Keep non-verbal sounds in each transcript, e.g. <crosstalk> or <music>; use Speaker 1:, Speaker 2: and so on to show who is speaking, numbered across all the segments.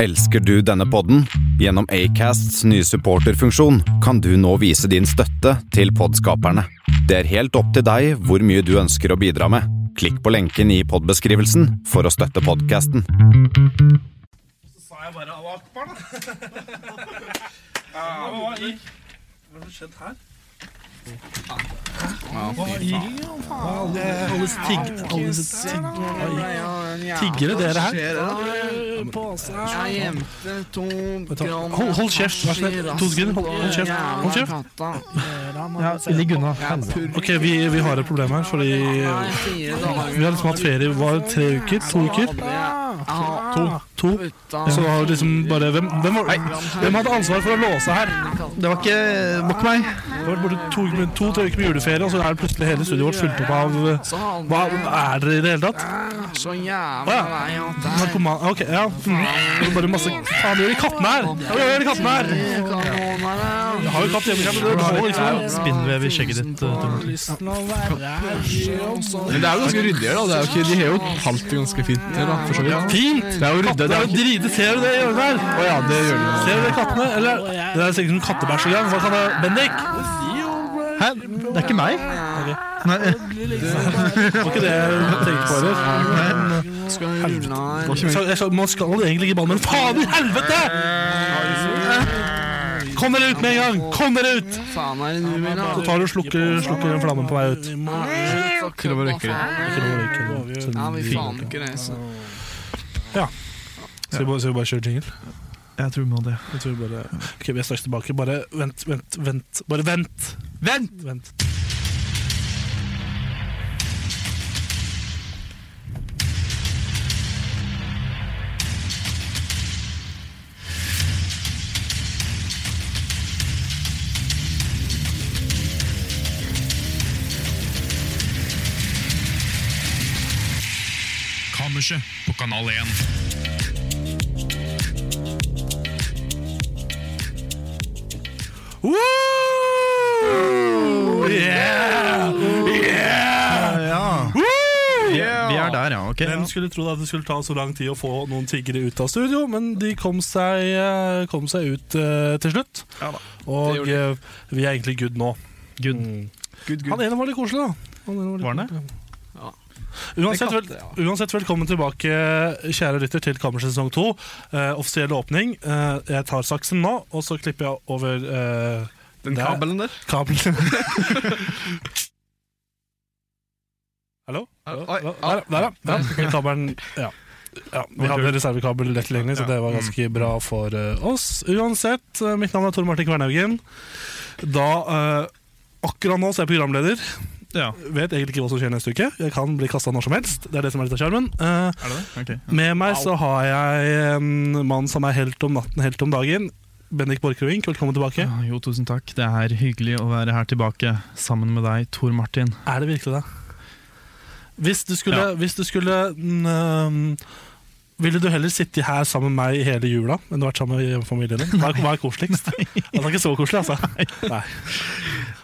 Speaker 1: Elsker du denne podden? Gjennom Acasts nye supporterfunksjon kan du nå vise din støtte til podskaperne. Det er helt opp til deg hvor mye du ønsker å bidra med. Klikk på lenken i podbeskrivelsen for å støtte podkasten.
Speaker 2: sa jeg bare Allah akbar, da. ja, hva gikk? Hva har skjedd her?
Speaker 3: Tiggere dere her?
Speaker 4: Jeg gjemte to kroner
Speaker 3: Hold, hold kjeft, vær så snill. To sekunder. Hold, hold kjeft. Hold kjeft.
Speaker 5: Ligg unna.
Speaker 3: Ok, vi, vi har et problem her, fordi eh, vi har liksom hatt ferie var det tre uker, to uker. To. to. Så det var liksom bare Hvem, hvem, var, hvem hadde ansvar for å låse her?
Speaker 5: Det var ikke det var ikke meg.
Speaker 3: Det var borte to, uker med- to-tre uker med juleferie, og så er det plutselig hele studioet vårt fullt opp av eh,
Speaker 4: Så hadde
Speaker 3: Hva
Speaker 4: jeg
Speaker 3: er dere i det hele tatt?
Speaker 4: så
Speaker 3: Å
Speaker 4: jævla
Speaker 3: ja.
Speaker 4: lei av deg.
Speaker 3: Narkoman Ok, ja. Mm. Det er Bare masse Faen, gjør de kattene her? Ja, Hva gjør de kattene her?
Speaker 4: Kanonene.
Speaker 3: Jeg har jo katt hjemme, men det holder ikke.
Speaker 5: Ja, Spinnvev i skjegget ditt. eh, Tom.
Speaker 6: Men det er jo ganske ryddig her, da. Det er jo ikke, de har jo holdt det ganske fint her, da, for så vidt.
Speaker 3: Fint!
Speaker 6: Det er jo ryddig.
Speaker 3: Det
Speaker 6: Det
Speaker 3: er
Speaker 6: er
Speaker 3: jo drite. Ser du det hjørnet der?
Speaker 6: Å ja, det gjør de.
Speaker 3: Ser du det kattene? Eller Det er sikkert noen kattebæsj i gang. Hva kan det Bendik?
Speaker 5: Hæ? Det er ikke meg? Nei,
Speaker 3: Var ikke det jeg tenkte på heller? eh,
Speaker 4: Skal vi rulle her?
Speaker 3: Så jeg sa, Man skal egentlig ikke i ballen, men faen i helvete! Kom dere ut med en gang! Kom dere ut!
Speaker 4: Faen er det du vil,
Speaker 3: Så
Speaker 4: da?
Speaker 3: tar du og slukker, slukker flammen på vei ut.
Speaker 6: Til å bare røyke det.
Speaker 3: Ikke noe røyk. eller
Speaker 4: Ja,
Speaker 3: sånn
Speaker 4: vi
Speaker 3: fint.
Speaker 4: faen ikke reise.
Speaker 3: Skal vi bare- skal vi bare kjøre jingle?
Speaker 5: jeg tror vi må det.
Speaker 3: Jeg tror bare Ok, vi er straks tilbake. Bare vent, vent, vent. Bare vent! Vent! vent.
Speaker 7: Kammerset på Kanal 1.
Speaker 3: Woo! Yeah!
Speaker 5: Vi, vi er der, ja. Ok.
Speaker 3: Hvem skulle tro at det skulle ta så lang tid å få noen tiggere ut av studio, men de kom seg, eh, kom seg ut eh, til slutt.
Speaker 5: Ja da,
Speaker 3: Og eh, vi er egentlig good nå. Mm.
Speaker 5: Good,
Speaker 3: Han ene var litt koselig, da. Han ene
Speaker 5: Var
Speaker 3: litt
Speaker 5: han
Speaker 3: koselig. Uansett, vel, uansett, velkommen tilbake, kjære lytter, til Kammerset sesong to. Eh, offisiell åpning. Eh, jeg tar saksen nå, og så klipper jeg over eh,
Speaker 6: Den
Speaker 3: der-
Speaker 6: kabelen der.
Speaker 3: kabelen. Hallo? Hallo?
Speaker 6: Oi,
Speaker 3: Der, ja. Der, ja. ja. Kabelen, ja. ja. Vi hadde reservekabel lett tilgjengelig, så det var ganske bra for eh, oss. Uansett, eh, mitt navn er Tor Martin Kvernhaugen. Da eh, Akkurat nå så er jeg programleder.
Speaker 5: Ja,
Speaker 3: Vet egentlig ikke hva som skjer neste uke. Jeg kan bli kasta når som helst. Det er det som er litt av sjarmen. Eh,
Speaker 5: er det det? Ok.
Speaker 3: med meg så har jeg en mann som er helt om natten, helt om dagen. Bendik Borchgrevink, velkommen tilbake.
Speaker 5: Ja, Jo, tusen takk. Det er hyggelig å være her tilbake sammen med deg, Tor Martin.
Speaker 3: Er det virkelig det? Hvis du skulle, hvis du skulle mm, øhm, Ville du heller sitte her sammen med meg i hele jula enn du vært sammen med familien din? Hva er, hva er koseligst? Ja, Det er ikke så koselig, altså. Nei.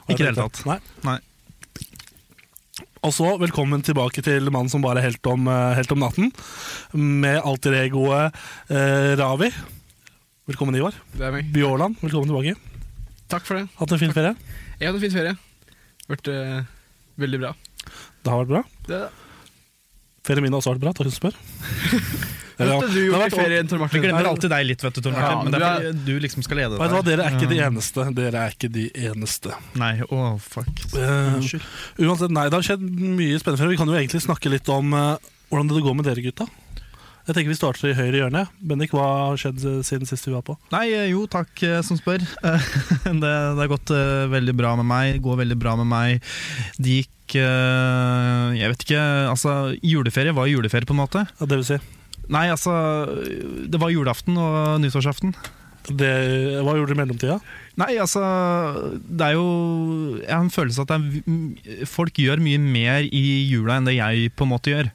Speaker 5: Ikke i det hele tatt.
Speaker 3: Nei.
Speaker 5: Nei.
Speaker 3: Og så velkommen tilbake til mannen som bare er helt om, eh, helt om natten, med alter egoet eh, Ravi. Velkommen, Ivar.
Speaker 6: Det er meg.
Speaker 3: Bjørland, velkommen tilbake.
Speaker 6: Takk for det.
Speaker 3: Hatt en fin ferie?
Speaker 6: Jeg hadde en fin ferie. Vært eh, veldig bra.
Speaker 3: Det har vært bra.
Speaker 6: Det
Speaker 3: Ferien min har også vært bra, takk som spør.
Speaker 6: <laughs>
Speaker 3: Eller, ja.
Speaker 6: Hva du
Speaker 3: Det
Speaker 6: gjort
Speaker 3: har vært
Speaker 6: i ferien, Tor
Speaker 5: Vi
Speaker 6: Martin?
Speaker 5: glemmer alltid deg litt, vet du, Tor Martin.
Speaker 6: Ja,
Speaker 5: men det er
Speaker 6: du
Speaker 5: fordi du liksom skal lede
Speaker 3: Vet du hva,
Speaker 5: det
Speaker 3: Dere er ikke de eneste. Dere er ikke de eneste.
Speaker 5: Nei, å fuck.
Speaker 3: Eh,
Speaker 5: Unnskyld.
Speaker 3: uansett, nei, Det har skjedd mye spennende. fremover. Vi kan jo egentlig snakke litt om eh, hvordan det går med dere gutta. Jeg tenker Vi starter i høyre hjørne. Bendik, hva har skjedd eh, siden sist vi var på?
Speaker 5: Nei, eh, jo, takk eh, som spør. Eh, <laughs> Det, det har gått eh, veldig bra med meg. Det går veldig bra med meg. Det gikk eh, Jeg vet ikke Altså, juleferie var jo juleferie, på en måte.
Speaker 3: Ja, det vil si,
Speaker 5: Nei, altså Det var julaften og nyttårsaften.
Speaker 3: det, hva gjorde dere i mellomtida?
Speaker 5: Nei, altså Det er jo Jeg har en følelse at det er, folk gjør mye mer i jula enn det jeg på en måte gjør.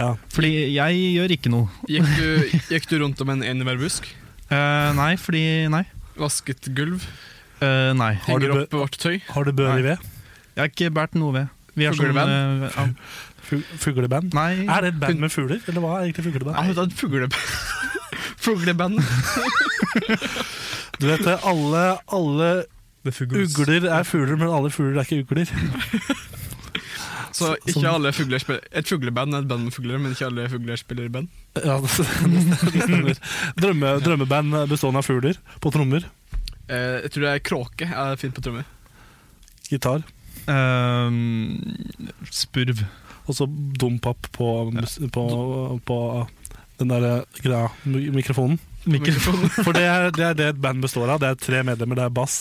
Speaker 3: Ja.
Speaker 5: Fordi jeg gjør ikke noe.
Speaker 6: Gikk du, gikk du rundt om en enebærbusk?
Speaker 5: Eh, nei, fordi Nei.
Speaker 6: Vasket gulv?
Speaker 5: Eh, nei.
Speaker 3: Har du
Speaker 6: Henger opp vårt tøy?
Speaker 3: Har du bør i ved?
Speaker 5: Jeg har ikke båret noe ved. Vi er sånn
Speaker 6: Fugleband?
Speaker 5: eh, ja.
Speaker 3: Fu- Fugleband?
Speaker 5: Nei.
Speaker 3: Er det et band med fugler, eller hva er egentlig fugleband?
Speaker 6: Jeg har et fugleband.
Speaker 5: Fuglebandet.
Speaker 3: Du vet det, alle, alle
Speaker 5: The Fuggles.
Speaker 3: ugler er fugler, men alle fugler er ikke ugler.
Speaker 6: Så ikke
Speaker 3: Sånn.
Speaker 6: alle fugler spiller Et fugleband er et band med fugler, men ikke alle fugler spiller band.
Speaker 3: Ja, det stemmer. Drømme, drømmeband bestående av fugler på trommer,
Speaker 6: Eh, jeg tror det er kråke er fint på trommer.
Speaker 3: gitar
Speaker 5: Ehm, spurv.
Speaker 3: og så dompap på, mus- på, på den der eh, greia, mi- mikrofonen.
Speaker 5: Mikrofon.
Speaker 3: For det er, det er det et band består av. Det er tre medlemmer. Det er bass,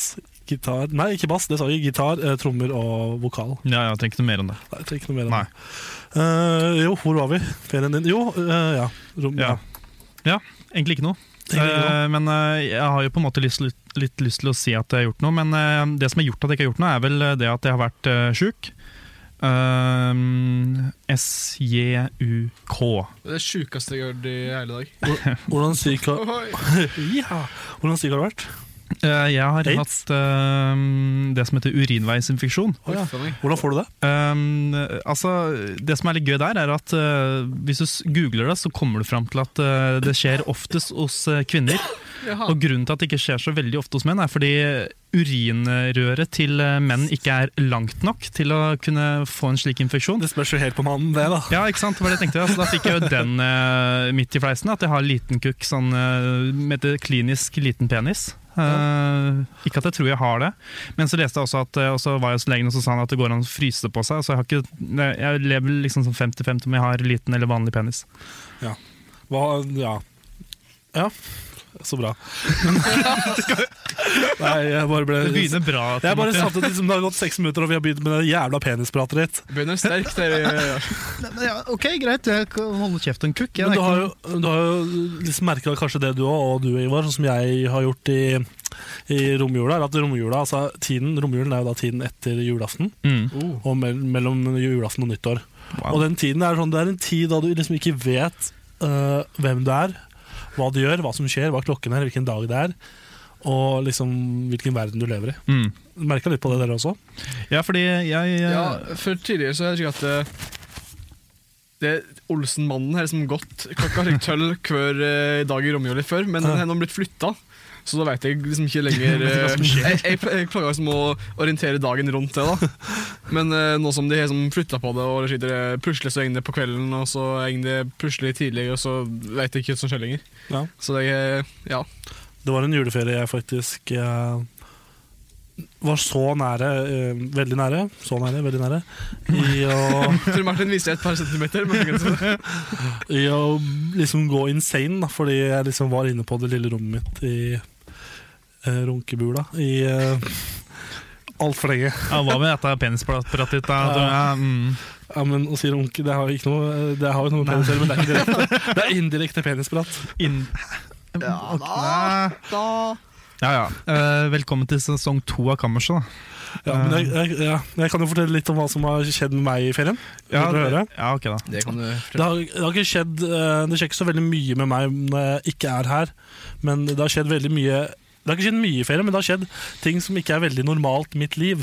Speaker 3: gitar Nei, ikke bass, det sa jeg. Gitar, eh, trommer og vokal.
Speaker 5: Ja, ja, tenk noe mer enn det.
Speaker 3: Nei, jeg trenger ikke noe mer enn
Speaker 5: Nei.
Speaker 3: det. Eh, jo, hvor var vi? Ferien din? Jo, eh, ja. Rom,
Speaker 5: Ja.
Speaker 3: ja.
Speaker 5: Ja, egentlig ikke noe. Eh, men eh, jeg har jo på en måte lyst, litt, litt lyst til å si at jeg har gjort noe. Men eh, det som har gjort at jeg ikke har gjort noe, er vel eh, det at jeg har vært uh, sjuk. Eh, SJUK.
Speaker 6: Det er det sjukeste jeg har gjort i hele dag.
Speaker 3: Hvordan syk har
Speaker 6: Ohoi.
Speaker 3: ja. Hvordan syk har du vært?
Speaker 5: Eh, jeg har
Speaker 3: Aids?
Speaker 5: hatt eh, det som heter urinveisinfeksjon.
Speaker 3: Å, ja.
Speaker 6: Huff a meg.
Speaker 3: Hvordan får du det?
Speaker 5: Um, altså, det som er litt gøy der, er at uh, hvis du s- googler det, så kommer du fram til at uh, det skjer oftest hos uh, kvinner.
Speaker 6: Jaha.
Speaker 5: Og grunnen til at det ikke skjer så veldig ofte hos menn, er fordi urinrøret til uh, menn ikke er langt nok til å kunne få en slik infeksjon.
Speaker 3: Det spørs jo helt på mannen, det, da.
Speaker 5: Ja, ikke sant? Det var det jeg tenkte. Altså, da fikk jeg jo den uh, midt i fleisen, at jeg har liten kukk, sånn uh, med det klinisk liten penis. Uh, ikke at jeg tror jeg har det, men så leste jeg også at uh, og så var jeg hos legen og så sa han at det går an å fryse det på seg. Så jeg, har ikke, jeg lever liksom sånn 50-50 om jeg har liten eller vanlig penis.
Speaker 3: Hva, ja. ja. Så
Speaker 5: <laughs>
Speaker 3: bra. Nei, jeg bare ble
Speaker 5: Det begynner bra.
Speaker 3: Jeg bare
Speaker 5: Martin.
Speaker 3: satt ut liksom, Det har gått seks minutter, og vi har begynt med det jævla penispratet ditt.
Speaker 6: Begynner sterkt der. ja, ja, ja.
Speaker 3: <laughs>
Speaker 5: ja, ok, greit, jeg kan holde kjeft om kukk. jeg.
Speaker 3: Men
Speaker 5: Det
Speaker 3: du
Speaker 5: er
Speaker 3: har
Speaker 5: ikke
Speaker 3: jo, du har jo liksom merka kanskje det du òg, og du Ivar, sånn som jeg har gjort i, i romjula. er At romjula, altså tiden, Romjulen er jo da tiden etter julaften,
Speaker 5: noe- Mm.
Speaker 6: Oh.
Speaker 3: og mell- mellom julaften og nyttår.
Speaker 5: Wow.
Speaker 3: Og den tiden er sånn, det er en tid da du liksom ikke vet øh, hvem du er, hva du gjør, hva som skjer, hva klokken er, hvilken dag det er, og liksom hvilken verden du lever i.
Speaker 5: Mm.
Speaker 3: Merka litt på det dere også?
Speaker 5: Ja, fordi jeg eh, <laughs>
Speaker 6: Ja, for tidligere så har jeg ikke hatt det det er Olsen-mannen her som gått klokka har ikke tøll hver eh, dag i romjula før, men den har nå blitt flytta. Så da veit <laughs> jeg liksom ikke lenger eh, Jeg, jeg, pl- jeg klarer liksom å orientere dagen rundt det, da. Men eh, nå som de har liksom flytta på det, og det sitter eh, pusles og egner på kvelden, og så egner det pusler tidlig, og så veit jeg ikke hva som skjer lenger.
Speaker 3: Ja.
Speaker 6: Så det er Ja.
Speaker 3: Det var en juleferie jeg faktisk eh, var så nære, eh, veldig nære, så nære, veldig nære, i å,
Speaker 6: Tor Martin viser et par centimeter, men det er ikke så-
Speaker 3: i å liksom gå insane, da, fordi jeg liksom var inne på det lille rommet mitt i eh, runkebula i eh, altfor lenge.
Speaker 5: Ja, hva med dette penispratet ditt? da? Du- Ja, mm.
Speaker 3: Ja, men å si runke, det har jo ikke noe, det har jo noe med penis å gjøre, men det er ikke direkte. Det er indirekte penisprat.
Speaker 5: Inn-
Speaker 4: Ja, da.
Speaker 5: Nei. Ja, ja. Eh, velkommen til sesong to av Kammerset. da.
Speaker 3: Ja, men jeg, jeg, ja, jeg kan jo fortelle litt om hva som har skjedd med meg i ferien.
Speaker 5: Ja,
Speaker 3: Vil dere høre?
Speaker 5: ja, ok da.
Speaker 6: Det kan du
Speaker 3: Det har, det har ikke skjedd eh, Det skjer ikke så veldig mye med meg når jeg ikke er her. Men det har skjedd veldig mye Det har ikke skjedd mye i ferie, men det har skjedd ting som ikke er veldig normalt i mitt liv.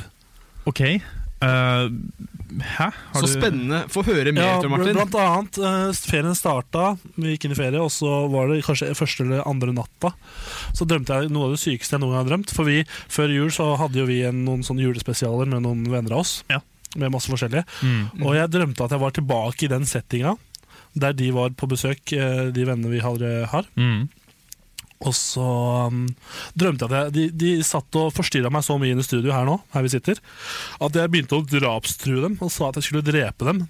Speaker 5: Ok. eh, hæ? Har
Speaker 6: Så
Speaker 5: du-
Speaker 6: spennende. Få høre mer,
Speaker 3: Ja,
Speaker 6: Tor
Speaker 3: bl-
Speaker 6: Martin.
Speaker 3: blant annet eh, Ferien starta, vi gikk inn i ferie, og så var det kanskje første eller andre natta. Så drømte jeg noe av det sykeste jeg noen gang har drømt. For vi, før jul så hadde jo vi en, noen sånne julespesialer med noen venner av oss.
Speaker 5: Ja.
Speaker 3: Med masse forskjellige.
Speaker 5: Mm.
Speaker 6: Mhm.
Speaker 3: Og jeg drømte at jeg var tilbake i den settinga der de var på besøk, eh, de vennene vi har. har.
Speaker 5: Mm.
Speaker 3: Og så um, drømte jeg at jeg, de, de satt og forstyrra meg så mye inne i studio her nå, her vi sitter, at jeg begynte å drapstrue dem og sa at jeg skulle drepe
Speaker 5: <laughs>
Speaker 3: dem.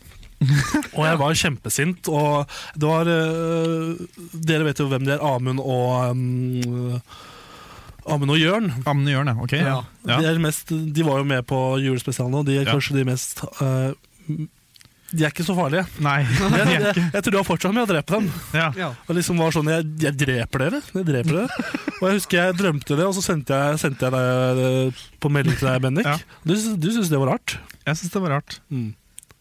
Speaker 3: og jeg var kjempesint, og det var øh, Dere vet jo hvem de er, Amund og um, Amund og Jørn.
Speaker 5: Amne Jørn, ja. Ok. Ja.
Speaker 3: De,
Speaker 5: Ja.
Speaker 3: er mest, de var jo med på julespesialen, og de er
Speaker 5: Ja.
Speaker 3: kanskje de mest øh, De er ikke så
Speaker 5: <laughs>
Speaker 3: farlige.
Speaker 5: Nei.
Speaker 3: Jeg, jeg, jeg tror de har fortsatt med å drepe dem.
Speaker 5: Ja.
Speaker 6: Ja.
Speaker 3: Og liksom var sånn, jeg, jeg dreper dere, jeg dreper dere. Og jeg husker jeg drømte det, og så sendte jeg, sendte jeg deg eh, på melding til deg, Bendik.
Speaker 5: Ja.
Speaker 3: Du, sy- du syntes det var rart.
Speaker 5: Jeg syns det var rart.
Speaker 3: Mm.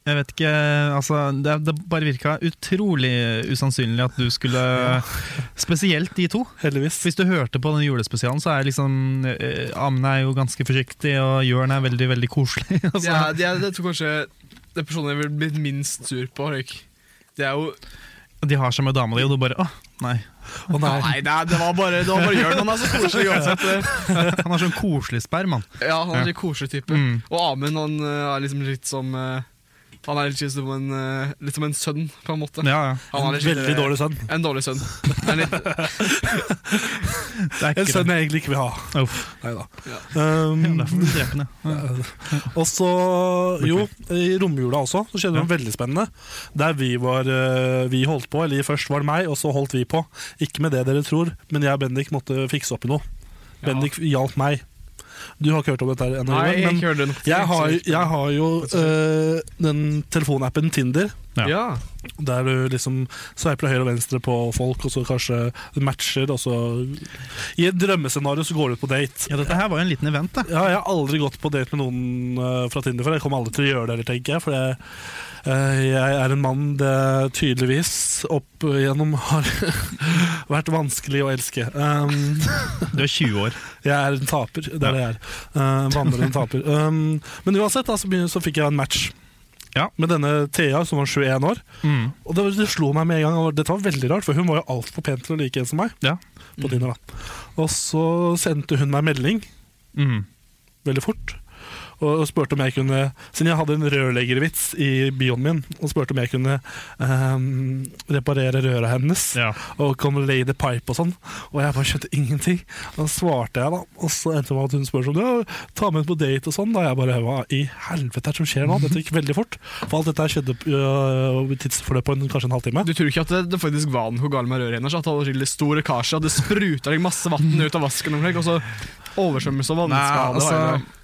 Speaker 5: Jeg vet ikke, altså det, det bare virka utrolig usannsynlig at du skulle Spesielt de to.
Speaker 3: Heldigvis.
Speaker 5: Hvis du hørte på den julespesialen, så er liksom eh, Amne er jo ganske forsiktig, og Jørn er veldig, veldig koselig. <laughs> Altså.
Speaker 6: Det er, det er, jeg tror kanskje det er personen jeg ville blitt minst sur på. Røyk. Det er jo
Speaker 5: De har seg med dama di, og du bare åh, Nei.
Speaker 3: <laughs> Å nei.
Speaker 6: Nei, det, er- det var bare, det var bare Jørn.
Speaker 3: <laughs>
Speaker 6: Han er så altså. koselig uansett. eh.
Speaker 5: Han har sånn koselig sperm, han.
Speaker 6: Ja, han er en litt koselig type.
Speaker 5: Mm.
Speaker 6: Og Amund han eh, er liksom litt som eh, Han er litt som en, eh, litt som en sønn, på en måte.
Speaker 5: Ja, ja.
Speaker 6: Han er litt- eh,
Speaker 3: Veldig dårlig sønn.
Speaker 6: En dårlig sønn.
Speaker 3: <laughs>
Speaker 6: En litt,
Speaker 5: Det er
Speaker 3: En
Speaker 5: ikke
Speaker 3: sønn
Speaker 5: det.
Speaker 3: jeg egentlig ikke vil ha.
Speaker 5: Uff.
Speaker 3: Nei da.
Speaker 5: Ja,
Speaker 3: Um,
Speaker 5: Derfor blir du drepende.
Speaker 3: og så, jo, i romjula også, så skjedde det noe veldig spennende. Der vi var eh, Vi holdt på, eller først var det meg, og så holdt vi på. Ikke med det dere tror, men jeg og Bendik måtte fikse opp i noe. Bendik hjalp meg. Du har ikke hørt om dette her ennå,
Speaker 6: nei,
Speaker 3: Ruben,
Speaker 6: jeg
Speaker 3: men
Speaker 6: ikke hørt det nok.
Speaker 3: jeg har, jeg har jo eh, den telefonappen Tinder,
Speaker 6: liksom. ja.
Speaker 3: der du liksom sveiper til høyre og venstre på folk, og så kanskje matcher, og så I et drømmescenario så går du ut på date.
Speaker 5: Ja, dette her var jo en liten event, da.
Speaker 3: Ja, jeg har aldri gått på date med noen eh, fra Tinder før. Jeg kommer aldri til å gjøre det heller, tenker jeg. For jeg, eh, jeg er en mann det tydeligvis opp igjennom har <laughs> vært vanskelig å elske. Um,
Speaker 5: Du er 20 år.
Speaker 3: jeg er en taper, det er det jeg er. Uh, vandrende taper. Um, men uansett, da, så, begyn- så fikk jeg en match
Speaker 5: Ja.
Speaker 3: med denne Thea, som var 21 år.
Speaker 5: Mm.
Speaker 3: Og det, det slo meg med en gang, og dette var veldig rart, for hun var jo altfor pen til å like en som meg.
Speaker 5: Ja.
Speaker 3: På Tinder, da. Og så sendte hun meg melding
Speaker 5: Mm.
Speaker 3: veldig fort. Og og spurte om jeg kunne Siden jeg hadde en rørleggervits i bioen min, og spurte om jeg kunne ehm, reparere røra hennes.
Speaker 5: Ja.
Speaker 3: Og kan lay the pipe og sånn. Og jeg bare skjønte ingenting. Da svarte jeg, da. Og så endte det med at hun spurte om ja, ta med henne på date og sånn. Da jeg bare Hva i helvete er det som skjer nå? Dette gikk veldig fort. For alt dette her skjedde øh, i tidsforløp på en, kanskje en halvtime.
Speaker 6: Du tror ikke at det, det faktisk var noe galt med røret hennes? At det var skikkelig stor lekkasje, at det spruta liksom masse vann ut av vasken, omkring, og så oversvømmelse og vannskade?
Speaker 5: altså,
Speaker 6: og hele-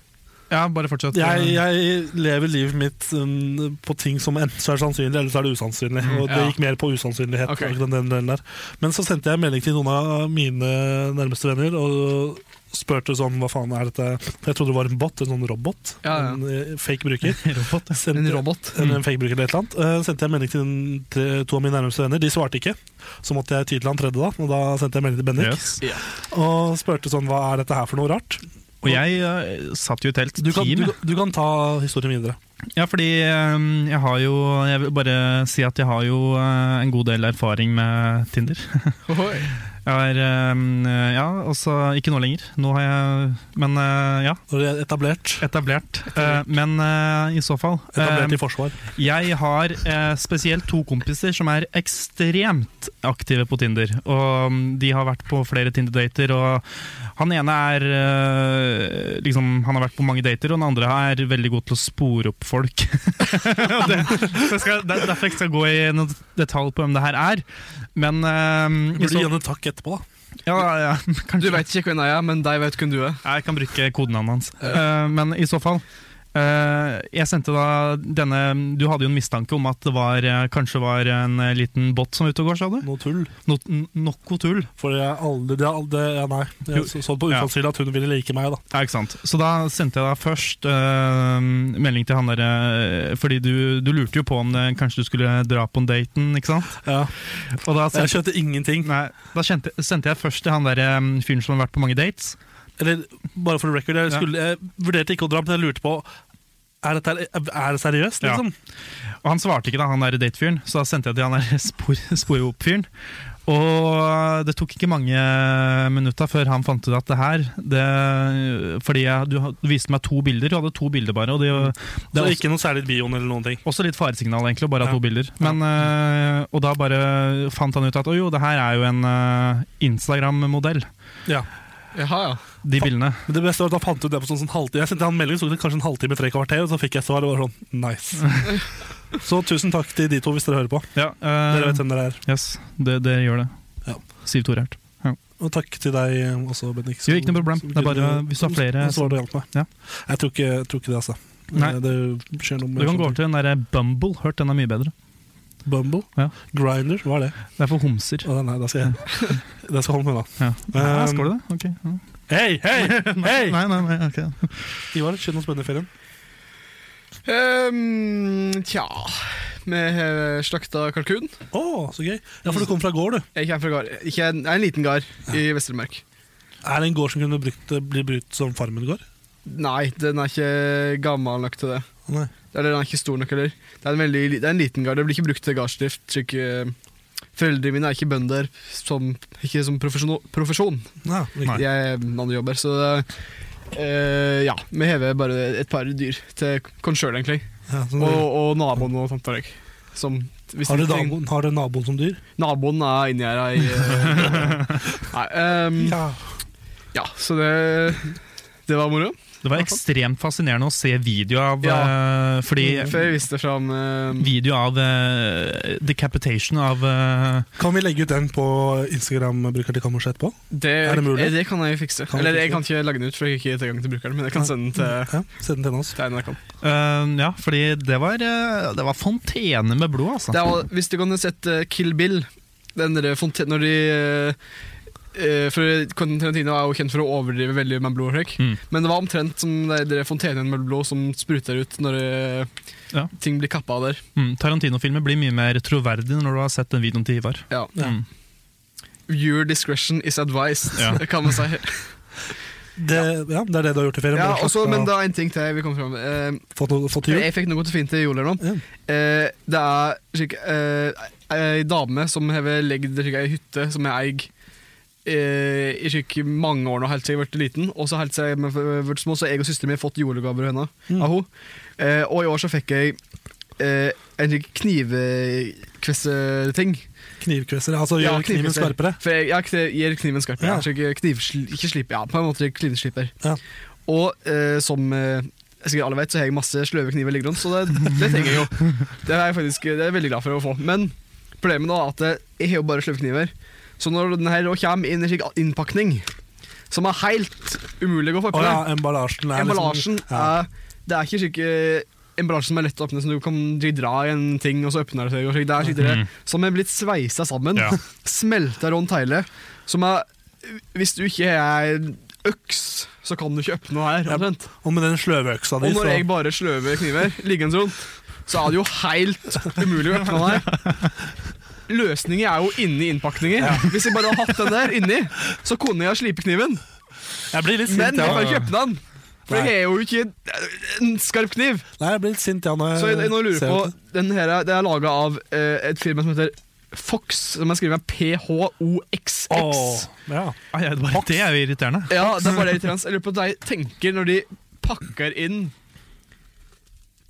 Speaker 5: Ja, bare fortsett.
Speaker 3: Jeg, jeg lever livet mitt um, på ting som enten så er sannsynlig, eller så er det usannsynlig. Og det
Speaker 6: Mm, ja.
Speaker 3: gikk mer på usannsynlighet.
Speaker 6: Ok.
Speaker 3: akkurat Den delen der. Men så sendte jeg en melding til noen av mine nærmeste venner og spurte sånn hva faen er dette Jeg trodde det var en bot, en sånn robot.
Speaker 6: Ja, ja.
Speaker 3: En eh, fake bruker.
Speaker 5: <laughs> Robot. Mm.
Speaker 3: Sendte-
Speaker 6: en robot.
Speaker 3: eller en fake bruker eller et eller annet. Eh, sendte jeg melding til, til to av mine nærmeste venner, de svarte ikke. Så måtte jeg ty til han tredje, da. Og da sendte jeg melding til Bendik
Speaker 5: Yes.
Speaker 3: og spurte sånn hva er dette her for noe rart.
Speaker 5: Og jeg eh, satt jo i telt
Speaker 3: Du kan,
Speaker 5: team.
Speaker 3: du, du kan ta historien videre.
Speaker 5: Ja, fordi eh, jeg har jo Jeg vil bare si at jeg har jo eh, en god del erfaring med Tinder.
Speaker 6: Ohoi.
Speaker 5: Jeg er eh, Ja, altså ikke nå lenger. Nå har jeg Men eh, ja,
Speaker 3: Når det er etablert.
Speaker 5: etablert. Eh, Men eh, i så fall eh,
Speaker 3: Etablert i forsvar.
Speaker 5: Jeg har eh, spesielt to kompiser som er ekstremt aktive på Tinder. Og mm, de har vært på flere Tinder-dater, og han ene er eh, liksom, Han har vært på mange dater, og den andre er veldig god til å spore opp folk. <laughs> Og det, det, skal, det er derfor jeg ikke skal gå i noen detalj på hvem det her er. Men eh, i
Speaker 3: Burde
Speaker 5: så,
Speaker 3: du gi henne takk etterpå, da?
Speaker 5: ja, ja,
Speaker 6: Du veit ikke hvem jeg er, men deg vet hvem du er.
Speaker 5: Jeg kan bruke kodenavnet hans. Eh, men i så fall eh, Jeg sendte da denne Du hadde jo en mistanke om at det var, eh, kanskje var en eh, liten bot som var ute og går, sa du?
Speaker 3: Noe tull.
Speaker 5: No, n- Noko tull.
Speaker 3: For jeg aldri, det, er aldri ja, Nei. Jeg så så på
Speaker 5: Ja.
Speaker 3: usannsynlig at hun ville like meg, da.
Speaker 5: Ja, ikke sant. Så da sendte jeg da først eh, melding til han derre Fordi du, du lurte jo på om det, kanskje du skulle dra på en daten, ikke sant?
Speaker 3: Ja.
Speaker 5: Og da
Speaker 3: Jeg
Speaker 5: sendte,
Speaker 3: skjønte ingenting.
Speaker 5: nei, da kjente, sendte jeg først til han derre eh, fyren som har vært på mange dates.
Speaker 3: Eller bare for the record, jeg,
Speaker 5: Ja.
Speaker 3: skulle, jeg vurderte ikke å dra, men jeg lurte på er, dette, her- er det seriøst,
Speaker 5: Ja.
Speaker 3: liksom?
Speaker 5: Og han svarte ikke, da, han der datefyren, så da sendte jeg til han der <laughs> spor, sporopp-fyren. Og det tok ikke mange minutta før han fant ut at det her det, Fordi jeg, du, had- du viste meg to bilder, du hadde to bilder bare. Og det, det
Speaker 3: Så
Speaker 5: er også,
Speaker 3: ikke noe særlig bioen eller noen ting.
Speaker 5: også litt faresignal, egentlig, å bare ha
Speaker 3: Ja.
Speaker 5: to bilder. Men, eh, og da bare fant han ut at å jo, det her er jo en eh, Instagram-modell,
Speaker 6: Jaha, ja.
Speaker 5: de bildene.
Speaker 3: Men det beste var at han fant ut det på sånn, sånn halvtime. Jeg sendte han en melding, så tok det kanskje en halvtime, tre kvarter, og så fikk jeg svar. og var sånn, nice. Så tusen takk til de to, hvis dere hører på.
Speaker 5: Ja,
Speaker 3: Dere
Speaker 5: eh,
Speaker 3: vet hvem dere er.
Speaker 5: yes, det, det gjør det.
Speaker 3: Ja.
Speaker 5: Siv Torert.
Speaker 3: Og takk til deg også, Bendik.
Speaker 5: Jo, ikke noe problem. Det er bare hvis du har flere-
Speaker 3: Så var det hjalp meg.
Speaker 5: Ja.
Speaker 3: Jeg tror ikke, jeg tror ikke det, altså.
Speaker 5: Nei.
Speaker 3: Det skjer noe med sånn
Speaker 5: Du kan gå over til den der Bumble. Hørt den er mye bedre.
Speaker 3: Bumble.
Speaker 5: Ja.
Speaker 3: Grinder, hva er det?
Speaker 5: Det er for homser.
Speaker 3: Å, nei, da skal
Speaker 5: <laughs>
Speaker 3: jeg <laughs> Da skal jeg holde meg unna.
Speaker 5: Ja. Eh,
Speaker 3: Ja, skal
Speaker 5: skal
Speaker 3: du
Speaker 5: du det? Ok.
Speaker 3: Hei, hei, hei!
Speaker 5: <laughs> Nei, nei, nei, ok.
Speaker 3: Ivar, skjedde noe spennende i ferien?
Speaker 6: Ehm, tja Med eh, slakta kalkun.
Speaker 3: Å, så gøy. Ja, for du kom fra gård, du.
Speaker 6: Jeg kommer fra gard. Ikke, jeg er en liten gard i Vest-Telemark.
Speaker 3: Er det en gård som kunne brukt, bli brukt som farmen gård?
Speaker 6: Nei, den er ikke gammel nok til det.
Speaker 3: Nei.
Speaker 6: Eller den er ikke stor nok heller. Det er en, veldig, li- det er en liten gard. Det blir ikke brukt til gardsdrift. slik, eh, Foreldrene mine er ikke bønder, som, ikke som profesjon. profesjon.
Speaker 3: Ja, riktig.
Speaker 6: De er mannjobber, så eh, ja. Vi hever bare et par dyr til oss sjøl, egentlig.
Speaker 3: ja, sånn
Speaker 6: Og,
Speaker 3: det.
Speaker 6: og naboen og tanta Røyk. Som hvis
Speaker 3: har, du
Speaker 6: de-
Speaker 3: naboen, har du naboen som dyr?
Speaker 6: Naboen er inni her ei
Speaker 3: <laughs>
Speaker 6: Nei. ehm,
Speaker 3: Ja.
Speaker 6: ja, så det Det var moro.
Speaker 5: Det var ekstremt fascinerende å se video av eh, Fordi
Speaker 3: Mm.
Speaker 6: Før jeg viste fram ehm,
Speaker 5: video av eh, decapitation av eh,
Speaker 3: Kan vi legge ut den på Instagram-bruker til Kammers etterpå?
Speaker 6: det,
Speaker 3: Er det mulig?
Speaker 6: eh, det kan jeg fikse.
Speaker 3: Kan du
Speaker 6: Eller jeg
Speaker 3: fikse?
Speaker 6: kan ikke lage den ut, for jeg har ikke tilgang til brukeren. Men jeg kan
Speaker 3: Nei.
Speaker 6: sende den til,
Speaker 3: Ja, Send den til oss.
Speaker 6: til NRK.
Speaker 5: eh, Ja, fordi det var, eh, det var fontene med blod, altså.
Speaker 6: Det er, al- hvis du kan ha sett eh, Kill Bill, den der fonten når de eh, eh, for Quentin Tarantino er jo kjent for å overdrive veldig med blod. Rick.
Speaker 5: Mm.
Speaker 6: Men det var omtrent som det der fontenen med blod som spruter ut når eh,
Speaker 5: Ja.
Speaker 6: ting blir kappa av der.
Speaker 5: Mm, Tarantino-filmer blir mye mer troverdige når du har sett den videoen til Ivar.
Speaker 6: Ja.
Speaker 3: Ja.
Speaker 5: Mm.
Speaker 6: Your discretion is advised,
Speaker 5: Ja.
Speaker 6: <laughs> kan man si.
Speaker 3: Det, ja, det er det du har gjort i ferien.
Speaker 6: Ja,
Speaker 3: bare
Speaker 6: også,
Speaker 3: slakta-
Speaker 6: men det er en ting til jeg vil komme fram med.
Speaker 3: Fått, noe- fått
Speaker 6: Eh,
Speaker 3: jul?
Speaker 6: jeg fikk noe fint til jul her nå.
Speaker 3: Ja.
Speaker 6: Eh, det er slik, eh, ei dame som har legget slik, ei hytte som jeg eier eh, i slik, mange år nå, helt siden jeg ble liten. Og så helt siden jeg ble små, så jeg og søsteren min har fått julegaver av henne. Av henne. Eh, og i år så fikk jeg eh, en slik knivkvesseting.
Speaker 3: Knivkvesser? Altså gjør kniven
Speaker 6: knivkvisser.
Speaker 3: skarpere?
Speaker 6: For jeg, ja, kni- gir kniven skarpere.
Speaker 3: Ja.
Speaker 6: Altså ikke knivsli- ikke sliper, ja, på en måte knivsliper.
Speaker 3: Ja.
Speaker 6: Og eh, som eh, sikkert alle vet, så har jeg masse sløve kniver liggende rundt, så det, det trenger jeg jo. Det er jeg faktisk det er jeg veldig glad for å få. Men problemet da er at eh, jeg har jo bare sløve kniver. Så når den her nå kommer inn i en slik innpakning, som er helt umulig å få
Speaker 3: Å
Speaker 6: på
Speaker 3: ja,
Speaker 6: deg
Speaker 3: emballasjen er
Speaker 6: Emballasjen
Speaker 3: liksom ja.
Speaker 6: er Det er ikke slik eh, Emballasjen som er lett å åpne, som du kan dra i en ting, og så åpner det seg. Og slik. Det er slik
Speaker 3: Mhm.
Speaker 6: det, som er blitt sveisa sammen
Speaker 5: Ja.
Speaker 6: smelta rundt hele. Som er Hvis du ikke er en øks, så kan du ikke åpne noe her.
Speaker 3: Ja.
Speaker 6: omtrent.
Speaker 3: Og med den sløveøksa
Speaker 6: Og
Speaker 3: di,
Speaker 6: når
Speaker 3: så
Speaker 6: jeg bare sløver kniver liggende rundt, så er det jo helt umulig å åpne den her. Løsningen er jo inni innpakninger. Hvis jeg bare hadde hatt den der inni, så kunne jeg ha slipet kniven.
Speaker 3: Jeg blir litt
Speaker 6: Men
Speaker 3: sint,
Speaker 6: jeg
Speaker 3: ja.
Speaker 6: kan ikke åpne den. For jeg har jo ikke en skarp kniv.
Speaker 3: Nei, jeg blir litt sint, ja. Når jeg,
Speaker 6: Så jeg, jeg nå lurer
Speaker 3: ser
Speaker 6: på
Speaker 3: dette.
Speaker 6: den her, er- Det er laga av eh, et firma som heter Fox, som er skrevet med PHOXX.
Speaker 3: Åh, ja.
Speaker 5: Ai, ai, det bare, det er jo irriterende.
Speaker 6: Ja, det er bare det irriterende. Jeg lurer på hva de tenker når de pakker inn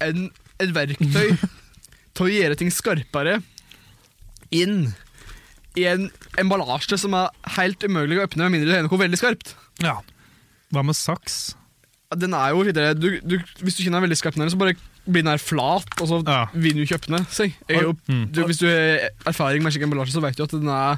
Speaker 6: en, et verktøy til å gjøre ting skarpere inn i en emballasje som er helt umulig å åpne, med mindre du har noe veldig skarpt.
Speaker 5: Ja. Hva med saks?
Speaker 6: Ja, Den er jo videre, du, du, Hvis du ikke er veldig skarp, med den, så bare blir den her flat, og så
Speaker 5: Ja.
Speaker 6: vil du ikke åpne. Si. Jeg, er jo,
Speaker 5: Mm.
Speaker 6: du, hvis du har erfaring med slik emballasje, så vet du at den er,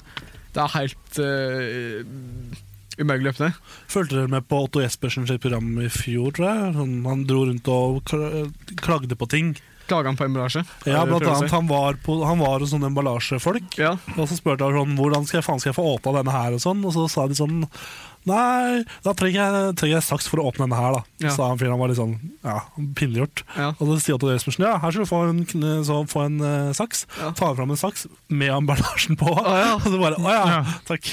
Speaker 6: det er helt eh, umulig å åpne.
Speaker 3: Fulgte dere med på Otto Jespersen sitt program i fjor, tror jeg? Han, han dro rundt og kla- klagde på ting.
Speaker 6: Klager han på emballasje?
Speaker 3: Ja,
Speaker 6: Eh,
Speaker 3: blant
Speaker 6: prøver å si.
Speaker 3: annet, han var, på, han var hos sånne emballasjefolk,
Speaker 6: Ja.
Speaker 3: og så spurte han sånn, hvordan skal jeg, faen skal jeg få åpna denne her, og sånn, og så sa de sånn Nei, da trenger jeg, trenger jeg saks for å åpne denne her, da.
Speaker 6: Ja.
Speaker 3: Sa han fyren. Han var litt sånn ja, pinliggjort.
Speaker 6: Ja.
Speaker 3: Og så sier Otto Jespersen ja, her skal du få en, kn- så, få en eh, saks.
Speaker 6: Ja.
Speaker 3: Ta fram en saks med emballasjen på.
Speaker 6: ja.
Speaker 3: <laughs> Og så bare å ja,
Speaker 5: Ja.
Speaker 3: takk.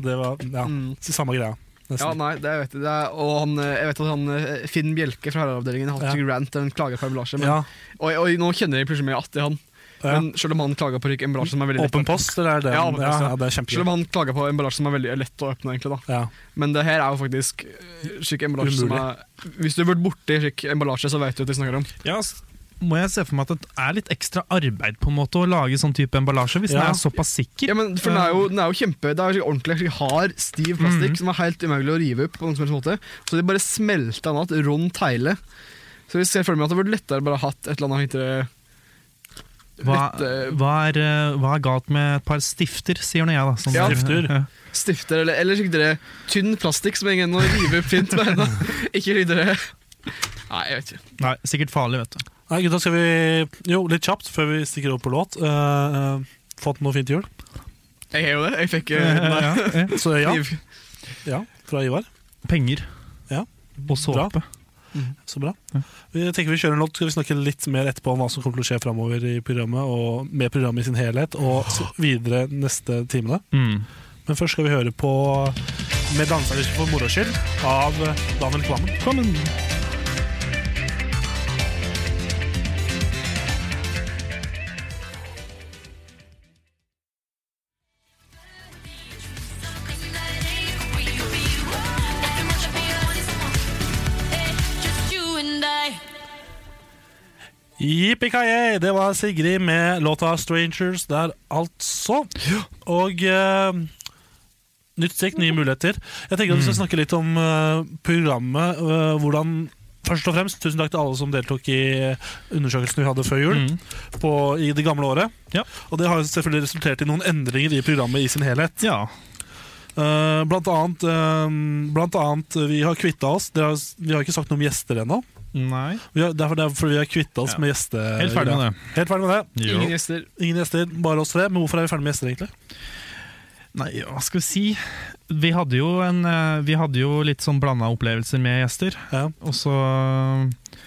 Speaker 3: Og det var ja,
Speaker 6: Mm.
Speaker 3: så samme greia.
Speaker 6: Ja,
Speaker 3: Nesten.
Speaker 6: nei, det vet jeg. Det er, og han, eh, jeg vet at han, eh, Finn Bjelke fra Herreavdelingen har hatt
Speaker 3: Ja.
Speaker 6: en rant der han klager på emballasje. Men,
Speaker 3: Ja,
Speaker 6: og, og nå kjenner jeg plutselig mye att i han.
Speaker 3: ja.
Speaker 6: Men selv om han klager på emballasje som er veldig lett
Speaker 3: Åpen post, eller er det
Speaker 6: Ja, åpen post, ja.
Speaker 3: ja, det er
Speaker 6: Selv om
Speaker 3: kjempegøy.
Speaker 6: han klager på emballasje som er veldig lett å åpne, egentlig, da.
Speaker 3: Ja.
Speaker 6: Men det her er jo faktisk eh, slik emballasje som
Speaker 3: Umulig.
Speaker 6: er Hvis du har vært borti slik emballasje, så vet du hva jeg snakker om.
Speaker 5: Ja, s- må jeg se for meg at det er litt ekstra arbeid på en måte å lage sånn type emballasje, hvis
Speaker 3: Ja.
Speaker 5: den er såpass sikker.
Speaker 6: Ja, men for den er jo, den er jo kjempe Det er jo slik ordentlig slik hard,
Speaker 5: Mhm.
Speaker 6: stiv plastikk som er helt umulig å rive opp. på noen som helst måte Så de bare smelter den igjen rundt hele. Så jeg ser for meg at det hadde vært lettere bare å ha hatt et eller annet heter det
Speaker 5: Hva,
Speaker 6: lett, eh,
Speaker 5: hva, er, eh, hva er galt med et par stifter, sier nå jeg, da. Sånn,
Speaker 6: Ja.
Speaker 3: Stifter.
Speaker 5: Ja.
Speaker 6: stifter eller, eller slik dere tynn plastikk som ingen å rive opp fint med
Speaker 5: <laughs>
Speaker 6: henda. Ikke slik dere Nei, jeg vet ikke.
Speaker 5: Nei, sikkert farlig, vet du.
Speaker 3: Nei, gutta, skal vi Jo, litt kjapt før vi stikker over på låt. Eh, eh, fått noe fint til jul?
Speaker 6: Jeg har jo det. Jeg fikk eh,
Speaker 5: Ja, ja.
Speaker 3: Så ja,
Speaker 6: kniv.
Speaker 3: ja fra Ivar.
Speaker 5: Penger.
Speaker 3: Ja.
Speaker 5: Og såpe.
Speaker 3: Så bra. Vi tenker vi kjører en låt, skal vi snakke litt mer etterpå om hva som kommer til å skje framover i programmet, og med programmet i sin helhet, og s- videre neste timene.
Speaker 5: Mm.
Speaker 3: Men først skal vi høre på Med danselyst for moro skyld av Daniel Kvammen. Yippee-ki-yay! Det var Sigrid med låta 'Strangers' der, altså. Og eh, nytt strekk, nye muligheter. Jeg tenker at Vi
Speaker 5: Mm.
Speaker 3: skal snakke litt om eh, programmet. eh, hvordan Først og fremst, Tusen takk til alle som deltok i eh, undersøkelsen vi hadde før jul.
Speaker 5: Mm.
Speaker 3: På, I det gamle året.
Speaker 5: Ja.
Speaker 3: Og det har jo selvfølgelig resultert i noen endringer i programmet i sin helhet.
Speaker 5: Ja.
Speaker 3: Eh, blant annet, eh, blant annet vi har kvitta oss. Dere har, vi har ikke sagt noe om gjester ennå.
Speaker 5: Nei.
Speaker 3: Vi har- Derfor det er fordi vi har kvitta oss
Speaker 5: Ja.
Speaker 3: med gjeste...
Speaker 5: Helt ferdig med det.
Speaker 3: Helt ferdig med det.
Speaker 5: Jo.
Speaker 6: Ingen gjester.
Speaker 3: Ingen gjester, bare oss tre. Men hvorfor er vi ferdig med gjester, egentlig?
Speaker 5: Nei, ja, hva skal vi si? Vi hadde jo, en, eh, vi hadde jo litt sånn blanda opplevelser med gjester.
Speaker 3: Ja.
Speaker 5: Og så eh,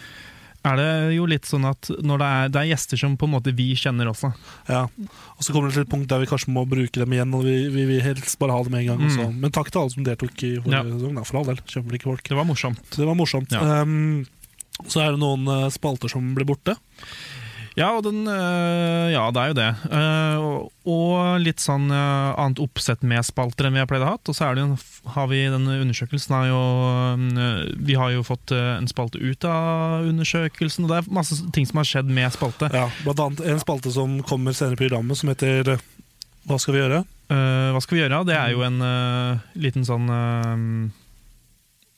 Speaker 5: er det jo litt sånn at når det er, det er gjester som på en måte vi kjenner også.
Speaker 3: Ja. Og så kommer det til et punkt der vi kanskje må bruke dem igjen. Og vi, vi vil helst bare ha dem en gang.
Speaker 5: Mm.
Speaker 3: også. Men takk til alle som deltok i forrige
Speaker 5: Ja.
Speaker 3: sesong. da, For all del, kjempeflinke folk.
Speaker 5: Det var morsomt.
Speaker 3: Så det var morsomt.
Speaker 5: Ja.
Speaker 3: Um, så er det noen eh, spalter som blir borte.
Speaker 5: Ja, og den, øh, ja, det er jo det. Eh, og- og litt sånn øh, annet oppsett med spalter enn vi har pleid å ha. Og så er det jo, en- har vi den undersøkelsen har jo, øh, Vi har jo fått øh, en spalte ut av undersøkelsen, og det er masse ting som har skjedd med spalte.
Speaker 3: Ja, blant annet en spalte som kommer senere i programmet, som heter eh, Hva skal vi gjøre?
Speaker 5: Eh, hva skal vi gjøre? Det er jo en øh, liten sånn øh,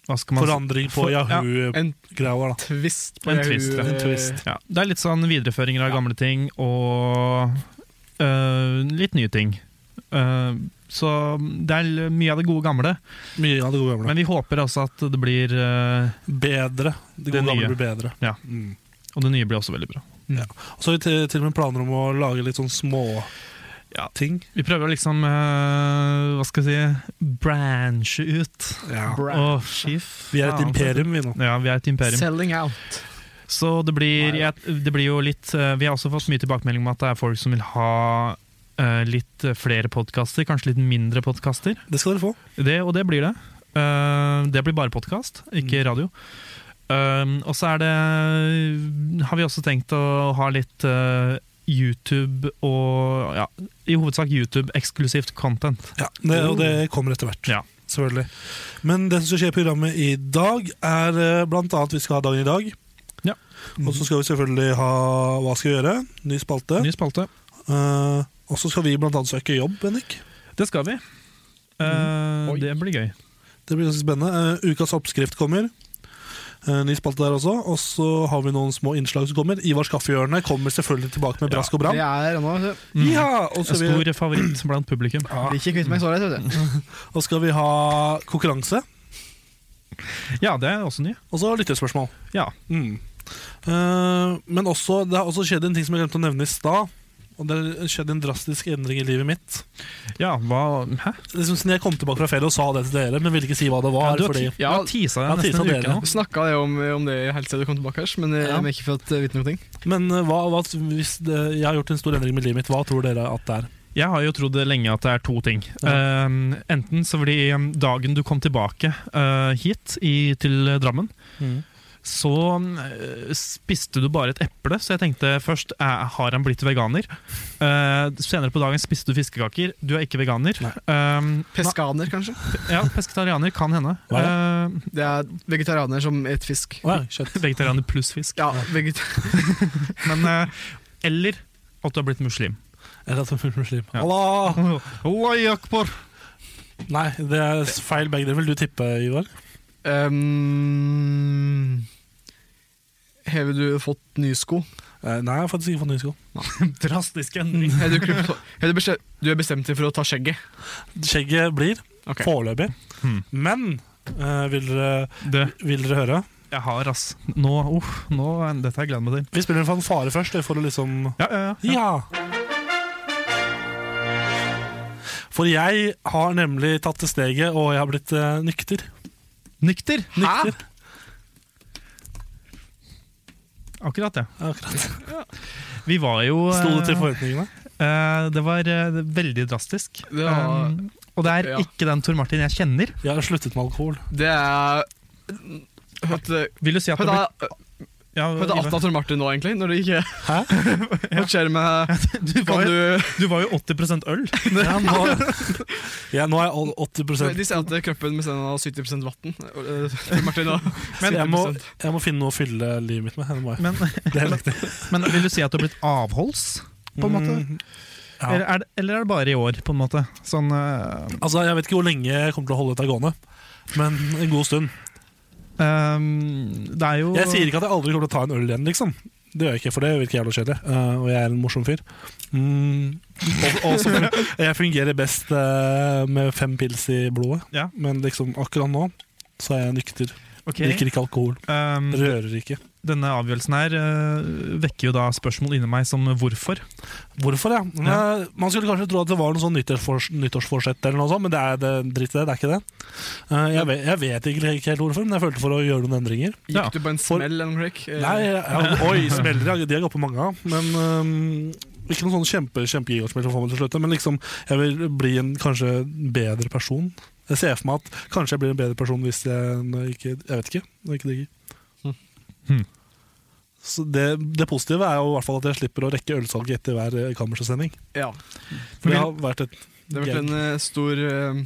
Speaker 5: Hva skal man si?
Speaker 3: Forandring på
Speaker 5: for- ja.
Speaker 3: Yahoo-greia
Speaker 6: En
Speaker 3: vår, da.
Speaker 6: twist. på
Speaker 5: En
Speaker 6: det,
Speaker 5: twist, ja.
Speaker 6: eh,
Speaker 5: En Ja, det er litt sånn videreføringer av gamle ting og øh, litt nye ting. Eh, så det er l- mye av det gode gamle.
Speaker 3: Mye av det gode gamle.
Speaker 5: Men vi håper også at det blir eh,
Speaker 3: bedre. Det
Speaker 5: Det
Speaker 3: gode gamle
Speaker 5: nye.
Speaker 3: blir bedre.
Speaker 5: Ja.
Speaker 3: Mm.
Speaker 5: Og det nye blir også veldig bra.
Speaker 3: Og så har vi til, til og med planer om å lage litt sånn små
Speaker 5: Ja.
Speaker 3: ting.
Speaker 5: Vi prøver å liksom eh, Hva skal jeg si branche ut. Å, fy
Speaker 3: Vi er et
Speaker 5: faen. altså.
Speaker 3: imperium, vi nå.
Speaker 5: Ja, vi er et imperium.
Speaker 4: Selling out.
Speaker 5: Så det blir, jeg, det blir jo litt eh, Vi har også fått mye tilbakemelding om at det er folk som vil ha eh, litt eh, flere podkaster, kanskje litt mindre podkaster.
Speaker 3: Det skal dere få.
Speaker 5: Det, og det blir det. Eh, det blir bare podkast,
Speaker 3: Mm.
Speaker 5: ikke radio. Eh, og så er det Har vi også tenkt å ha litt eh, YouTube og ja, i hovedsak YouTube-eksklusivt content.
Speaker 3: Ja, det, og det kommer etter hvert.
Speaker 5: Ja.
Speaker 3: Selvfølgelig. Men det som skal skje i programmet i dag, er eh, blant annet vi skal ha dagen i dag.
Speaker 5: Ja.
Speaker 3: Og så skal vi selvfølgelig ha Hva skal vi gjøre? Ny spalte.
Speaker 5: Ny spalte.
Speaker 3: Eh, og så skal vi blant annet søke jobb, Bennik.
Speaker 5: Det skal vi. Eh,
Speaker 3: Mm.
Speaker 6: Oi.
Speaker 5: Det blir gøy.
Speaker 3: Det blir ganske spennende. Eh, ukas oppskrift kommer. Eh, ny spalte der også. Og så har vi noen små innslag som kommer. Ivars kaffehjørne kommer selvfølgelig tilbake med brask og
Speaker 4: Det
Speaker 3: bram.
Speaker 4: er ennå, vet du.
Speaker 5: Mm.
Speaker 3: Ja, og, så
Speaker 5: En
Speaker 3: vi, Ah.
Speaker 5: stor favoritt blant publikum.
Speaker 4: Vil ikke kvitte meg så lett, vet du.
Speaker 3: og skal vi ha konkurranse.
Speaker 5: Ja, det er også ny.
Speaker 3: Og så lyttespørsmål.
Speaker 5: Ja.
Speaker 3: Mm. Eh, men også, det har også skjedd en ting som jeg glemte å nevne i stad. Og det har skjedd en drastisk endring i livet mitt.
Speaker 5: Ja, hva Hæ?
Speaker 3: Liksom, siden jeg kom tilbake fra ferie og sa det til dere, men ville ikke si hva det var.
Speaker 5: Ah, du har
Speaker 3: fordi,
Speaker 5: ti- ja, tisa
Speaker 3: Ja,
Speaker 5: deg
Speaker 3: tisa
Speaker 5: nesten en
Speaker 3: dere.
Speaker 5: uke nå.
Speaker 6: Vi snakka om, om det helt siden du kom tilbake, her, men eh,
Speaker 3: Ja.
Speaker 6: jeg har ikke fått eh, vite noe. ting.
Speaker 3: men eh, hva, hva, hvis det, jeg har gjort en stor endring i livet mitt, hva tror dere at det er?
Speaker 5: Jeg har jo trodd lenge at det er to ting. Eh, enten så fordi eh, dagen du kom tilbake eh, hit i, til Drammen, så eh, spiste du bare et eple. Så jeg tenkte først eh, har han blitt veganer? Eh, senere på dagen spiste du fiskekaker. Du er ikke veganer. Eh,
Speaker 6: Peskaner, kanskje?
Speaker 5: ja, Pesketarianer kan hende. Eh,
Speaker 6: Det er vegetarianer som et fisk.
Speaker 3: Å ja, kjøtt.
Speaker 5: vegetarianer pluss fisk.
Speaker 6: Ja, veget
Speaker 5: Men, eh, eller at du har blitt muslim.
Speaker 3: Eller at det er muslim.
Speaker 5: Ja.
Speaker 3: Allah!
Speaker 5: Allah akbar!
Speaker 3: Nei, det er feil begge deler. Vil du tippe, Ivar?
Speaker 6: um, Har du fått nye sko?
Speaker 3: Eh, Nei, jeg har faktisk ikke fått nye sko.
Speaker 5: Drastisk endring.
Speaker 6: <laughs> Har du, klippet hår? Har du, bestemt, du er bestemt deg for å ta skjegget?
Speaker 3: Skjegget blir
Speaker 6: Ok.
Speaker 3: foreløpig.
Speaker 5: Hmm.
Speaker 3: Men eh, vil, dere,
Speaker 5: Det
Speaker 3: vil dere høre?
Speaker 5: Jeg har, ass. Nå, uh, nå, dette har jeg gledet meg til.
Speaker 3: Vi spiller en fanfare først, for å liksom
Speaker 5: Ja, ja, ja.
Speaker 3: Ja! For jeg har nemlig tatt det steget, og jeg har blitt eh, nykter.
Speaker 5: Nykter!
Speaker 3: Nykter,
Speaker 5: Akkurat det.
Speaker 3: akkurat.
Speaker 5: Vi var jo eh,
Speaker 3: Sto det til forventningene?
Speaker 5: eh, Det var eh, veldig drastisk.
Speaker 6: Det var-
Speaker 5: Um, og det er
Speaker 6: ja.
Speaker 5: ikke den Tor Martin jeg kjenner. <laughs>
Speaker 3: Jeg har sluttet med alkohol.
Speaker 6: Det er Hørt,
Speaker 5: Vil du si at
Speaker 6: hørt,
Speaker 5: det ble,
Speaker 6: da,
Speaker 5: ja,
Speaker 6: Hva heter Atta
Speaker 5: Ivar.
Speaker 6: Tor Martin nå, egentlig? Når det ikke <laughs>
Speaker 3: Hæ?
Speaker 6: Hva skjer med
Speaker 5: du, var
Speaker 6: Kan
Speaker 5: jo,
Speaker 6: du
Speaker 5: du var jo 80 øl.
Speaker 3: Ja, nå, ja, nå er jeg all- 80
Speaker 6: De sier at kroppen med stedet har 70 vann. Tor Martin nå.
Speaker 3: Så jeg må, jeg må finne noe å fylle livet mitt med. Det må jeg.
Speaker 5: Men, <laughs>
Speaker 3: Det er helt riktig.
Speaker 5: men vil du si at du har blitt avholds? På en måte?
Speaker 3: Mm, ja.
Speaker 5: Eller, er det, eller er det bare i år, på en måte? Sånn, eh,
Speaker 3: Altså, Jeg vet ikke hvor lenge jeg kommer til å holde dette gående, men en god stund.
Speaker 5: ehm, det er jo
Speaker 3: Jeg sier ikke at jeg aldri kommer til å ta en øl igjen, liksom. Det gjør jeg ikke, for det virker jævla kjedelig. eh, og jeg er en morsom fyr. Mm. Og, og så fun- jeg fungerer <laughs> best eh, med fem pils i blodet,
Speaker 5: Ja.
Speaker 3: men liksom akkurat nå så er jeg nykter.
Speaker 5: Ok,
Speaker 3: Drikker ikke alkohol.
Speaker 5: ehm,
Speaker 3: Rører ikke.
Speaker 5: denne avgjørelsen her eh, vekker jo da spørsmål inni meg som hvorfor.
Speaker 3: Hvorfor, ja? Men, eh, Man skulle kanskje tro at det var noe sånn nyttårsfors nyttårsforsett, eller noe sånt, men det er det, dritt i det. Det er ikke det. Eh, jeg, vet, jeg vet egentlig ikke helt hvorfor, men jeg følte for å gjøre noen endringer.
Speaker 5: Ja.
Speaker 6: Gikk du på en
Speaker 3: For-
Speaker 6: smell eller noe slik? Eh,
Speaker 3: Nei, ja, oi, smeller ja. De har gått på mange av. Men øhm, ikke noen sånn kjempe, kjempegigasmell som får meg til å slutte. Men liksom, jeg vil bli en kanskje bedre person. Jeg ser for meg at kanskje jeg blir en bedre person hvis jeg når jeg ikke Jeg vet ikke. Når jeg ikke digger.
Speaker 5: Hmm.
Speaker 3: Så det, det positive er jo i hvert fall at jeg slipper å rekke ølsalget etter hver eh, kammerssending.
Speaker 6: Ja.
Speaker 3: For det har vært et
Speaker 6: Det har vært en eh, stor eh,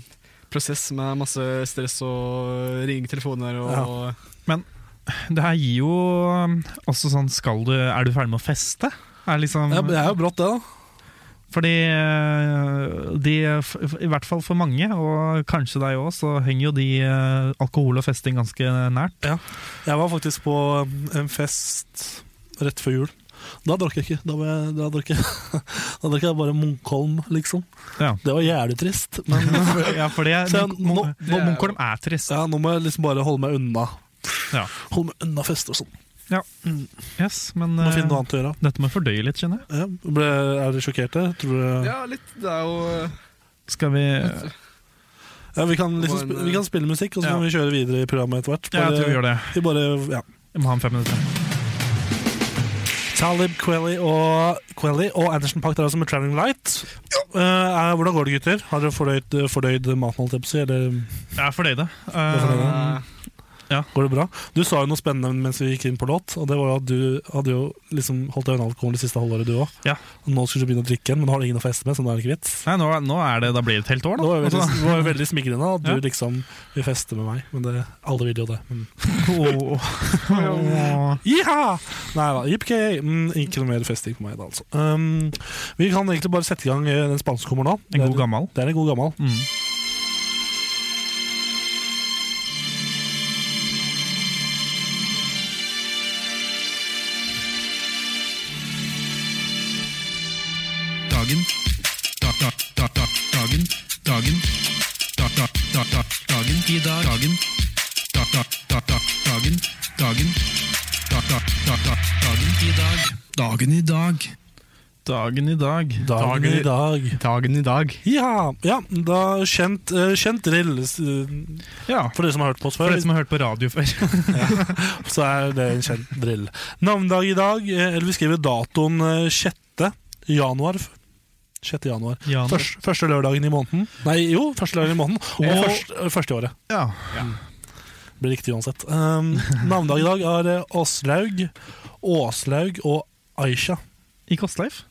Speaker 6: prosess med masse stress og ringetelefoner og
Speaker 5: Det her gir jo ehm, også sånn skal du, Er du ferdig med å feste? Er liksom,
Speaker 3: ja, men Det er jo brått, det, da.
Speaker 5: Fordi eh, de, f- f- i hvert fall for mange, og kanskje deg òg, så henger jo de eh, alkohol og festing ganske nært.
Speaker 3: Jeg var faktisk på um, en fest rett før jul. Da drakk jeg ikke. Da, var jeg, da, drakk, jeg, <laughs> da drakk jeg bare Munkholm, liksom.
Speaker 5: Ja.
Speaker 3: Det var jævlig trist. <laughs> Men
Speaker 5: Ja, for det,
Speaker 3: Så
Speaker 5: Munk-
Speaker 3: nå-
Speaker 5: Munk-
Speaker 6: det er jo-
Speaker 5: Munkholm er trist.
Speaker 3: ja, nå må jeg liksom bare holde meg unna.
Speaker 5: Ja.
Speaker 3: Holde meg unna fester og sånn.
Speaker 5: Yes, men
Speaker 3: Må
Speaker 5: eh,
Speaker 3: finne noe annet å gjøre.
Speaker 5: dette må jeg fordøye litt, kjenner jeg.
Speaker 3: Ja. Ble, er dere sjokkerte? Tror du ja.
Speaker 6: Ja, litt. Det er jo eh,
Speaker 5: Skal vi
Speaker 3: <laughs> vi, kan liksom,
Speaker 6: Det var en,
Speaker 3: sp- vi kan spille musikk, og så
Speaker 5: ja.
Speaker 3: kan vi kjøre videre i programmet etter hvert.
Speaker 5: Ja, jeg tror vi gjør det.
Speaker 3: vi bare, ja.
Speaker 5: Jeg må ha en fem minutter.
Speaker 3: Talib Quelly og, Quelly og Andersen Pack der også med 'Traveling Light'. Eh, eh, hvordan går det, gutter? Har dere fordøyd, fordøyd maten, holdt jeg på å si? Eller
Speaker 5: Jeg er fornøyd,
Speaker 3: fornøyd,
Speaker 5: uh,
Speaker 3: ja. går det bra? Du sa jo noe spennende mens vi gikk inn på låt, og det var jo at du hadde jo liksom holdt deg unna alkohol det siste halvåret, du òg.
Speaker 5: Ja.
Speaker 3: Nå skulle du begynne å drikke igjen, men nå har du ingen å feste med, så nå er det ikke vits.
Speaker 5: Nei, nå, nå er det, da blir det et helt
Speaker 3: Det
Speaker 5: år, da.
Speaker 3: var jo veldig,
Speaker 5: Altså,
Speaker 3: det var jo veldig smigrende at du
Speaker 5: Ja.
Speaker 3: liksom vil feste med meg, men det, alle vil jo det. Mm. Men.
Speaker 5: <laughs> Åh, oh,
Speaker 3: <laughs>
Speaker 5: <laughs> åh.
Speaker 3: Jiha! Nei da, yippee. Mm, ikke noe mer festing på meg da, altså. Um, vi kan egentlig bare sette i gang eh, den spanske kommer nå.
Speaker 5: En
Speaker 3: Det er-
Speaker 5: god gammel.
Speaker 3: Det er en god gammel.
Speaker 5: Mm. Dagen. Da, da, da, da, dagen. Dagen. Da, da, da, da, dagen. I dag. Dagen. Da, da, da, da, dagen. Dagen. Da, da, da, da, dagen. I dag. Dagen i dag. Dagen i dag.
Speaker 3: Dagen i dag.
Speaker 6: Dagen i dag.
Speaker 3: Ja, ja da kjent, eh, kjent drill. s- eh,
Speaker 5: Ja.
Speaker 3: For dere som har hørt på oss
Speaker 5: For
Speaker 3: før,
Speaker 5: dere som har hørt på radio før. <laughs>
Speaker 3: så er det en kjent drill. Navnedag i dag, eh, eller vi skriver datoen eh, 6. januar. 6. januar. Først, første lørdagen i måneden. Nei, jo, første lørdagen i måneden. Og
Speaker 5: Og-
Speaker 3: først, eh, første i året.
Speaker 5: Ja.
Speaker 3: Blir riktig uansett. Um, navnedag i dag er eh, Åslaug, Åslaug og Aisha.
Speaker 5: I Kostleif.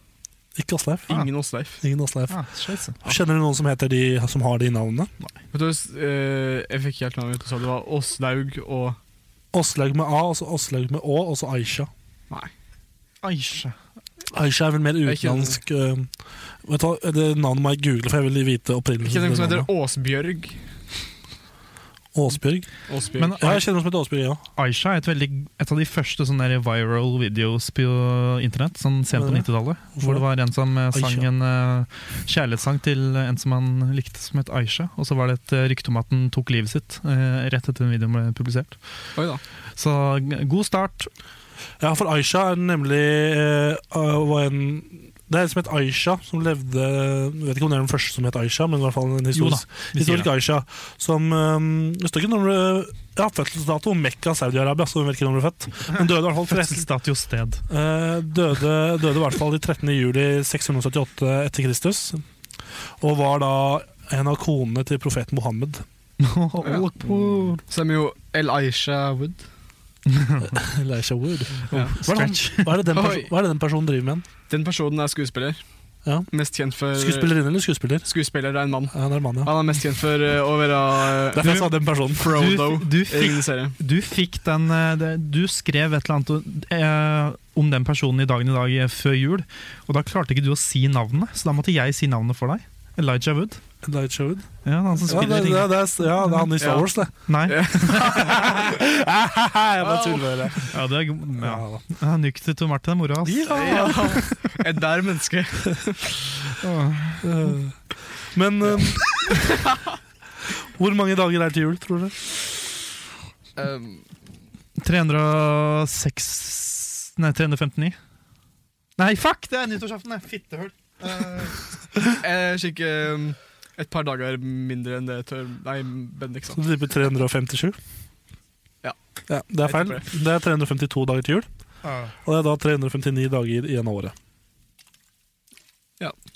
Speaker 3: Ikke Åsleif.
Speaker 6: Ingen Åsleif.
Speaker 3: Ingen Åsleif.
Speaker 5: Ah, scheisse.
Speaker 3: Kjenner du noen som heter de som har de navnene?
Speaker 6: Vet du, eh, jeg fikk helt navnet ut og sa det var Åslaug og
Speaker 3: Åslaug med A, og så Åslaug med Å, og så Aisha.
Speaker 6: Nei.
Speaker 5: Aisha.
Speaker 3: Aisha er vel mer
Speaker 6: Jeg kjenner-
Speaker 3: utenlandsk eh, Vet du hva, Det navnet må jeg google, for jeg vil vite
Speaker 6: Jeg
Speaker 3: opprinnelsen.
Speaker 6: kjenner noen
Speaker 3: til
Speaker 6: som
Speaker 3: det
Speaker 6: heter Åsbjørg.
Speaker 3: navnet. Åsbjørg.
Speaker 6: Åsbjørg.
Speaker 5: Men
Speaker 3: Ja, jeg kjenner noen som heter Åsbjørg, ja.
Speaker 5: Aisha er et, veldig, et av de første sånne der viral videos på internett, sånn sent på
Speaker 3: Ja.
Speaker 5: 90-tallet. Hvor det var en som eh, sang
Speaker 3: Aisha.
Speaker 5: en eh, kjærlighetssang til en som han likte som het Aisha. Og så var det et eh, rykte om at den tok livet sitt eh, rett etter den videoen ble publisert.
Speaker 6: Oi da.
Speaker 5: Så g- god start.
Speaker 3: Ja, for Aisha er nemlig eh, var en det er en som het Aisha, som levde Jeg vet ikke om det er den første som het Aisha, men i hvert fall en
Speaker 5: Jo da,
Speaker 3: historisk,
Speaker 5: vi sier
Speaker 3: historisk Aisha. Som um, Jeg står ikke når hun ja, fødselsdato Mekka, Saudi-Arabia, så hun vet ikke når hun ble født. Men døde i hvert
Speaker 5: <laughs>
Speaker 3: fall 13,
Speaker 5: Fødselsdatio
Speaker 3: <laughs>
Speaker 5: sted.
Speaker 3: Eh, døde, døde i hvert fall i 13. juli 678 etter Kristus, og var da en av konene til profeten Mohammed. <laughs>
Speaker 5: Allahu Akbar.
Speaker 6: Så er vi jo El Aisha Wood.
Speaker 3: Elisha Wood.
Speaker 6: Ja.
Speaker 3: Hva er, det han, hva, er det den perso-
Speaker 6: Oi.
Speaker 3: hva er det den personen driver med?
Speaker 6: Den personen er skuespiller.
Speaker 3: Ja.
Speaker 6: Mest kjent for
Speaker 3: Skuespillerinne eller skuespiller?
Speaker 6: Skuespiller er en mann.
Speaker 3: Ja, Han er en mann, ja.
Speaker 6: Han er mest kjent for eh, å være eh,
Speaker 3: Derfor jeg sa den personen. <laughs>
Speaker 6: Frodo
Speaker 5: Du, du,
Speaker 6: i
Speaker 5: fikk,
Speaker 6: den serien.
Speaker 5: du fikk den eh, det- Du skrev et eller annet eh, om den personen i Dagen i dag eh, før jul, og da klarte ikke du å si navnet, så da måtte jeg si navnet for deg. Elijah Wood.
Speaker 3: Elijah Wood.
Speaker 5: Ja, han
Speaker 3: Ja,
Speaker 5: som
Speaker 3: det,
Speaker 5: spiller
Speaker 3: det,
Speaker 5: ja,
Speaker 3: det, er- ja, det er han i Star
Speaker 6: Ja.
Speaker 3: <laughs> Wars, det.
Speaker 5: Nei.
Speaker 6: Ja.
Speaker 3: jeg bare tuller med dere.
Speaker 5: Ja, det er, ja.
Speaker 3: Ja, da.
Speaker 5: Ja, Nykter til Martin er mora hans.
Speaker 6: Ja. Et der menneske.
Speaker 3: Øh. Men øhm, Hvor mange dager er til jul, tror dere?
Speaker 6: Um,
Speaker 5: 306 Nei, 359. Nei, fuck! Det er nyttårsaften, det! Fittehull. Eh,
Speaker 6: jeg kikker um, et par dager mindre enn det tør Nei, Bendik sa.
Speaker 3: Så du tipper 357?
Speaker 6: Ja.
Speaker 3: ja. Det er feil.
Speaker 6: Jeg
Speaker 3: Det er 352 dager til jul. Og det er da 359 dager igjen av året.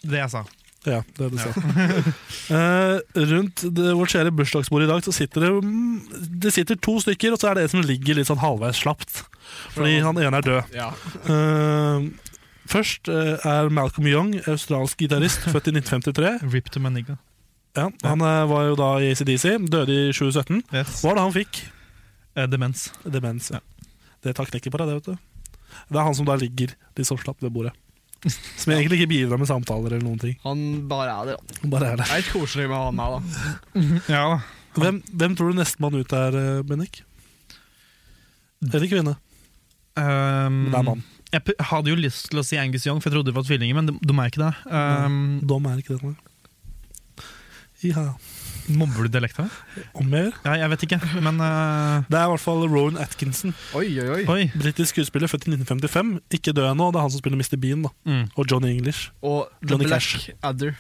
Speaker 5: Det jeg sa.
Speaker 3: Ja, det er det du sa. <laughs> Eh, rundt det, vårt kjære bursdagsbord i dag så sitter det, mm, det sitter to stykker, og så er det en som ligger litt sånn halvveis slapt. Fordi han ene er død.
Speaker 6: Ja.
Speaker 3: Eh, først eh, er Malcolm Young, australsk gitarist, født i 1953.
Speaker 5: Rip to Maniga.
Speaker 3: Ja, han eh, var jo da i ACDC, døde i 2017.
Speaker 5: Yes.
Speaker 3: Hva var det han fikk?
Speaker 5: Eh, demens.
Speaker 3: Demens. Ja. Det tar knekken på deg, det, vet du. Det er han som da ligger litt sånn slapp ved bordet. Som egentlig ikke bidrar med samtaler eller noen ting.
Speaker 6: Han bare er det. da.
Speaker 3: Han Bare er der.
Speaker 6: Det er litt koselig med å ha han med, da.
Speaker 5: Ja da.
Speaker 3: Hvem, hvem tror du nestemann ut er, eh, Bennik? Eller kvinne?
Speaker 5: Um,
Speaker 3: Det er mann.
Speaker 5: Jeg p- hadde jo lyst til å si Angus Young, for jeg trodde det var tvillinger, men de, de er ikke det. Um,
Speaker 3: Dom er ikke det. nei. Ja.
Speaker 5: Mobber du dialekta?
Speaker 3: Om jeg gjør.
Speaker 5: Ja, jeg vet ikke, men eh,
Speaker 3: Det er i hvert fall Rowan Atkinson.
Speaker 6: Oi, oi, oi.
Speaker 5: Oi.
Speaker 3: Britisk skuespiller, født i 1955. Ikke død ennå. Det er han som spiller Mr. Bean da.
Speaker 5: Mm.
Speaker 3: og Johnny English.
Speaker 6: Og The
Speaker 3: Johnny
Speaker 6: Black
Speaker 3: Cash.
Speaker 6: Adder.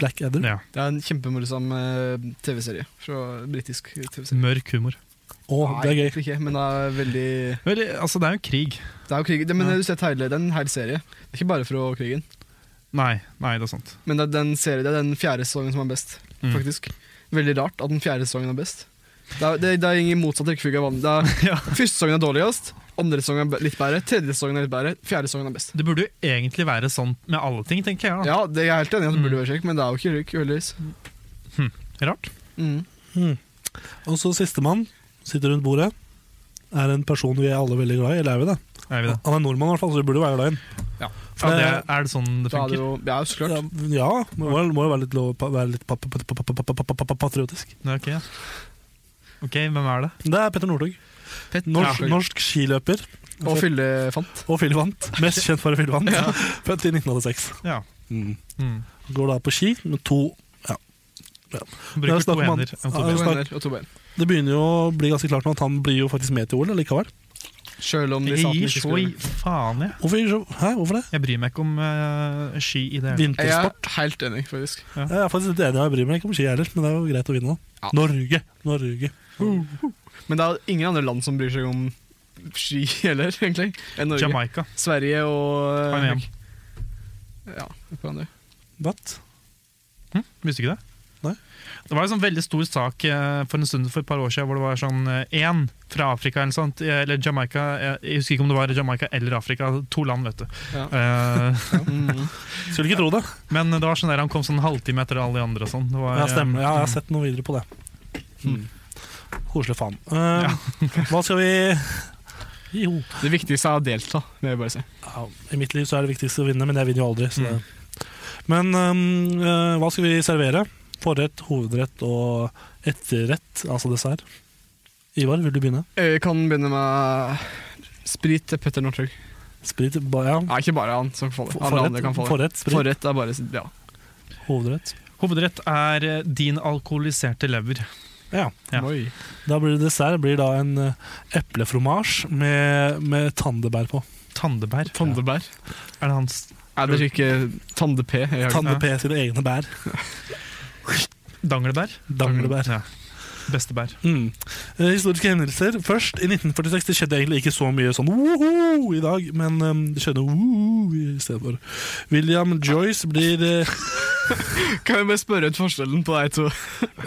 Speaker 3: Black Adder.
Speaker 5: Ja.
Speaker 6: Det er en kjempemorsom eh, TV-serie. Fra britisk TV-serie.
Speaker 5: Mørk humor.
Speaker 3: Å, det er
Speaker 6: Nei,
Speaker 3: gøy.
Speaker 6: egentlig ikke, men det er veldig
Speaker 5: Vel, altså, det er jo krig.
Speaker 6: Det er jo krig, det, men du ser hele, det er en hel serie. Det er ikke bare fra krigen.
Speaker 5: Nei, nei, det er sant.
Speaker 6: Men det er den, serie, det er den fjerde sesongen som er best,
Speaker 5: Mm.
Speaker 6: faktisk. Veldig rart at den fjerde sesongen er best. Det er, det, det er ingen motsatt rekkefølge av vanlig. Det
Speaker 5: <laughs>
Speaker 6: er- Første sesongen er dårligst, andre sesongen er be- litt bedre, tredje sesongen er litt bedre, fjerde sesongen er best.
Speaker 5: Det burde jo egentlig være sånn med alle ting, tenker jeg. da.
Speaker 6: Ja, det jeg er helt enig i at det
Speaker 5: Ah. Mm.
Speaker 6: burde være slik, men det er jo ikke slik, uheldigvis.
Speaker 5: Rart.
Speaker 6: Mm.
Speaker 3: Hmm. Og så sistemann sitter rundt bordet. Er en person vi er alle veldig glad i. Eller er vi det?
Speaker 5: Er vi det?
Speaker 3: Han er nordmann, i hvert fall, så vi burde være glad i ham.
Speaker 5: Ja, det er, er det sånn det
Speaker 6: Da er det
Speaker 5: funker?
Speaker 6: jo Ja, så klart.
Speaker 3: Ja, ja, må jo- må jo være litt, lov, pa- være litt pa- pa- pa- pa- pa- pa- pa- pa- patriotisk.
Speaker 5: Nei, ok, ja. ok, hvem er det?
Speaker 3: Det er Petter Northug. Norsk,
Speaker 6: Norsk,
Speaker 3: norsk skiløper
Speaker 6: Og fyllefant.
Speaker 3: og fyllevant. Mest kjent for å være fyllevant. <laughs> Født i 1986.
Speaker 5: Ja.
Speaker 3: Mm.
Speaker 5: Mm.
Speaker 3: Går da på ski med to Det er
Speaker 5: Bruker to
Speaker 3: snakk om
Speaker 5: hender.
Speaker 3: han-
Speaker 5: og to
Speaker 3: Ja,
Speaker 6: To
Speaker 5: ben.
Speaker 3: snakk-
Speaker 6: hender og to bein.
Speaker 3: Det begynner jo å bli ganske klart nå at han blir jo faktisk med til OL likevel.
Speaker 6: Sjøl om de sa
Speaker 5: Jeg
Speaker 6: at den
Speaker 5: gir
Speaker 6: ikke
Speaker 5: så i
Speaker 6: skulle
Speaker 5: faen, jeg.
Speaker 3: Hvorfor, hæ, hvorfor det?
Speaker 5: Jeg bryr meg ikke om eh, ski i det
Speaker 6: Jeg
Speaker 5: hele
Speaker 6: er
Speaker 3: Vintersport?
Speaker 6: helt enig, faktisk.
Speaker 3: Jeg er faktisk litt enig, jeg bryr meg ikke om ski heller, men det er jo greit å vinne, da.
Speaker 6: Ja.
Speaker 3: Norge! Norge.
Speaker 6: Men det er ingen andre land som bryr seg om ski <laughs> heller, egentlig, enn Norge.
Speaker 5: Jamaica.
Speaker 6: Sverige og
Speaker 5: Har jeg med
Speaker 6: Ja, hverandre.
Speaker 3: What?
Speaker 5: Hm? Visste ikke det?
Speaker 3: Nei.
Speaker 5: Det var en sånn veldig stor sak eh, for en stund for et par år siden hvor det var sånn én fra Afrika eller sånt, eh, eller Jamaica eh, Jeg husker ikke om det var Jamaica eller Afrika. To land, vet du.
Speaker 6: Ja.
Speaker 5: Eh, <laughs>
Speaker 6: Mm.
Speaker 3: Skulle ikke tro det.
Speaker 5: men det var sånn der han kom sånn halvtime etter alle de andre og sånn. Det var,
Speaker 3: Ja,
Speaker 5: eh,
Speaker 3: stemmer. Ja, jeg har sett noe videre på det. Mm. Koselig faen. Eh, hva skal vi Jo.
Speaker 6: Det viktigste er å delta, vil jeg bare si.
Speaker 3: Ja, I mitt liv så er det viktigste å vinne, men jeg vinner jo aldri.
Speaker 6: Mm.
Speaker 3: Så det. Men ehm, eh, hva skal vi servere? Forrett, hovedrett og etterrett, altså dessert. Ivar, vil du begynne?
Speaker 6: Eh, Jeg kan begynne med eh, sprit til Petter Northug.
Speaker 3: Sprit? Ba, ja.
Speaker 6: Nei, ikke bare han som faller. Alle andre
Speaker 3: Forrett,
Speaker 6: kan falle.
Speaker 3: forrett, sprit,
Speaker 6: Forrett er bare ja.
Speaker 3: hovedrett.
Speaker 5: eh, Hovedrett er eh, din alkoholiserte lever.
Speaker 3: Ja.
Speaker 5: Ja.
Speaker 6: Oi.
Speaker 3: Da blir det dessert blir da en eh, eplefromasj med, med tandebær på.
Speaker 5: Tandebær.
Speaker 6: Tandebær.
Speaker 5: Er det hans
Speaker 6: Er det ikke Tande-P? Jeg har-
Speaker 3: Tande-P sine egne bær.
Speaker 5: danglebær?
Speaker 3: Danglebær.
Speaker 5: Ja. Bestebær.
Speaker 3: Mm. Eh, Historiske hendelser. Først, i 1946 det skjedde egentlig ikke så mye sånn woho i dag, men eh, det skjedde woho i stedet for. William Joyce blir eh,
Speaker 6: Kan jeg bare spørre ut forskjellen på deg to?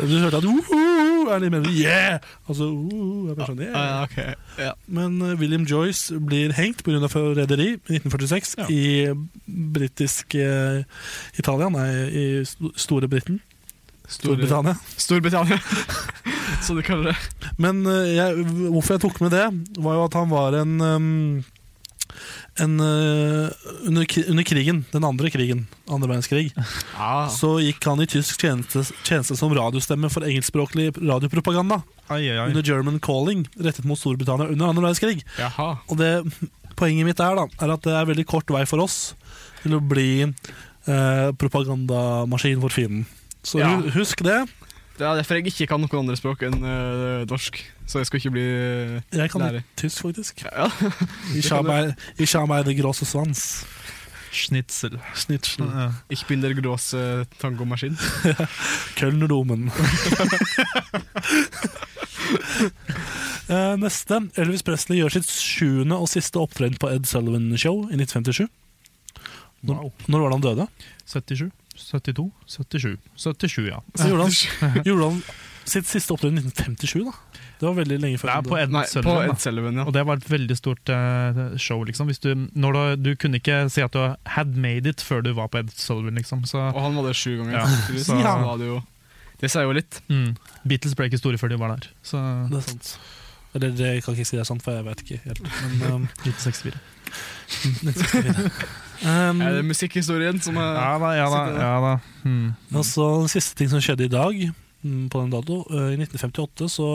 Speaker 3: Du hørte at woho uh, er litt mer sånn yeah! Altså, uh, er mer sånn, yeah.
Speaker 6: Ah, Ja, ok. Ja.
Speaker 3: Men eh, William Joyce blir hengt pga. forræderi i 1946
Speaker 6: Ja.
Speaker 3: i britisk eh, Italia, nei, i Sto- Store Britten. Storbritannia.
Speaker 6: Storbritannia, <laughs> som de kaller det.
Speaker 3: Men eh, jeg, hvorfor jeg tok med det, var jo at han var en, ehm, en eh, under, kri- under krigen, den andre krigen, andre verdenskrig,
Speaker 6: Ah.
Speaker 3: så gikk han i tysk tjeneste, tjeneste som radiostemme for engelskspråklig radiopropaganda
Speaker 5: Ai, ai, ai.
Speaker 3: under German Calling, rettet mot Storbritannia under andre verdenskrig.
Speaker 6: Jaha.
Speaker 3: Og det, poenget mitt er, da, er at det er veldig kort vei for oss til å bli eh, propagandamaskin for fienden. Så
Speaker 6: Ja.
Speaker 3: hu- husk det.
Speaker 6: Det er derfor jeg ikke kan noen andre språk enn eh, norsk. Så jeg skal ikke bli eh,
Speaker 3: Jeg kan
Speaker 6: Lærer.
Speaker 3: litt tysk, faktisk.
Speaker 6: Ja.
Speaker 3: Ich habe ein- ich habe eine große Svans.
Speaker 5: Schnitzel.
Speaker 3: Snitchen.
Speaker 5: Ja.
Speaker 6: Ich bin der große eh, tangomaskin.
Speaker 3: Kölnerdomen. Eh, Neste. Elvis Presley gjør sitt sjuende og siste opptreden på Ed Sullivan Show i 1957. Når, når var det han døde?
Speaker 5: 77, 72, 77. 77, ja.
Speaker 3: Så gjorde han, gjorde han sitt siste opptreden i 1957, da. Det var veldig lenge før.
Speaker 5: Det
Speaker 3: han
Speaker 5: er på
Speaker 3: døde.
Speaker 5: Ed
Speaker 6: <laughs> Nei, på
Speaker 5: Sullivan.
Speaker 6: Ed
Speaker 5: da.
Speaker 6: Sullivan, ja.
Speaker 5: Og det var et veldig stort eh, show, liksom. Hvis du, når du, du kunne ikke si at du had made it før du var på Ed Sullivan, liksom. Så
Speaker 6: Og han var der sju ganger.
Speaker 5: Ja.
Speaker 6: Så,
Speaker 5: Så-
Speaker 6: var det, jo, det sier jo litt.
Speaker 5: mm, Beatles ble ikke store før de var der. Så
Speaker 3: Det er sant. Eller det jeg kan ikke si det er sant, for jeg vet ikke helt. Men um,
Speaker 5: <laughs> 1964.
Speaker 3: 1964. um,
Speaker 6: Er det musikkhistorien som er
Speaker 5: Ja da, ja da. Ja, da. Mm.
Speaker 3: og så den siste ting som skjedde i dag, mm, på den dato eh, I 1958 så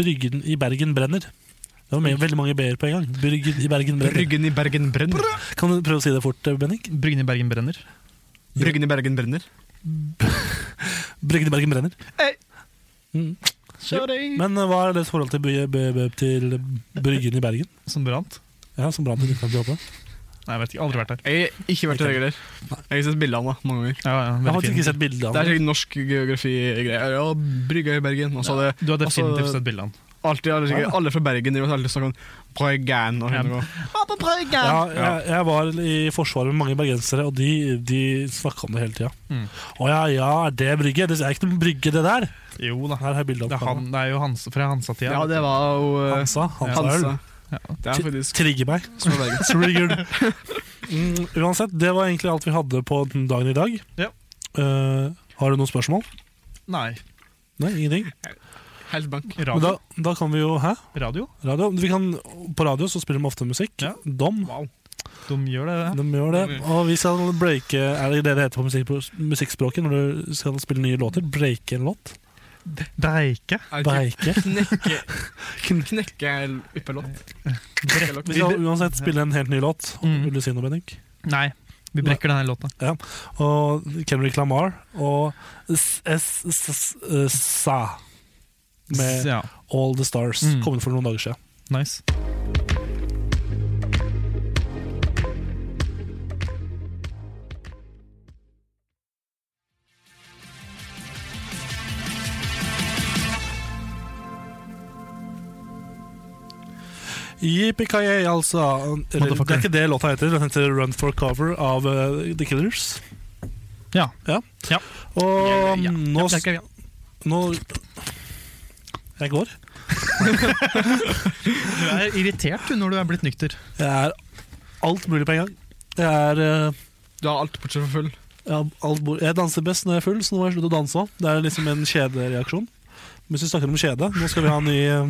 Speaker 3: Bryggen i Bergen brenner. Det var med, veldig mange b-er på en gang. Bryggen i Bergen brenner.
Speaker 6: Bryggen i Bergen brenner.
Speaker 3: Kan du prøve å si det fort, eh, Bennik?
Speaker 5: Bryggen i Bergen brenner.
Speaker 6: Bryggen i Bergen brenner.
Speaker 3: Bryggen i Bergen brenner.
Speaker 6: Hey.
Speaker 3: Mm.
Speaker 6: Sorry.
Speaker 3: Men eh, hva er deres forhold til, by- by- by- til Bryggen i Bergen?
Speaker 5: Som brant.
Speaker 3: Ja, Som brant i 1958?
Speaker 5: Nei, jeg vet ikke. Aldri vært der.
Speaker 6: Jeg har ikke vært i Røyker der. Jeg har sett bildene da, mange ganger.
Speaker 5: Ja, ja,
Speaker 3: Jeg har
Speaker 5: veldig
Speaker 3: faktisk
Speaker 5: fin.
Speaker 3: ikke sett bilde av
Speaker 6: Det er
Speaker 3: den.
Speaker 6: sikkert norsk geografi-greier. Ja, brygga i Bergen. Og så hadde
Speaker 5: Du har definitivt
Speaker 6: Altså-
Speaker 5: sett bildene.
Speaker 6: alltid, alle, sikkert, alle fra Bergen driver alltid og snakker om Brøggen. Og
Speaker 5: Ja.
Speaker 6: sånn.
Speaker 3: Ja, jeg, jeg var i Forsvaret med mange bergensere, og de, de snakka om det hele tida.
Speaker 5: Mm.
Speaker 3: Å ja, ja, er det brygge? Det er ikke noen brygge, det der!
Speaker 5: Jo da.
Speaker 3: Her har jeg bilde av
Speaker 5: Det er, han, det er jo Hans, fra Hansa-tida.
Speaker 6: ja, det var jo eh,
Speaker 3: Hansa. Hansa,
Speaker 6: Hansa.
Speaker 3: Øl.
Speaker 6: Det er faktisk
Speaker 3: Trigger meg.
Speaker 6: små Bergen.
Speaker 3: Triggered. Mm, uansett, det var egentlig alt vi hadde på den dagen i dag.
Speaker 5: Ja.
Speaker 3: Eh, har du noen spørsmål?
Speaker 5: Nei.
Speaker 3: Nei, ingenting?
Speaker 6: Helt bank.
Speaker 3: Men da,
Speaker 5: Radio?
Speaker 3: da kan vi jo Hæ?
Speaker 5: Radio?
Speaker 3: Radio? Vi kan, på radio så spiller de ofte musikk.
Speaker 5: Ja.
Speaker 3: Dom.
Speaker 5: De gjør det, det.
Speaker 3: De gjør det. Og vi skal breake Er det det det heter på musikk, musikkspråket når du skal spille nye låter? Breake en låt?
Speaker 5: Breike?
Speaker 3: Breike?
Speaker 6: <laughs> Knekke Knekke ypperlott.
Speaker 3: Vi skal uansett spille en helt ny låt.
Speaker 5: Mm.
Speaker 3: Vil du si noe, Bendik?
Speaker 5: Nei, vi brekker denne låta.
Speaker 3: Og Kendrick Lamar og S- S- S- eh, Sa med
Speaker 5: Ja,
Speaker 3: All The Stars
Speaker 5: Mm.
Speaker 3: kom inn for noen dager siden.
Speaker 5: nice.
Speaker 3: Yippee-ki-yay, altså. Eller, det
Speaker 5: Motherfucker.
Speaker 3: er ikke det låta heter. Den heter Run for cover av eh, The Killers.
Speaker 5: Ja.
Speaker 3: Og
Speaker 5: Ja, ja, ja.
Speaker 3: nå s-
Speaker 5: Ja, ja, ja.
Speaker 3: Nå Jeg går.
Speaker 5: Du er irritert du, når du er blitt nykter.
Speaker 3: Jeg er alt mulig på en gang. Jeg er eh,
Speaker 6: Du har alt bortsett fra full.
Speaker 3: jeg, har alt bor- jeg danser best når jeg er full, så nå må jeg slutte å danse òg. Det er liksom en kjedereaksjon. Mens vi snakker om kjede, nå skal vi ha en ny eh,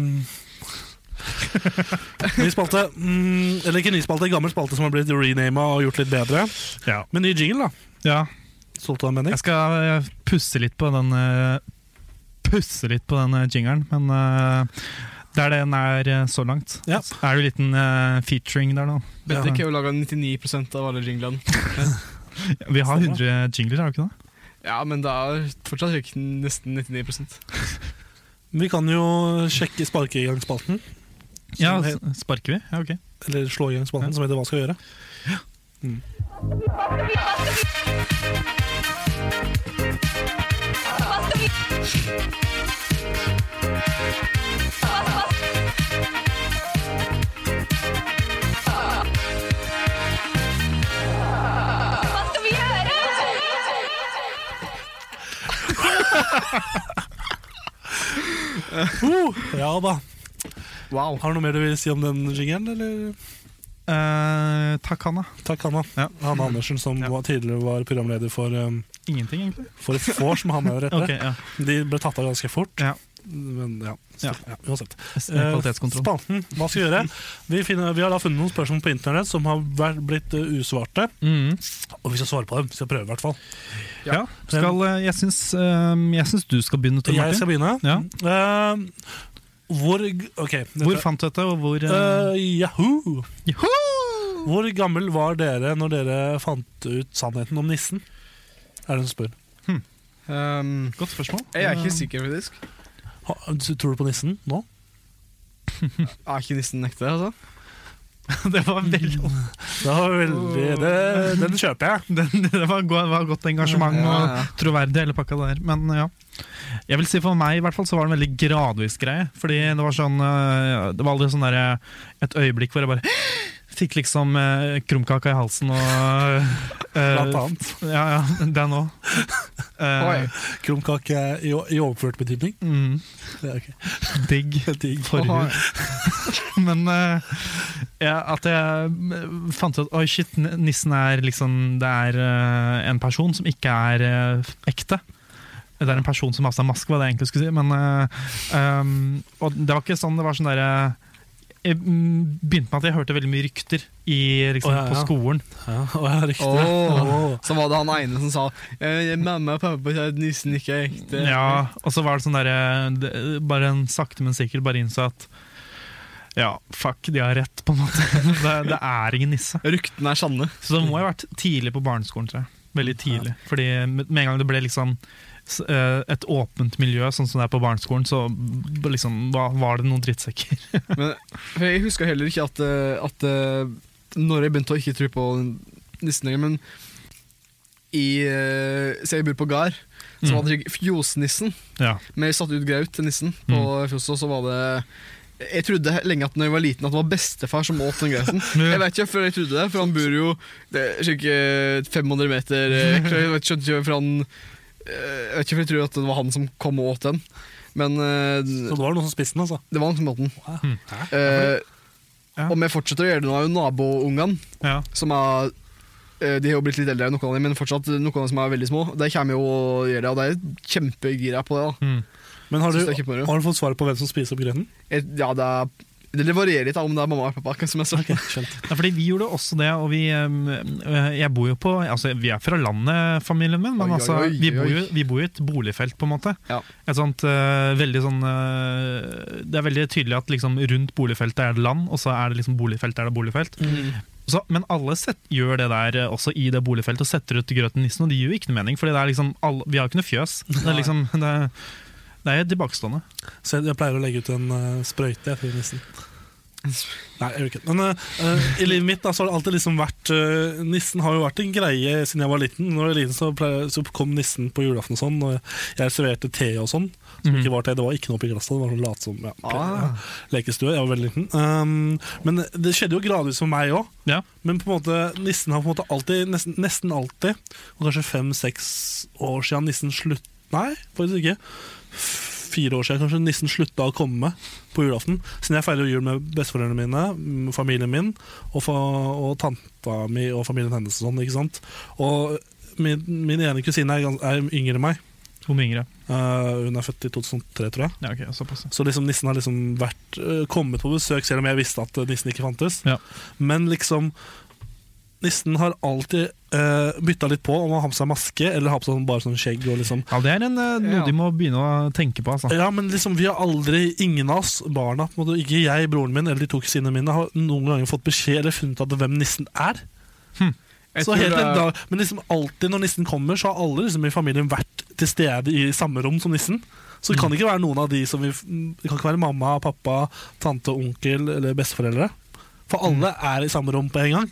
Speaker 3: <laughs> Ny spalte. Mm, eller ikke ny spalte, en gammel spalte som har blitt renama og gjort litt bedre.
Speaker 5: Ja.
Speaker 3: Med ny jingle, da.
Speaker 5: Ja,
Speaker 3: Stolt av en mening.
Speaker 5: jeg skal eh, pusse litt på den eh, Pusse litt på den eh, jingeren, men eh, det er det den er eh, så langt.
Speaker 3: Ja.
Speaker 5: Så Er det en liten eh, featuring der nå?
Speaker 6: Bendik har jo laga 99 av alle jinglene.
Speaker 5: Vi har 100 jingler, har vi ikke det?
Speaker 6: Ja, men det er fortsatt ikke nesten 99
Speaker 3: Vi kan jo sjekke sparke i gang spalten. Som
Speaker 5: Ja,
Speaker 3: het-
Speaker 5: s- Sparker vi? Ja, ok.
Speaker 3: eller slå i gang spalten, som heter Hva skal vi gjøre? Mm. Uh, ja da.
Speaker 6: Wow.
Speaker 3: Har du noe mer du vil si om den jingeren, eller?
Speaker 5: Eh, takk, Hanna.
Speaker 3: Takk, Hanna.
Speaker 5: Ja.
Speaker 3: Hanna Andersen, som
Speaker 5: Ja.
Speaker 3: var, tidligere var programleder for, um,
Speaker 5: Ingenting, egentlig.
Speaker 3: for
Speaker 5: <laughs>
Speaker 3: et vors med Hanna rett
Speaker 5: Ok, ja.
Speaker 3: De ble tatt av ganske fort.
Speaker 5: Ja.
Speaker 3: Men ja,
Speaker 5: Ja.
Speaker 3: så, ja. uansett. Eh,
Speaker 5: Kvalitetskontroll.
Speaker 3: Spalten, hva skal vi gjøre? Vi, finner, vi har da funnet noen spørsmål på internett som har vært, blitt eh, usvarte.
Speaker 5: Mhm.
Speaker 3: Og vi skal svare på dem. Vi skal prøve, i hvert fall.
Speaker 5: Ja. Skal, eh, jeg, syns, eh, jeg syns du skal begynne, Tor
Speaker 3: Jeg
Speaker 5: Martin.
Speaker 3: skal begynne.
Speaker 5: Ja.
Speaker 3: Eh, hvor Ok. dette-
Speaker 5: Hvor fant du dette, og hvor eh,
Speaker 3: Eh, Yahoo!
Speaker 5: Joho!
Speaker 3: Hvor gammel var dere når dere fant ut sannheten om nissen? Er det en som spør.
Speaker 6: Um,
Speaker 5: Godt spørsmål.
Speaker 6: jeg er ikke sikker, faktisk.
Speaker 3: Ha, tror du på nissen nå?
Speaker 6: Jeg er ikke nissen nekte, altså.
Speaker 5: <laughs> det var veldig
Speaker 3: Mm. Det var veldig, det, den kjøper jeg.
Speaker 5: det, det var, go var godt engasjement
Speaker 6: Ja, ja, ja.
Speaker 5: og troverdig, hele pakka der. Men eh, ja. Jeg vil si For meg i hvert fall så var det en veldig gradvis greie. Fordi Det var sånn øh, Det var aldri sånn der, øh, et øyeblikk hvor jeg bare <gasps> fikk liksom øh, krumkaka i halsen og
Speaker 3: <laughs>
Speaker 5: øh,
Speaker 3: Blant annet.
Speaker 5: Ja, ja, den
Speaker 3: <laughs>
Speaker 5: òg.
Speaker 6: Oi.
Speaker 3: Krumkake i, i overført betydning.
Speaker 5: mm,
Speaker 3: Ja, ok.
Speaker 5: digg.
Speaker 3: Digg.
Speaker 5: Forhud. <laughs> Men eh, ja, at jeg mm, fant ut Oi, shit, n- nissen er liksom Det er eh, en person som ikke er eh, ekte. Det er en person som har på seg maske, var det jeg egentlig skulle si. Men, eh, um, og det var ikke sånn det var sånn derre Jeg mm, begynte med at jeg hørte veldig mye rykter i, liksom,
Speaker 3: Å, ja, ja.
Speaker 5: på skolen.
Speaker 3: Ja, å, ja, riktig.
Speaker 6: Åh.
Speaker 3: Åh.
Speaker 6: Så var det han ene som sa «Eh, Mamma og pappa sa at nissen ikke er ekte.
Speaker 5: Ja, og så var det sånn derre det- Bare en sakte, men sikkert bare innså at ja, fuck, de har rett, på en måte. <laughs> Det, det er ingen nisse.
Speaker 6: Ryktene er sanne.
Speaker 5: Så det må jeg ha vært tidlig på barneskolen, tror jeg. Veldig tidlig. Fordi med med en gang det ble liksom s- eh, et åpent miljø, sånn som det er på barneskolen, så b- liksom, var, var det noen drittsekker.
Speaker 6: <laughs> Men for jeg husker heller ikke at, eh, at eh, når jeg begynte å ikke tro på nissen lenger, men i eh, Så jeg bor på gard, så
Speaker 5: Mm.
Speaker 6: var det fjosnissen.
Speaker 5: Ja.
Speaker 6: Men jeg satte ut graut til nissen på fjoset, og så var det jeg trodde lenge at når jeg var liten At det var bestefar som åt den grauten. Jeg vet ikke før jeg trodde det, for han bor jo det er sikkert 500 meter vekk. så Jeg vet- skjønte ikke hvorfor han eh, Jeg vet ikke hvorfor jeg trodde at det var han som kom og åt den. Men eh,
Speaker 3: Så det var noen som spiste den, altså.
Speaker 6: det var han som åt den.
Speaker 5: Mm.
Speaker 6: Eh,
Speaker 5: Ja.
Speaker 6: Om jeg fortsetter å gjøre det nå, er jo naboungene,
Speaker 5: Ja.
Speaker 6: som er eh, De har jo blitt litt eldre, enn noen av dem, men fortsatt noen av dem som er veldig små. De kommer jo og gjør det, og de er kjempegira på det. da
Speaker 5: Mm.
Speaker 3: Men har du,
Speaker 6: Synes det er kjempemoro.
Speaker 3: har du fått svaret på hvem som spiser opp grøten?
Speaker 6: Jeg- Ja, det, er, det varierer litt da, om det er mamma og pappa. Som jeg sa.
Speaker 3: Ok, <laughs> skjønt.
Speaker 5: Ja, fordi vi gjorde også det, og vi em, eh, Jeg bor jo på Altså, vi er fra landet, familien min, men
Speaker 6: Oi, oi,
Speaker 5: altså,
Speaker 6: oi,
Speaker 5: vi bor, jo,
Speaker 6: oi.
Speaker 5: vi bor i et boligfelt, på en måte.
Speaker 6: Ja.
Speaker 5: Et sånt eh, veldig sånn eh, Det er veldig tydelig at liksom rundt boligfeltet er det land, og så er det liksom boligfelt er det boligfelt.
Speaker 6: Mm.
Speaker 5: Så, men alle set, gjør det der eh, også i det boligfeltet og setter ut grøten nissen, og det gir jo ikke noe mening, for liksom, alle- vi har jo ikke noe fjøs. Det er liksom det er, det er tilbakestående.
Speaker 3: Så jeg, jeg pleier å legge ut en eh, sprøyte jeg, til nissen. Nei, jeg gjør ikke det. Men eh, eh, i livet mitt da, så har det alltid liksom vært eh, Nissen har jo vært en greie siden jeg var liten. Når jeg var liten så, pleier, så kom nissen på julaften og sånn, og jeg serverte te og sånn. Som
Speaker 5: Mhm.
Speaker 3: ikke var te, det var ikke noe oppi glasset. Det var sånn lat som ja,
Speaker 6: Ah.
Speaker 3: lekestue. Jeg var veldig liten. Um, men det skjedde jo gradvis for meg òg.
Speaker 5: Ja.
Speaker 3: Men på en måte, nissen har på en måte alltid, nesten, nesten alltid, og kanskje fem-seks år siden nissen slutt... Nei, faktisk ikke. F- Fire år siden kanskje nissen slutta å komme på julaften. Siden jeg feirer jul med besteforeldrene mine, m, familien min og, fa og tanta mi og familien hennes og sånn. ikke sant? Og min, min ene kusine er, gans- er yngre enn meg.
Speaker 5: Hvor mye yngre?
Speaker 3: Eh, hun er født i 2003, tror jeg.
Speaker 5: Ja, ok, såpass.
Speaker 3: Så liksom nissen har liksom vært, øh, kommet på besøk, selv om jeg visste at øh, nissen ikke fantes.
Speaker 5: Ja.
Speaker 3: Men liksom Nissen har alltid øh, bytta litt på om å ha på seg maske eller ha på seg bare sånn skjegg. Og liksom.
Speaker 5: Ja, det er en, eh, noe
Speaker 6: Ja.
Speaker 5: de må begynne å tenke på, altså.
Speaker 3: Ja, men liksom vi har aldri, ingen av oss, barna, på en måte, ikke jeg, broren min eller de to kusinene mine, har noen ganger fått beskjed eller funnet ut hvem nissen er.
Speaker 6: Jeg
Speaker 3: Så
Speaker 6: tror
Speaker 3: helt
Speaker 6: det
Speaker 3: en
Speaker 6: er-
Speaker 3: dag, men liksom alltid når nissen kommer, så har alle liksom i familien vært til stede i samme rom som nissen. Så
Speaker 5: Mm.
Speaker 3: det kan ikke være noen av de som vi, mm, Det kan ikke være mamma, pappa, tante, onkel eller besteforeldre. For alle
Speaker 5: Mm.
Speaker 3: er i samme rom på en gang.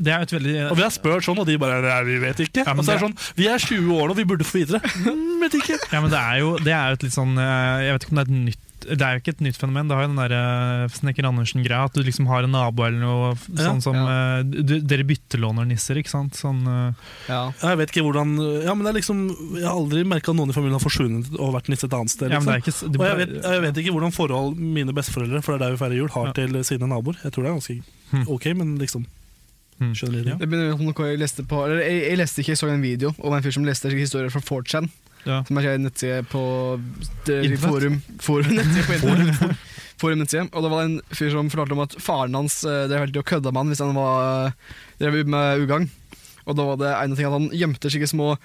Speaker 5: Det er jo et veldig
Speaker 3: Og vi har spurt sånn, og de bare Nei, vi vet ikke.
Speaker 5: Ja, men
Speaker 3: og så er det
Speaker 5: det-
Speaker 3: sånn Vi er 20 år nå, vi burde få videre. Mm, vet ikke.
Speaker 5: Ja, men det er jo det er jo et litt sånn eh, Jeg vet ikke om det er et nytt det er jo ikke et nytt fenomen. Det har jo den der eh, Snekker Andersen-greia. At du liksom har en nabo eller noe f-
Speaker 3: Ja.
Speaker 5: sånn som
Speaker 6: Ja.
Speaker 5: eh, du, Dere byttelåner nisser, ikke sant? Sånn, eh,
Speaker 6: Ja.
Speaker 3: Jeg vet ikke hvordan Ja, men det er liksom Jeg har aldri merka noen i familien har forsvunnet og vært nisse et annet sted.
Speaker 5: ja, men
Speaker 3: Liksom.
Speaker 5: det er ikke, s- det,
Speaker 3: og jeg vet, jeg vet ikke hvordan forhold mine besteforeldre for det er der vi feirer jul, har
Speaker 5: Ja.
Speaker 3: til sine naboer. Jeg tror det er ganske
Speaker 5: Hmm.
Speaker 3: ok, men liksom
Speaker 5: Hmm.
Speaker 3: Skjønner dere?
Speaker 6: Ja.
Speaker 3: det?
Speaker 6: Det
Speaker 3: Ja.
Speaker 6: begynner med noe jeg leste på Eller jeg, jeg leste ikke, jeg så en video om en fyr som leste historier fra 4chan.
Speaker 5: Ja.
Speaker 6: Som er en nettside på det-
Speaker 5: Internett?
Speaker 6: forum, forum, <laughs> nettside på internett. Forum- forum nettside. Og det var en fyr som fortalte om at faren hans eh, drev helt og kødda med han hvis han var, eh, drev med ugagn. Og da var det en ting at han gjemte slike små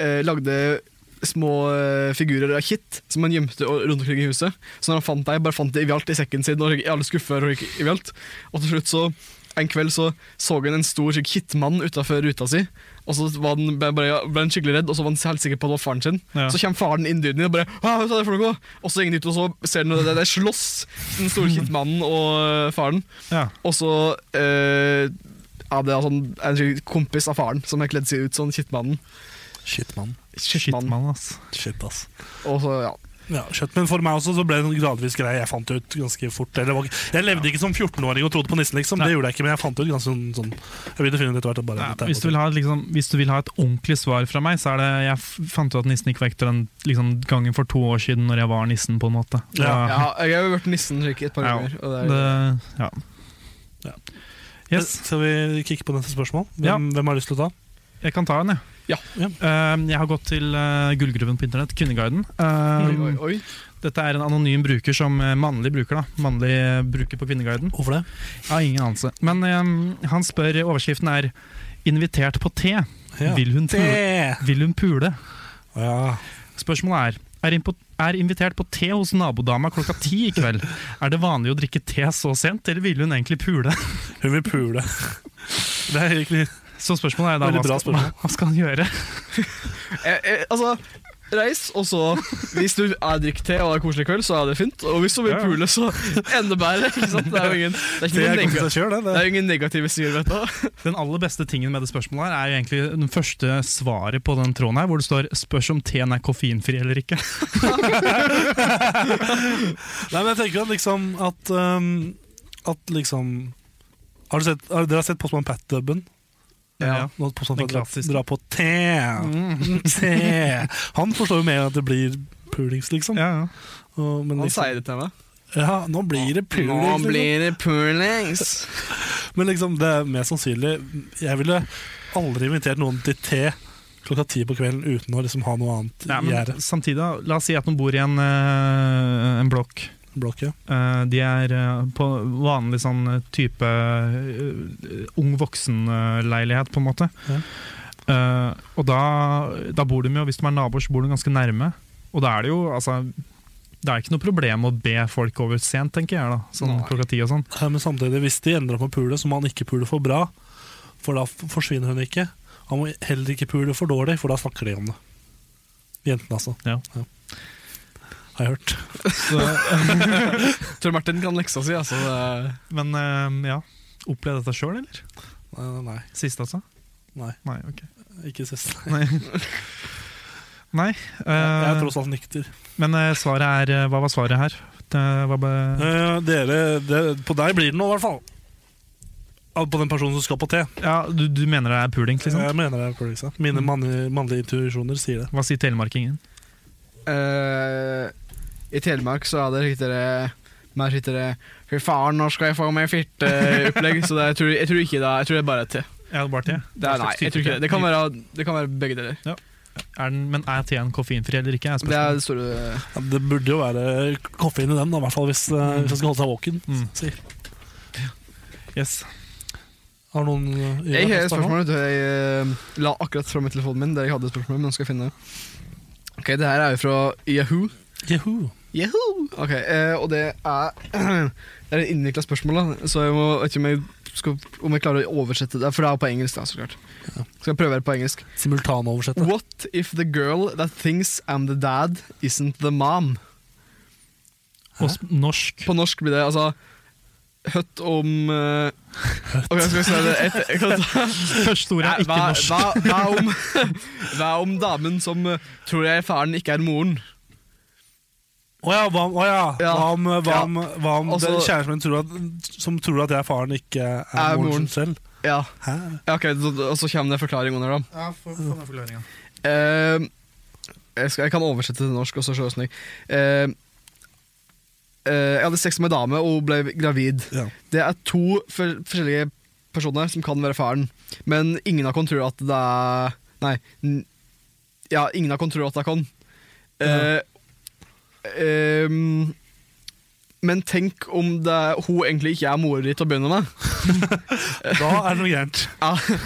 Speaker 6: eh, Lagde små eh, figurer av kitt som han gjemte o- rundt omkring i huset. Så når han fant deg, bare fant det i alt i sekken sin og i alle skuffer. Og, i alt. og til slutt så en kveld så så hun en stor slik hitmann utafor ruta si. Og så var den, ble, ble, ble han skikkelig redd, og så var han helt sikker på at det var faren sin.
Speaker 5: Ja.
Speaker 6: Så kommer faren inn døden din og bare «Hva er det for noe?» Og så går han ut, og så ser han at det, det er slåss, den store hitmannen og øh, faren.
Speaker 5: ja.
Speaker 6: Og så øh, ja, det er sånn, en slik kompis av faren som har kledd seg ut som sånn hitmannen.
Speaker 3: Shit, mann.
Speaker 5: Shit,
Speaker 6: Hitmann.
Speaker 5: mann, ass.
Speaker 3: Shit, ass.
Speaker 6: Og så, ja.
Speaker 3: Ja, shit. Men for meg også så ble det en gradvis greie jeg fant ut ganske fort. Eller, det var ikke- jeg levde ikke som 14-åring og trodde på nissen, liksom.
Speaker 5: Nei.
Speaker 3: Det gjorde jeg ikke, men jeg fant ut ganske sånn, sånn Jeg begynte å finne ut etter hvert. at Bare,
Speaker 5: Ja,
Speaker 3: dette er
Speaker 5: hvis,
Speaker 3: godt.
Speaker 5: du vil ha, et liksom, hvis du vil ha et ordentlig svar fra meg, så er det Jeg f- fant ut at nissen ikke var ekte den liksom, gangen for to år siden når jeg var nissen, på en måte.
Speaker 3: Ja.
Speaker 6: ja. Jeg har jo vært nissen slik et par
Speaker 5: Ja.
Speaker 6: ganger. Og det er,
Speaker 5: Det, ja.
Speaker 3: Ja.
Speaker 5: Yes.
Speaker 3: Eh, Skal vi kikke på neste spørsmål? Hvem,
Speaker 5: Ja.
Speaker 3: hvem har lyst til å ta?
Speaker 5: Jeg kan ta en, jeg.
Speaker 6: Ja.
Speaker 3: Ja.
Speaker 5: Eh, jeg har gått til eh, Gullgruven på internett, Kvinneguiden. Eh,
Speaker 6: Oi, oi, oi.
Speaker 5: Dette er en anonym bruker som eh, mannlig bruker. da Mannlig eh, bruker på Kvinneguiden.
Speaker 3: Hvorfor det?
Speaker 5: Jeg har ingen anelse. Men eh, han spør Overskriften er 'Invitert på te'.
Speaker 3: Ja.
Speaker 5: Vil, hun pule?
Speaker 3: Det!
Speaker 5: Vil hun pule?
Speaker 3: Ja.
Speaker 5: Spørsmålet er er, innpå, er invitert på te hos nabodama klokka ti i kveld. Er det vanlig å drikke te så sent, eller ville hun egentlig pule?
Speaker 3: Hun vil
Speaker 5: <laughs>
Speaker 3: pule. Det er egentlig
Speaker 5: Så spørsmålet er da
Speaker 3: Veldig
Speaker 5: hva
Speaker 3: bra
Speaker 5: skal,
Speaker 3: spørsmål.
Speaker 5: hva skal han gjøre?
Speaker 6: Eh, eh, altså, reis, og så Hvis du er drikk te og har koselig kveld, så er det fint. Og hvis du vil
Speaker 5: Ja, ja.
Speaker 6: pule, så enda bedre. Ikke sant? Det er jo ingen, det er
Speaker 3: Det er
Speaker 6: ikke noen
Speaker 3: godt i
Speaker 6: negativ,
Speaker 3: seg sjøl, det.
Speaker 6: det
Speaker 3: det.
Speaker 6: er jo ingen negative sider ved dette.
Speaker 5: Den aller beste tingen med det spørsmålet her er jo egentlig den første svaret på den tråden her, hvor det står 'spørs om teen er koffeinfri eller ikke'.
Speaker 3: Nei, men jeg tenker at liksom At, um, at liksom har du sett, har, Dere har sett Postman Pat-dubben?
Speaker 5: Ja.
Speaker 3: Nå Postman
Speaker 5: Den
Speaker 3: Pat drar,
Speaker 5: klassiske. Mm.
Speaker 3: drar på te. <laughs> te. Han forstår jo mer at det blir pulings, liksom.
Speaker 5: Ja, ja.
Speaker 3: Og, men
Speaker 6: Han
Speaker 3: liksom
Speaker 6: sier det til meg.
Speaker 3: ja, nå blir det pulings. liksom.
Speaker 6: det pulings.
Speaker 3: Men liksom, det er mest sannsynlig Jeg ville aldri invitert noen til te klokka ti på kvelden uten å liksom ha noe annet
Speaker 5: Nei,
Speaker 3: i
Speaker 5: men
Speaker 3: gjerdet.
Speaker 5: samtidig, da, la oss si at man bor i en, eh, en blokk.
Speaker 3: Blokk, ja.
Speaker 5: Eh, de er eh, på vanlig sånn eh, type eh, ung voksen-leilighet, på en måte.
Speaker 3: Ja.
Speaker 5: Eh, og da, da bor de jo, hvis de er naboer, så bor de ganske nærme. Og da er det jo altså Det er ikke noe problem å be folk over sent, tenker jeg. da Sånn
Speaker 6: Nei.
Speaker 5: klokka ti og sånn.
Speaker 3: Ja, Men samtidig, hvis de endrer opp med pule, så må han ikke pule for bra, for da f- forsvinner hun ikke. Han må heller ikke pule for dårlig, for da snakker de om det. Jentene, altså.
Speaker 5: Ja.
Speaker 3: Har jeg hørt.
Speaker 6: Tor Martin kan leksa si, altså. Det
Speaker 5: Men eh, ja. Opplevd dette sjøl, eller?
Speaker 3: Nei, nei,
Speaker 5: Sist, altså?
Speaker 3: Nei.
Speaker 5: Nei, ok.
Speaker 3: nei, ikke sist.
Speaker 5: Nei. <laughs> Nei.
Speaker 3: Jeg
Speaker 5: eh,
Speaker 3: er tross alt nykter.
Speaker 5: men eh, svaret er eh, Hva var svaret her? Det var bare,
Speaker 3: Eh, dere, det, på deg blir det noe, i hvert fall. Al- På den personen som skal på te.
Speaker 5: ja, du, du mener det er puling, liksom?
Speaker 3: Jeg mener det er puling. sant? Mine
Speaker 5: Mm.
Speaker 3: mann- mannlige intuisjoner sier det.
Speaker 5: Hva sier telemarkingen?
Speaker 6: er, eh, I Telemark så er det riktigere mer riktigere Fy faen, nå skal jeg få meg firteopplegg. Så det, jeg, tror, jeg tror ikke det er Jeg tror det er bare te.
Speaker 5: Ja, bare te.
Speaker 6: Det er, nei, jeg tror ikke det. Det kan være, det kan være begge deler.
Speaker 5: Er den, men er teen koffeinfri eller ikke? Er
Speaker 6: Det er
Speaker 5: spørsmålet.
Speaker 6: det store
Speaker 3: Ja, det burde jo være koffein i den, da, i hvert fall hvis, eh, hvis han skal holde seg våken.
Speaker 5: Mm.
Speaker 3: sier.
Speaker 5: yes.
Speaker 3: Har noen eh,
Speaker 6: Jeg har
Speaker 3: gjør
Speaker 6: et spørsmål. vet du. Jeg eh, la akkurat fram telefonen min der jeg hadde et spørsmål. Men nå skal jeg finne det. Ok, Det her er jo fra Yahoo.
Speaker 3: Yahoo.
Speaker 6: Ok, eh, Og det er <clears throat> Det er et innvikla spørsmål, da så jeg må, vet ikke om jeg, skal, om jeg klarer å oversette det. For det er på engelsk. da, så klart Skal jeg prøve det på engelsk.
Speaker 3: Simultanoversette.
Speaker 6: What if the girl that thinks I'm the dad, isn't the mom?
Speaker 5: Og s- norsk.
Speaker 6: På norsk blir det altså Høtt om eh, Ok, skal jeg si det et, jeg kan ta,
Speaker 5: Første ordet er ikke
Speaker 6: hva,
Speaker 5: norsk.
Speaker 6: hva, hva, om, <laughs> hva om damen som eh, tror jeg faren ikke er moren?
Speaker 3: Å ja, hva om, å ja.
Speaker 6: Ja.
Speaker 3: Hva om, hva om, hva om
Speaker 6: Altså-
Speaker 3: den kjæresten min tror at, som tror at jeg er faren, ikke er
Speaker 6: Er
Speaker 3: moren
Speaker 6: moren.
Speaker 3: sin selv?
Speaker 6: Ja,
Speaker 3: Hæ?
Speaker 6: ja ok, så, Og så kommer det en forklaring under, da.
Speaker 4: Ja, få få den forklaringa.
Speaker 6: Eh, jeg, skal, jeg kan oversette til norsk, og så se åssen jeg Eh, eh, Jeg hadde sex med ei dame, og hun ble gravid.
Speaker 3: Ja.
Speaker 6: Det er to for, forskjellige personer som kan være faren, men ingen av oss tror at det er Nei. n- Ja, ingen av oss tror at det er kon. Eh, ehm, men tenk om det, er- hun egentlig ikke er mora di til å begynne med.
Speaker 3: Da er det noe gærent.
Speaker 6: Ja,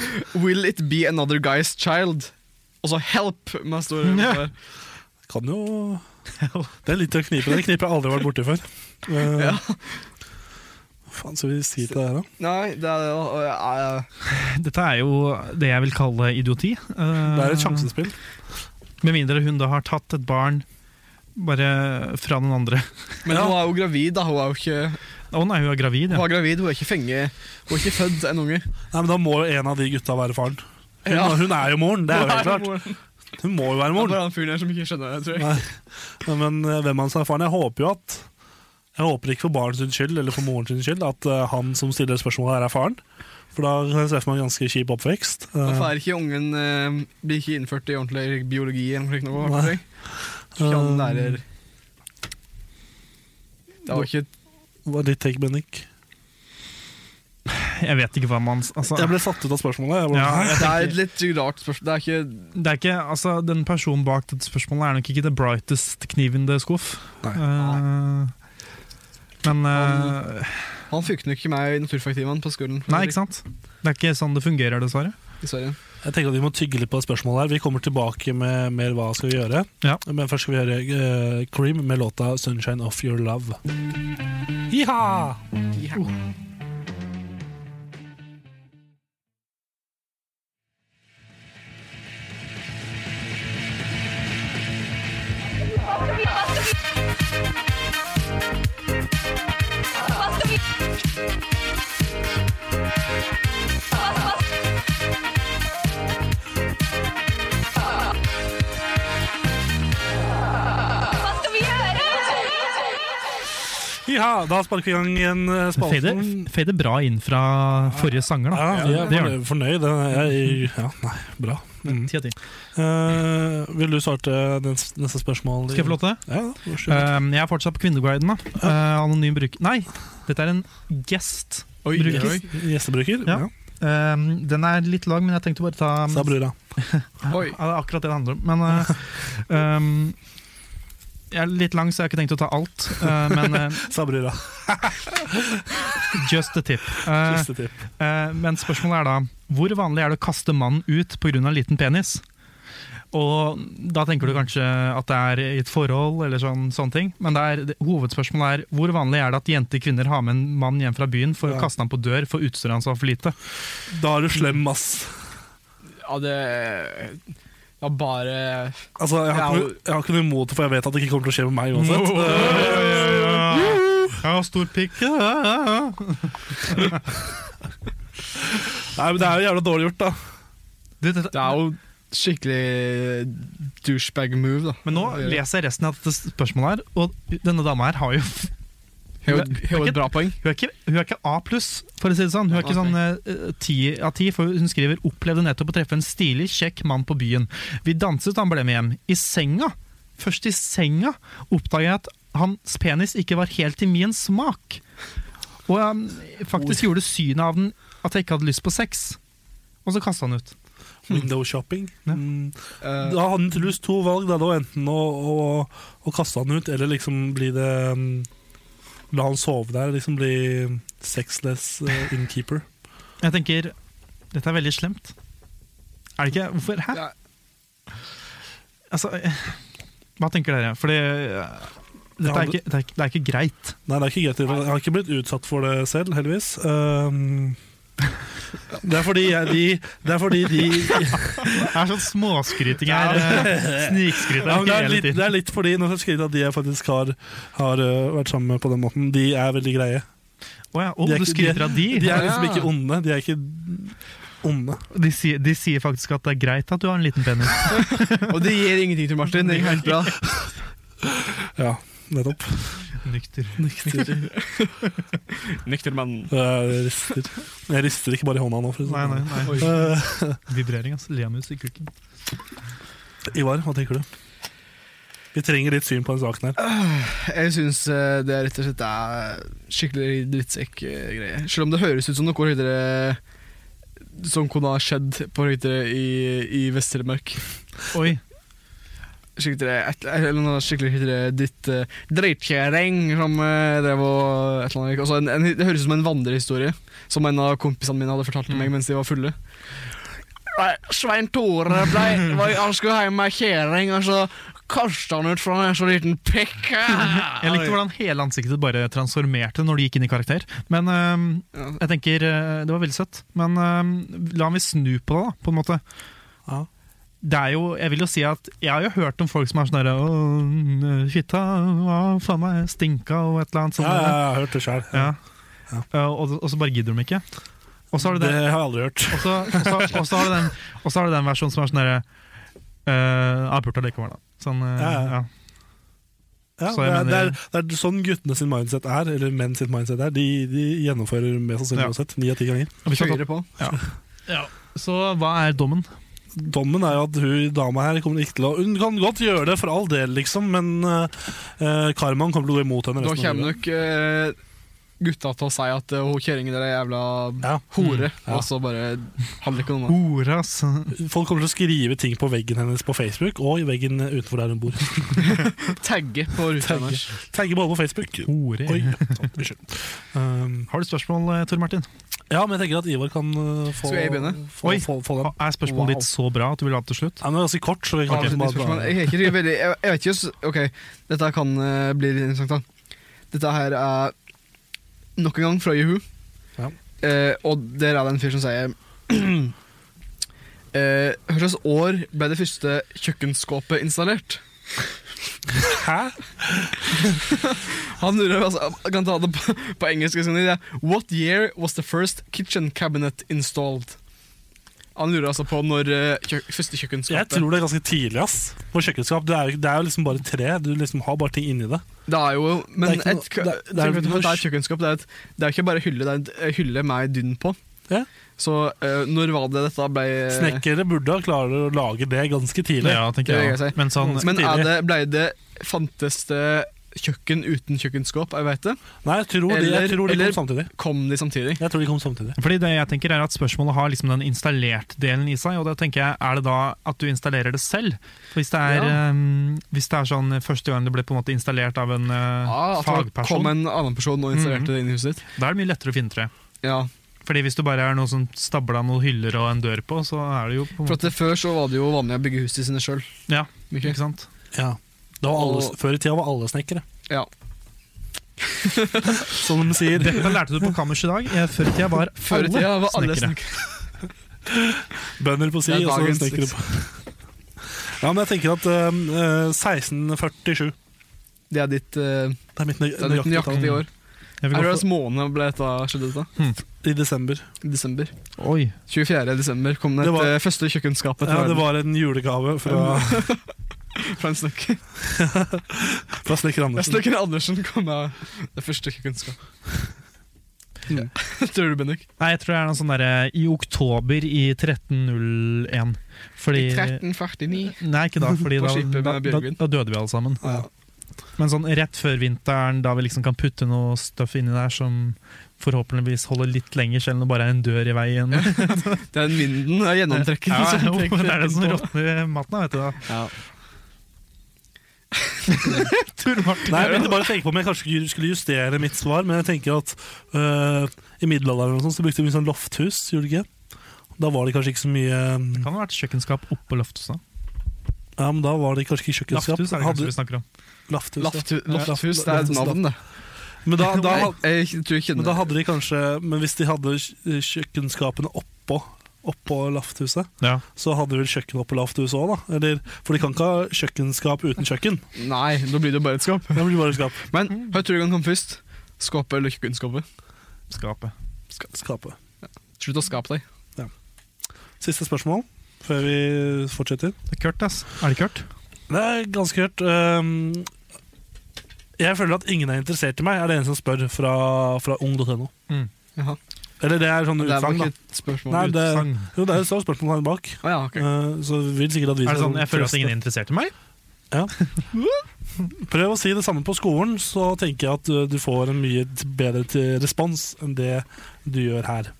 Speaker 6: Will it be another guy's child? Og så 'help' med store bokstaver.
Speaker 3: Kan jo
Speaker 6: <laughs>
Speaker 3: Det er litt å knipe. Det knipet jeg aldri har vært borti før. Eh,
Speaker 6: Ja.
Speaker 3: Hva faen skal vi si til det her, da?
Speaker 6: Nei, det er det. da. Og jeg- jeg-
Speaker 5: Dette er jo det jeg vil kalle idioti. Eh,
Speaker 3: Det er et sjansespill.
Speaker 5: Med mindre hun da har tatt et barn bare fra den andre.
Speaker 6: Men
Speaker 3: Ja.
Speaker 6: hun er jo gravid, da. Hun er jo ikke,
Speaker 5: Å nei, hun er gravid,
Speaker 6: hun
Speaker 5: ja.
Speaker 6: er gravid, hun er ikke fenge Hun er ikke født en unge.
Speaker 3: Nei, men Da må jo en av de gutta være faren. Hun,
Speaker 6: Ja.
Speaker 3: hun er jo moren, det er jo helt klart.
Speaker 6: Moren.
Speaker 3: Hun må jo være
Speaker 6: Det er
Speaker 3: moren.
Speaker 6: bare han fyren her som ikke skjønner det, tror jeg.
Speaker 3: Nei. Men eh, hvem han som er faren Jeg håper jo at Jeg håper ikke for barnets skyld eller for morens skyld at eh, han som stiller spørsmålet, her er faren. For da kan jeg se for meg en ganske kjip oppvekst. Eh,
Speaker 6: Hvorfor er ikke ungen eh, blir ikke innført i ordentlig biologi eller noe slikt noe?
Speaker 3: Nei.
Speaker 6: tror jeg. Ikke han
Speaker 5: Um,
Speaker 3: Eh,
Speaker 6: lærer Det var
Speaker 5: <laughs>
Speaker 6: ikke
Speaker 3: det var Eh, ditt take, Bennik.
Speaker 5: Jeg vet ikke hva man altså,
Speaker 3: Jeg ble satt ut av spørsmålet. Jeg ble,
Speaker 5: Ja.
Speaker 3: Hæ?
Speaker 6: Det er et litt rart spørsmål. Det er ikke
Speaker 5: det er ikke, altså, Den personen bak dette spørsmålet er nok ikke the brightest kniv in the skuff.
Speaker 3: Nei.
Speaker 5: Eh, men eh,
Speaker 6: Han fikk nok ikke meg i naturfagtimen på skolen.
Speaker 5: Nei, ikke sant? Det er ikke sånn det fungerer, dessverre.
Speaker 6: Dessverre.
Speaker 3: Jeg tenker at Vi må tygge litt på det spørsmålet. her Vi kommer tilbake med mer hva skal vi gjøre.
Speaker 5: Ja.
Speaker 3: Men først skal vi høre eh, Cream med låta 'Sunshine of Your Love'. Jiha!
Speaker 7: Hva skal vi gjøre?
Speaker 3: Jiha! Da sparker vi i gang igjen eh,
Speaker 5: Det fader,
Speaker 3: spalten.
Speaker 5: fader bra inn fra forrige sanger, da.
Speaker 3: Ja, vi er
Speaker 5: det gjør
Speaker 3: fornøyd. fornøyd. Jeg, ja, nei, bra. Mm.
Speaker 5: Ti av ti.
Speaker 3: Eh, vil du starte den s- neste spørsmål?
Speaker 5: Skal jeg få lov til det?
Speaker 3: Ja, vær så god.
Speaker 5: Eh, jeg er fortsatt på Kvinneguiden. da Eh, Anonym bruker Nei, dette er en gest.
Speaker 6: Oi,
Speaker 5: Brukes.
Speaker 6: oi,
Speaker 3: Gjestebruker?
Speaker 5: Ja. Eh, den er litt lang, men jeg tenkte bare ta um,
Speaker 3: Sa brura.
Speaker 6: oi.
Speaker 5: Ja, det er akkurat det det handler om. Men eh, ehm, jeg er litt lang, så jeg har ikke tenkt å ta alt. eh, men eh,
Speaker 3: Sa brura.
Speaker 5: just a tip. Eh,
Speaker 3: Siste tip.
Speaker 5: eh, men spørsmålet er da hvor vanlig er det å kaste mannen ut pga. liten penis? Og da tenker du kanskje at det er i et forhold, eller sånn, sånne ting. Men det er, det, hovedspørsmålet er hvor vanlig er det at jenter kvinner har med en mann hjem fra byen for
Speaker 3: Ja.
Speaker 5: å kaste ham på dør for utstyret hans var for lite?
Speaker 3: Da er du slem, ass.
Speaker 6: Ja, det Ja, bare
Speaker 3: Altså, jeg, har
Speaker 6: Ja,
Speaker 3: ikke, noe- jeg har ikke noe imot det, for jeg vet at det ikke kommer til å skje med meg
Speaker 5: <laughs>
Speaker 3: uansett.
Speaker 5: Jeg har stor pikk.
Speaker 3: Nei, men Det er jo jævla dårlig gjort, da.
Speaker 5: Du, dette,
Speaker 6: Det er jo skikkelig douchebag move, da.
Speaker 5: Men nå leser jeg resten av dette spørsmålet her, og denne dama her har jo
Speaker 6: Hun har jo- hun har jo et bra poeng.
Speaker 5: Hun er ikke, hun er ikke A pluss, for å si det sånn. Hun er ikke sånn eh, 10 av 10, for hun skriver 'opplevde nettopp å treffe en stilig, kjekk mann på byen'. Vi danset da han ble med hjem. I senga, først i senga, oppdaget jeg at hans penis ikke var helt i min smak. Og um, faktisk gjorde synet av den at jeg ikke hadde lyst på sex. Og så kasta han ut.
Speaker 3: Window shopping.
Speaker 5: Ja.
Speaker 3: Mm.
Speaker 6: Eh,
Speaker 3: Da hadde han til lyst to valg. Da. Det var enten å, å, å kaste han ut, eller liksom bli det mm, La han sove der. Liksom bli sexless eh, innkeeper.
Speaker 5: Jeg tenker Dette er veldig slemt. Er det ikke? Hvorfor? Hæ?
Speaker 6: Ja.
Speaker 5: Altså eh, Hva tenker dere? Fordi eh, dette er ikke, det, er ikke, det er ikke greit.
Speaker 3: Nei, det er ikke greit. Jeg har ikke blitt utsatt for det selv, heldigvis. Um, det er fordi jeg, de Det er fordi de
Speaker 5: <laughs> Det er sånn småskryting her. eh, Snikskryting
Speaker 3: ja, men det, er
Speaker 5: hele
Speaker 3: litt,
Speaker 5: tiden.
Speaker 3: det er litt fordi Nå skal jeg skryte av at de jeg faktisk har, har uh, vært sammen med på den måten. De er veldig greie.
Speaker 5: Å ja, å,
Speaker 3: de er
Speaker 5: du
Speaker 3: ikke-
Speaker 5: skryter av de?
Speaker 3: De
Speaker 5: De,
Speaker 3: er liksom ikke onde. De er ikke onde.
Speaker 5: sier, de sier faktisk at det er greit at du har en liten penis.
Speaker 6: og det gir ingenting til Martin. Det gikk helt bra.
Speaker 3: Ja. nettopp.
Speaker 5: Nykter.
Speaker 6: Nekter mann.
Speaker 3: Jeg rister. Jeg rister ikke bare i hånda nå. For å si
Speaker 5: Nei,
Speaker 3: det
Speaker 5: nei, nei.
Speaker 3: sånn. Eh,
Speaker 5: Vibrering, altså. Leamus i kukken.
Speaker 3: Eh, Ivar, hva tenker du? Vi trenger ditt syn på den saken her.
Speaker 6: Jeg syns det er rett og slett er skikkelig drittsekk-greie. Selv om det høres ut som noe høyere som kunne ha skjedd på høyde i, i Vest-Telemark.
Speaker 5: Oi,
Speaker 6: Skikkelig, et, eller noe skikkelig høyere dritt eh, drittkjerring som eh, drev og et eller annet. Altså, en, en, det høres ut som en vandrehistorie som en av kompisene mine hadde fortalt til
Speaker 5: Mm.
Speaker 6: meg mens de var fulle. Nei, Svein Tore ble, var, han skulle hjem med ei kjerring, og så kasta han ut fra en så liten pikk.
Speaker 5: <laughs> Jeg likte hvordan hele ansiktet bare transformerte når du gikk inn i karakter. Men øhm,
Speaker 6: Ja.
Speaker 5: jeg tenker øh, Det var veldig søtt. Men øhm, la meg snu på det, da, på en måte.
Speaker 3: Ja.
Speaker 5: Det er jo, jeg vil jo si at jeg har jo hørt om folk som er sånn derre «Åh, Fitta, hva faen meg, stinka og et eller annet sånn
Speaker 3: Ja,
Speaker 5: sånt.
Speaker 3: jeg,
Speaker 5: der».
Speaker 3: har hørt det sjøl.
Speaker 5: Ja. Øh, og, og så bare gidder de ikke. Og så har du
Speaker 3: Det
Speaker 5: det,
Speaker 3: har jeg aldri hørt.
Speaker 5: og så- og så- og så har du den, og så har du den versjonen som er sånn derre øh, Jeg burde likevel, da. Sånn, øh,
Speaker 3: Ja, ja.
Speaker 5: ja.
Speaker 3: Ja,
Speaker 5: Så
Speaker 3: det,
Speaker 5: jeg
Speaker 3: er, det,
Speaker 5: mener-
Speaker 3: er, det er sånn guttene sin mindset er, eller menn sitt mindset er. De, de gjennomfører mest sannsynlig
Speaker 5: Ja.
Speaker 3: uansett, ni av ti ganger.
Speaker 5: Og hvis man
Speaker 6: Kjører på.
Speaker 5: tar- Så hva er dommen?
Speaker 3: Dommen er jo at hun dama her kommer ikke til å Hun kan godt gjøre det, for all del, liksom, men eh, karmaen kommer til å gå imot henne
Speaker 6: Da
Speaker 3: resten av
Speaker 6: kommer
Speaker 3: livet.
Speaker 6: nok eh, gutta til å si at eh, hun kjerringa der er jævla
Speaker 3: Ja.
Speaker 6: hore,
Speaker 3: Mm, ja.
Speaker 6: og så bare handler ikke noe om det.
Speaker 5: Hore, altså.
Speaker 3: Folk kommer til å skrive ting på veggen hennes på Facebook og i veggen utenfor der hun bor.
Speaker 6: Tagge på ruta
Speaker 3: Tagge.
Speaker 6: hennes.
Speaker 3: Tagge både på Facebook.
Speaker 5: <laughs> Hore.
Speaker 3: Oi, sånn, unnskyld. Um,
Speaker 5: Har du spørsmål, eh, Tor Martin?
Speaker 3: ja, men jeg tenker at Ivar kan eh, få,
Speaker 6: Skal jeg begynne?
Speaker 3: få,
Speaker 5: Oi.
Speaker 3: få, få den.
Speaker 5: Er spørsmålet ditt så bra at du vil ha det til slutt?
Speaker 3: Ja, men det er ganske kort, så vi kan liksom
Speaker 6: Avslutningsspørsmål.
Speaker 3: bare
Speaker 6: Jeg, er ikke veldig, jeg, jeg vet ikke s- Ok, dette kan eh, bli litt interessant, da. Dette her er nok en gang fra Juhu.
Speaker 3: Ja.
Speaker 6: Eh, og der er det en fyr som sier <clears throat> eh, Hva slags år ble det første kjøkkenskåpet installert?
Speaker 3: Hæ?
Speaker 6: Han lurer altså, jeg kan ta det på, på engelsk. hvis han vil, det er, What year was the first kitchen cabinet installed? Han lurer altså på når eh, kjø første
Speaker 3: Jeg
Speaker 6: kjøkkenskapet
Speaker 3: tror det er ganske tidlig, ass. På kjøkkenskap. Det er, jo- det er jo liksom bare tre. Du liksom har bare ting inni det.
Speaker 6: Det er jo Men
Speaker 3: Det er ikke noe-
Speaker 6: et, kø-
Speaker 3: det er- det
Speaker 6: tenk
Speaker 3: er-
Speaker 6: vet du hva, det er et kjøkkenskap. Det er, et, det er ikke bare hylle, det er en d- hylle med dynn på.
Speaker 3: Ja.
Speaker 6: Så eh, når var det dette ble
Speaker 3: Snekkere burde ha klart å lage det ganske tidlig.
Speaker 5: Ja, tenker
Speaker 6: Det vil
Speaker 5: jeg.
Speaker 6: jeg si.
Speaker 5: Men sånn
Speaker 6: Men
Speaker 3: tidlig.
Speaker 6: er det, ble det fantes det kjøkken uten kjøkkenskap? Jeg vet det.
Speaker 3: Nei, jeg tror, de,
Speaker 6: Eller-
Speaker 3: jeg tror de
Speaker 6: eller-
Speaker 3: kom samtidig.
Speaker 6: Kom de samtidig?
Speaker 3: Jeg tror de kom samtidig.
Speaker 5: fordi det jeg tenker er at Spørsmålet har liksom den installerte delen i seg. og da tenker jeg, Er det da at du installerer det selv? For Hvis det er,
Speaker 6: Ja.
Speaker 5: ehm, hvis det er sånn eh, første gang det ble på en måte installert av en eh,
Speaker 6: Ja, Ah, at det
Speaker 5: fagperson,
Speaker 6: kom en annen person og
Speaker 3: Mhm.
Speaker 6: installerte det inn i huset ditt?
Speaker 5: da er det mye lettere å finne tre.
Speaker 6: Ja.
Speaker 5: Fordi Hvis du bare er noe som stabler av noen hyller og en dør på, så er det jo på en
Speaker 6: For
Speaker 5: måte,
Speaker 6: at det Før så var det jo vanlig å bygge hus til sine sjøl.
Speaker 5: Ja, ikke sant?
Speaker 3: Ja. Det var alle,
Speaker 6: Og-
Speaker 3: før i tida var alle snekkere.
Speaker 6: Ja.
Speaker 3: Som de sier.
Speaker 5: Dette lærte du på kammers i dag. Eh, Før i tida var
Speaker 6: <laughs> Før i tida var alle snekkere.
Speaker 3: Bønder på si,
Speaker 6: Det er
Speaker 3: og så
Speaker 6: dagens,
Speaker 3: snekkere på. Ja, men jeg tenker at um, eh, 1647
Speaker 6: Det er ditt, eh,
Speaker 3: Det er mitt nøy-
Speaker 6: det er ditt
Speaker 3: nøyaktige tall.
Speaker 6: nøyaktige år.
Speaker 5: Jeg
Speaker 6: Er
Speaker 5: vil
Speaker 6: det
Speaker 5: gå
Speaker 6: hvilken måned ble dette skjedde dette?
Speaker 3: I desember.
Speaker 6: I desember.
Speaker 5: for, oi,
Speaker 6: 24. desember kom det,
Speaker 3: Det var-
Speaker 6: et eh, første kjøkkenskap etter
Speaker 3: Ja, det
Speaker 6: verden
Speaker 3: var en julegave fra,
Speaker 6: <laughs> fra en snekker.
Speaker 3: fra snekker
Speaker 6: Ja,
Speaker 3: Andersen.
Speaker 6: Snekker Andersen kom med det første kjøkkenskapet. Ja.
Speaker 3: Mm.
Speaker 6: <laughs> Tror du, Bendik?
Speaker 5: Nei, jeg tror det er noe sånn derre i oktober i 1301. Fordi
Speaker 6: I 1349.
Speaker 5: Nei, ikke da, fordi
Speaker 6: På
Speaker 5: da,
Speaker 6: skipet med
Speaker 5: da, da,
Speaker 6: Bjørgvin.
Speaker 5: da døde vi alle sammen.
Speaker 3: Ja.
Speaker 5: Men sånn rett før vinteren, da vi liksom kan putte noe støff inni der som forhåpentligvis holder litt lenger, selv om det bare er en dør i
Speaker 3: <laughs>
Speaker 5: veien. Ja,
Speaker 6: Den vinden er gjennomtrekken.
Speaker 5: jo,
Speaker 6: <laughs> som
Speaker 5: det
Speaker 6: trekker
Speaker 5: er det som
Speaker 6: på.
Speaker 5: råtner maten, vet du. da <laughs> Tor Martin.
Speaker 3: Nei, jeg begynte bare å tenke på om jeg kanskje ikke skulle justere mitt svar, men jeg tenker at øh, i middelalderen og sånn, så brukte vi sånn lofthus, gjorde de ikke? Da var det kanskje ikke så mye
Speaker 5: Det
Speaker 3: øh,
Speaker 5: kan ha vært kjøkkenskap oppå loftet også.
Speaker 3: Ja, men da var det kanskje ikke kjøkkenskap.
Speaker 5: Lafthus er det
Speaker 3: Hadde-
Speaker 5: kanskje vi snakker om.
Speaker 3: Lafthus, ja.
Speaker 6: Laft- Lofthus, det er et
Speaker 3: Lofthus,
Speaker 6: navn, det.
Speaker 3: Lafthus. Men da, da,
Speaker 6: Nei, Jeg tror jeg
Speaker 3: men da
Speaker 6: kjenner
Speaker 3: hadde de kanskje Men hvis de hadde kj- kjøkkenskapene oppå Oppå lafthuset,
Speaker 5: Ja.
Speaker 3: så hadde vel kjøkkenet oppå lafthuset òg, da. Eller, for de kan ikke ha kjøkkenskap uten kjøkken.
Speaker 6: Nei, da blir det jo bare et skap.
Speaker 3: Det blir bare skap.
Speaker 6: Men hva tror du han kom først? Skapet eller kjøkkenskapet?
Speaker 5: Skapet.
Speaker 3: Skapet.
Speaker 6: Slutt å skape deg.
Speaker 3: Siste spørsmål før vi fortsetter.
Speaker 5: Det er Kurt, ass. Er det Kurt?
Speaker 3: Det er ganske hørt. Um, Ehm, Jeg føler at ingen er interessert i meg, er det en som spør fra, fra ung.no.
Speaker 5: Mm.
Speaker 6: Jaha.
Speaker 3: Eller det er sånn
Speaker 6: Det er vel
Speaker 3: utsagn,
Speaker 6: ikke
Speaker 3: da.
Speaker 6: et spørsmål.
Speaker 3: Nei, det,
Speaker 8: Sang.
Speaker 3: jo, det er jo spørsmål her bak.
Speaker 6: Å ja, ok.
Speaker 3: Eh, Så vil sikkert at vi
Speaker 5: Er det
Speaker 3: skal
Speaker 5: sånn, Jeg føler at
Speaker 3: trøste.
Speaker 5: ingen er interessert i meg.
Speaker 3: Prøv å si det samme på skolen, så tenker jeg at uh, du får en mye t- bedre t- respons enn det du gjør her.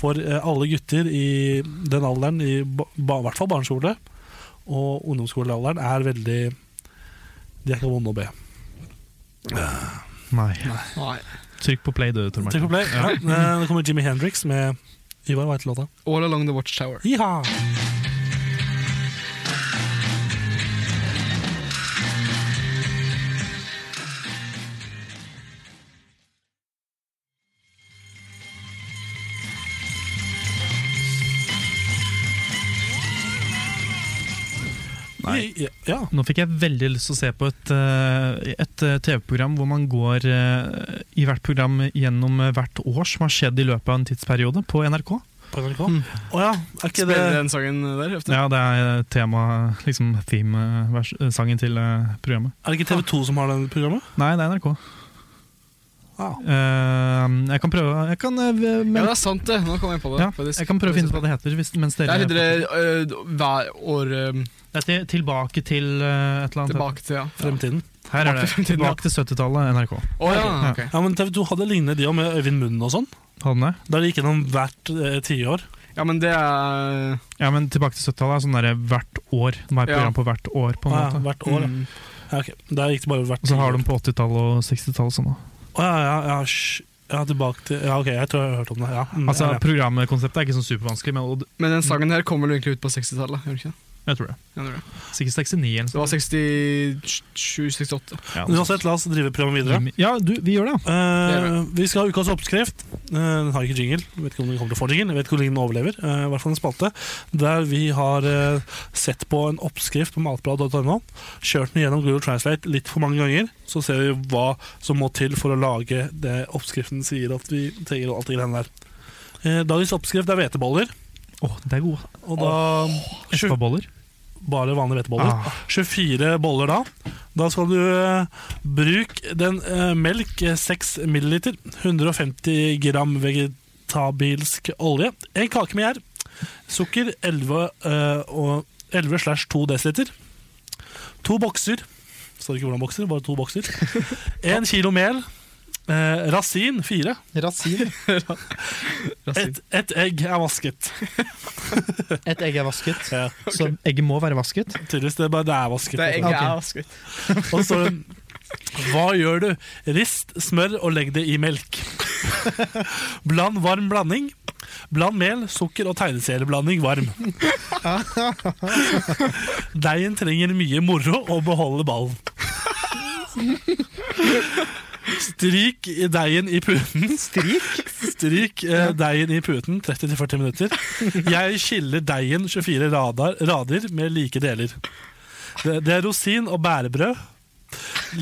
Speaker 3: For uh, alle gutter i den alderen, i ba, ba- i hvert fall barneskole og ungdomsskolealderen, er veldig De er ikke vonde å be.
Speaker 5: Nei.
Speaker 6: Nei.
Speaker 5: Trykk på play, du, Tor
Speaker 3: Trykk
Speaker 5: Martin.
Speaker 3: på play. Ja. eh, Nå kommer Jimmy Hendrix med Ivar White-låta.
Speaker 6: All along the watchtower.
Speaker 3: Iha!
Speaker 5: Nei.
Speaker 3: I- Ja.
Speaker 5: Nå fikk jeg veldig lyst til å se på et, eh, et eh, TV-program hvor man går eh, i hvert program gjennom eh, hvert år som har skjedd i løpet av en tidsperiode på NRK.
Speaker 3: På NRK. Å
Speaker 6: Mm.
Speaker 3: ja, er ikke det
Speaker 6: Spiller den sangen der ofte?
Speaker 5: Ja, Det er eh, tema, liksom theme-sangen til eh, programmet.
Speaker 3: Er det ikke TV 2 som har det programmet?
Speaker 5: Nei, det er NRK.
Speaker 3: Ah.
Speaker 5: Eh, jeg kan prøve Jeg kan, eh, v-
Speaker 6: Ja,
Speaker 5: men,
Speaker 6: det er sant, det. Nå kom jeg på det.
Speaker 5: ja,
Speaker 6: faktisk.
Speaker 5: jeg kan prøve å finne ut hva det heter. Hvis, mens
Speaker 6: Det
Speaker 5: dere,
Speaker 6: er litt uh, hver år eh,
Speaker 5: Det er til- tilbake til eh, et eller annet.
Speaker 6: tilbake til, ja.
Speaker 3: Fremtiden.
Speaker 5: Her er det.
Speaker 6: Tilbake til-
Speaker 5: Tilbake til 70-tallet, NRK.
Speaker 6: Å ja, ok.
Speaker 3: Ja, men TV 2 hadde lignende de òg, med Øyvind Munn og sånn.
Speaker 5: Hadde den det?
Speaker 3: Der de gikk gjennom hvert eh, tiår.
Speaker 6: Ja, men det er
Speaker 5: Ja, men tilbake til 70-tallet er sånn der hvert år. De har et
Speaker 6: Ja.
Speaker 5: program på hvert år, på en
Speaker 3: Ah, Ja,
Speaker 5: måte.
Speaker 3: hvert år, ja.
Speaker 6: mm,
Speaker 3: ja. ok. Der gikk det bare hvert
Speaker 5: Og så har
Speaker 3: tiår.
Speaker 5: de på 80-tallet og 60-tallet sånn. da.
Speaker 3: Å, ja, ja, ja, hysj. ja, tilbake til Ja, ok, jeg tror jeg har hørt om det. Ja. Mm,
Speaker 5: Altså,
Speaker 3: ja, ja.
Speaker 5: Programkonseptet er ikke sånn supervanskelig, men og-
Speaker 6: Men den sangen her kommer vel egentlig ut på 60-tallet? gjør den ikke det?
Speaker 5: jeg tror det.
Speaker 6: Ja, det gjør det.
Speaker 5: Sikkert 69 eller
Speaker 6: Det
Speaker 5: noe
Speaker 6: var 67-68.
Speaker 5: Ja,
Speaker 3: Men Uansett, la oss drive programmet videre.
Speaker 5: sånt. Ja, du, vi gjør det. ja.
Speaker 3: Eh,
Speaker 6: Det
Speaker 3: vi skal ha ukas oppskrift. Eh, den har ikke jingle. Jeg vet ikke om den kommer til å få jingle. Jeg vet ikke om den overlever. Eh, I hvert fall en spalte der vi har eh, sett på en oppskrift på matbladet.no. Kjørt den gjennom Google Translate litt for mange ganger. Så ser vi hva som må til for å lage det oppskriften sier at vi trenger. og alt det greiene der. Eh, dagens oppskrift er hveteboller.
Speaker 5: Å, det er gode.
Speaker 3: Og da Sju-
Speaker 5: Espaboller.
Speaker 3: bare vanlige hveteboller.
Speaker 5: Ah.
Speaker 3: 24 boller da. Da skal du eh, bruke den eh, melk eh, 6 ml, 150 gram vegetabilsk olje, en kake med gjær, sukker 11 eh, og 11 slash 2 dl, to bokser, står ikke hvordan bokser, bare to
Speaker 6: <laughs>
Speaker 3: bokser, en kilo mel, eh, rasin 4,
Speaker 8: Rasin.
Speaker 3: et, et egg er vasket.
Speaker 8: Et egg er vasket.
Speaker 3: Ja,
Speaker 5: Så egget må være vasket.
Speaker 3: tydeligvis, det er bare det er vasket.
Speaker 6: Det er egentlig
Speaker 5: Ok.
Speaker 6: jeg vasket.
Speaker 3: <laughs> Og så står det Hva gjør du? Rist smør og legg det i melk. <laughs> Bland varm blanding. Bland mel, sukker og tegneserieblanding varm. Deigen trenger mye moro og beholde ballen. Stryk i deigen i puten. Stryk? Stryk eh, deigen i puten 30-40 minutter. Jeg skiller deigen 24 radar, rader med like deler. Det, det er rosin og bærebrød.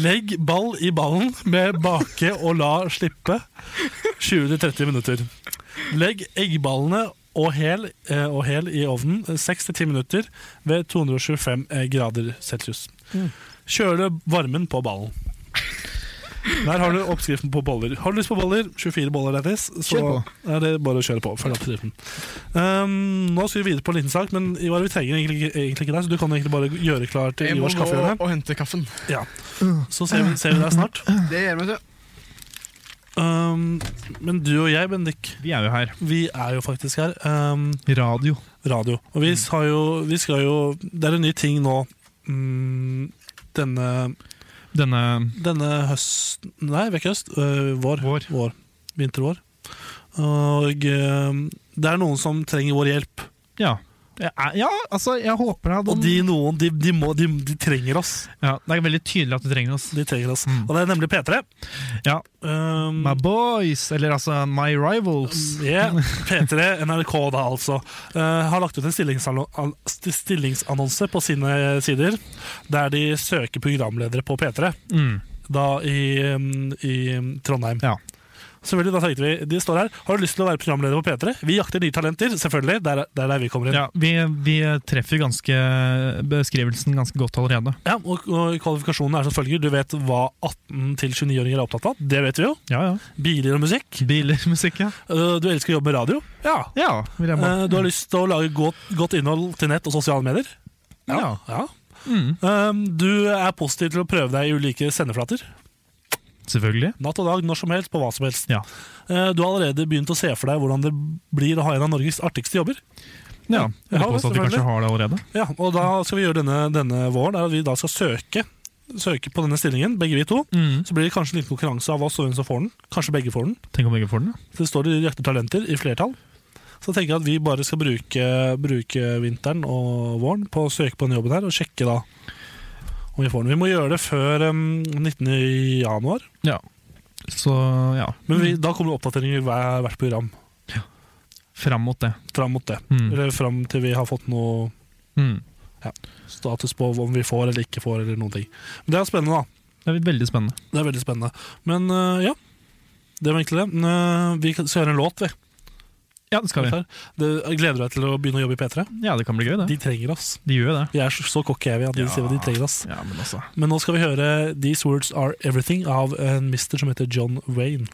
Speaker 3: Legg ball i ballen med bake og la slippe 20-30 minutter. Legg eggballene og hel, eh, og hel i ovnen 6-10 minutter ved 225 eh, grader celsius. Kjøle varmen på ballen. Der har du oppskriften på boller. Har du lyst på boller, 24 boller deres, så
Speaker 8: Kjør
Speaker 3: er det bare å kjøre på. Følg oppskriften. Um, nå skal vi videre på en liten sak, men Ivar, vi trenger egentlig, egentlig ikke deg, så du kan egentlig bare gjøre klar til
Speaker 6: Jeg må
Speaker 3: Ivars
Speaker 6: gå
Speaker 3: kaffehjørne.
Speaker 6: og hente kaffen.
Speaker 3: Ja. Så ser vi, ser vi deg snart.
Speaker 6: Det gjør meg, vet du.
Speaker 3: Um, men du og jeg, Bendik,
Speaker 5: Vi er jo her.
Speaker 3: vi er jo faktisk her. Um,
Speaker 5: Radio.
Speaker 3: radio. Og vi,
Speaker 6: Mm.
Speaker 3: har jo, vi skal jo Det er en ny ting nå. Mm, denne,
Speaker 5: Denne
Speaker 3: denne høsten Nei, vekk høst. øh, vår.
Speaker 5: vår.
Speaker 3: vår. Vintervår. Og øhm, det er noen som trenger vår hjelp.
Speaker 5: Ja. Det er- Ja, altså, jeg håper jeg
Speaker 3: Og
Speaker 6: Mm.
Speaker 3: de noen, de, de, må, de, de trenger oss.
Speaker 5: ja, Det er veldig tydelig at du trenger oss.
Speaker 3: De trenger oss. Og
Speaker 5: Mm.
Speaker 3: det er nemlig P3.
Speaker 5: Ja.
Speaker 3: Um,
Speaker 5: My boys, eller altså My rivals.
Speaker 3: Ja, P3, NRK da altså, eh, har lagt ut en stillingsanno- an- st- stillingsannonse på sine sider, der de søker programledere på P3,
Speaker 5: Mm.
Speaker 3: da i, mm, i Trondheim.
Speaker 5: Ja.
Speaker 3: Selvfølgelig, da tenkte vi, de står her. Har du lyst til å være programleder på P3? Vi jakter nye talenter, selvfølgelig. Der er der, er vi kommer inn.
Speaker 5: Mm. Ja, vi, vi treffer ganske beskrivelsen ganske godt allerede.
Speaker 3: Ja, og, og kvalifikasjonene er som følger. Du vet hva 18-29-åringer er opptatt av. Det vet vi jo.
Speaker 5: Ja, ja.
Speaker 3: Biler og musikk.
Speaker 5: Biler, musikk, ja.
Speaker 3: Eh, Du elsker å jobbe med radio. Ja.
Speaker 5: Ja, vil jeg bare.
Speaker 3: Eh, Du har lyst til å lage godt, godt innhold til nett og sosiale medier.
Speaker 5: Ja.
Speaker 3: ja.
Speaker 5: Mm,
Speaker 3: Um, Du er positiv til å prøve deg i ulike sendeflater.
Speaker 5: selvfølgelig.
Speaker 3: Natt og dag, når som helst, på hva som helst.
Speaker 5: Ja.
Speaker 3: Eh, Du har allerede begynt å se for deg hvordan det blir å ha en av Norges artigste jobber.
Speaker 5: Ja, jeg
Speaker 3: Ja,
Speaker 5: vil påstå at vi
Speaker 3: selvfølgelig.
Speaker 5: kanskje har det allerede.
Speaker 3: Ja, og da skal vi gjøre denne, denne våren, er at vi da skal søke, søke på denne stillingen, begge vi to.
Speaker 5: Mm.
Speaker 3: Så blir det kanskje en liten konkurranse av oss og hvem som får den. Kanskje begge får den.
Speaker 5: Tenk om begge får den, ja.
Speaker 3: Så det står i Jakter talenter i flertall. Så tenker jeg at vi bare skal bruke, bruke vinteren og våren på å søke på den jobben her, og sjekke da om vi får den. Vi må gjøre det før um, 19. januar,
Speaker 5: Så ja,
Speaker 3: men vi, da kommer det oppdateringer i hver- hvert program
Speaker 5: fram mot det.
Speaker 3: fram mot det.
Speaker 5: Mm.
Speaker 3: Eller fram til vi har fått noe
Speaker 5: Mm.
Speaker 3: status på om vi får eller ikke får, eller noen ting. Men det er spennende, da.
Speaker 5: Det er veldig spennende.
Speaker 3: Det er veldig spennende. Men øh, ja, det var egentlig det. Men, øh, vi skal høre en låt, vi.
Speaker 5: Ja, det skal vi.
Speaker 3: Det, gleder du deg til å begynne å jobbe i P3?
Speaker 5: Ja, det kan bli gøy, det.
Speaker 3: De trenger oss.
Speaker 5: De gjør jo det.
Speaker 3: Vi er så, så cocky er vi at de
Speaker 5: Ja.
Speaker 3: sier at de trenger oss.
Speaker 5: Ja, men altså.
Speaker 3: Men nå skal vi høre These Words Are Everything av en mister som heter John Wayne.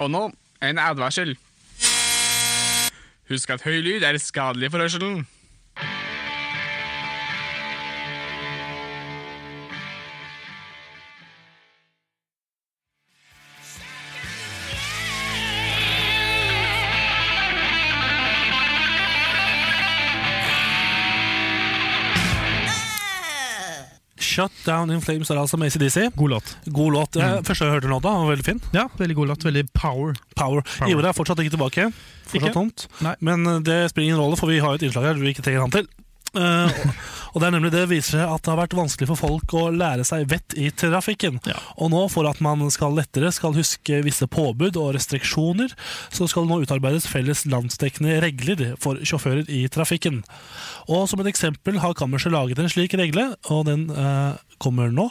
Speaker 6: Og nå en advarsel. Husk at høy lyd er skadelig for hørselen.
Speaker 3: Shut Down In Flames er altså med ACDC.
Speaker 5: God låt.
Speaker 3: God låt. Jeg, Første jeg hørte låta, var veldig fin.
Speaker 5: Ja, veldig god låt. Veldig power.
Speaker 3: Power.
Speaker 5: Power.
Speaker 3: Ivar er fortsatt ikke tilbake. Fortsatt
Speaker 5: Ikke?
Speaker 3: tomt.
Speaker 5: Nei.
Speaker 3: Men eh, det spiller ingen rolle, for vi har jo et innslag her du ikke trenger han til. Eh, og, og det er nemlig det viser seg at det har vært vanskelig for folk å lære seg vett i trafikken.
Speaker 5: Ja.
Speaker 3: Og nå, for at man skal lettere skal huske visse påbud og restriksjoner, så skal det nå utarbeides felles landsdekkende regler for sjåfører i trafikken. Og som et eksempel har kammerset laget en slik regle, og den eh, kommer nå.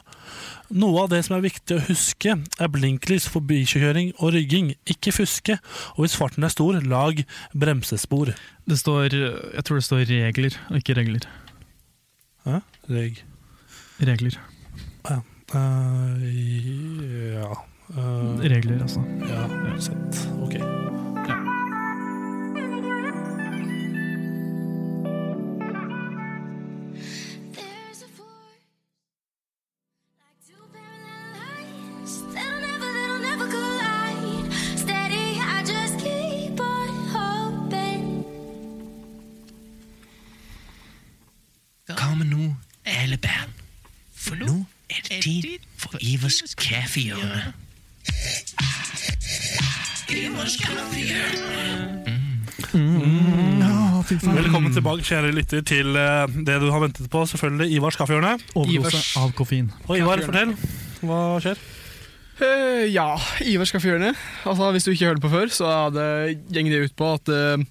Speaker 3: Noe av det som er viktig å huske, er blinklys, forbikjøring og rygging. Ikke fuske, og hvis farten er stor, lag bremsespor.
Speaker 5: Det står Jeg tror det står regler, og ikke regler.
Speaker 3: Hæ? Rygg.
Speaker 5: Regler.
Speaker 3: Eh, ja Eh,
Speaker 5: Regler, altså.
Speaker 3: Ja, sett. Ok.
Speaker 9: Kom nu, alle barn. For nu er det tid for Ivers kaffehjørne.
Speaker 3: Velkommen tilbake, kjære lytter, til eh, det du har ventet på. Selvfølgelig Ivars kaffehjørne.
Speaker 5: Overdose
Speaker 6: Ivers.
Speaker 5: av koffein.
Speaker 3: Og Ivar, fortell. Hva skjer?
Speaker 6: Eh, ja, Ivers kaffehjørne. Altså, hvis du ikke hørte på før, så er det, gjeng det ut på at eh,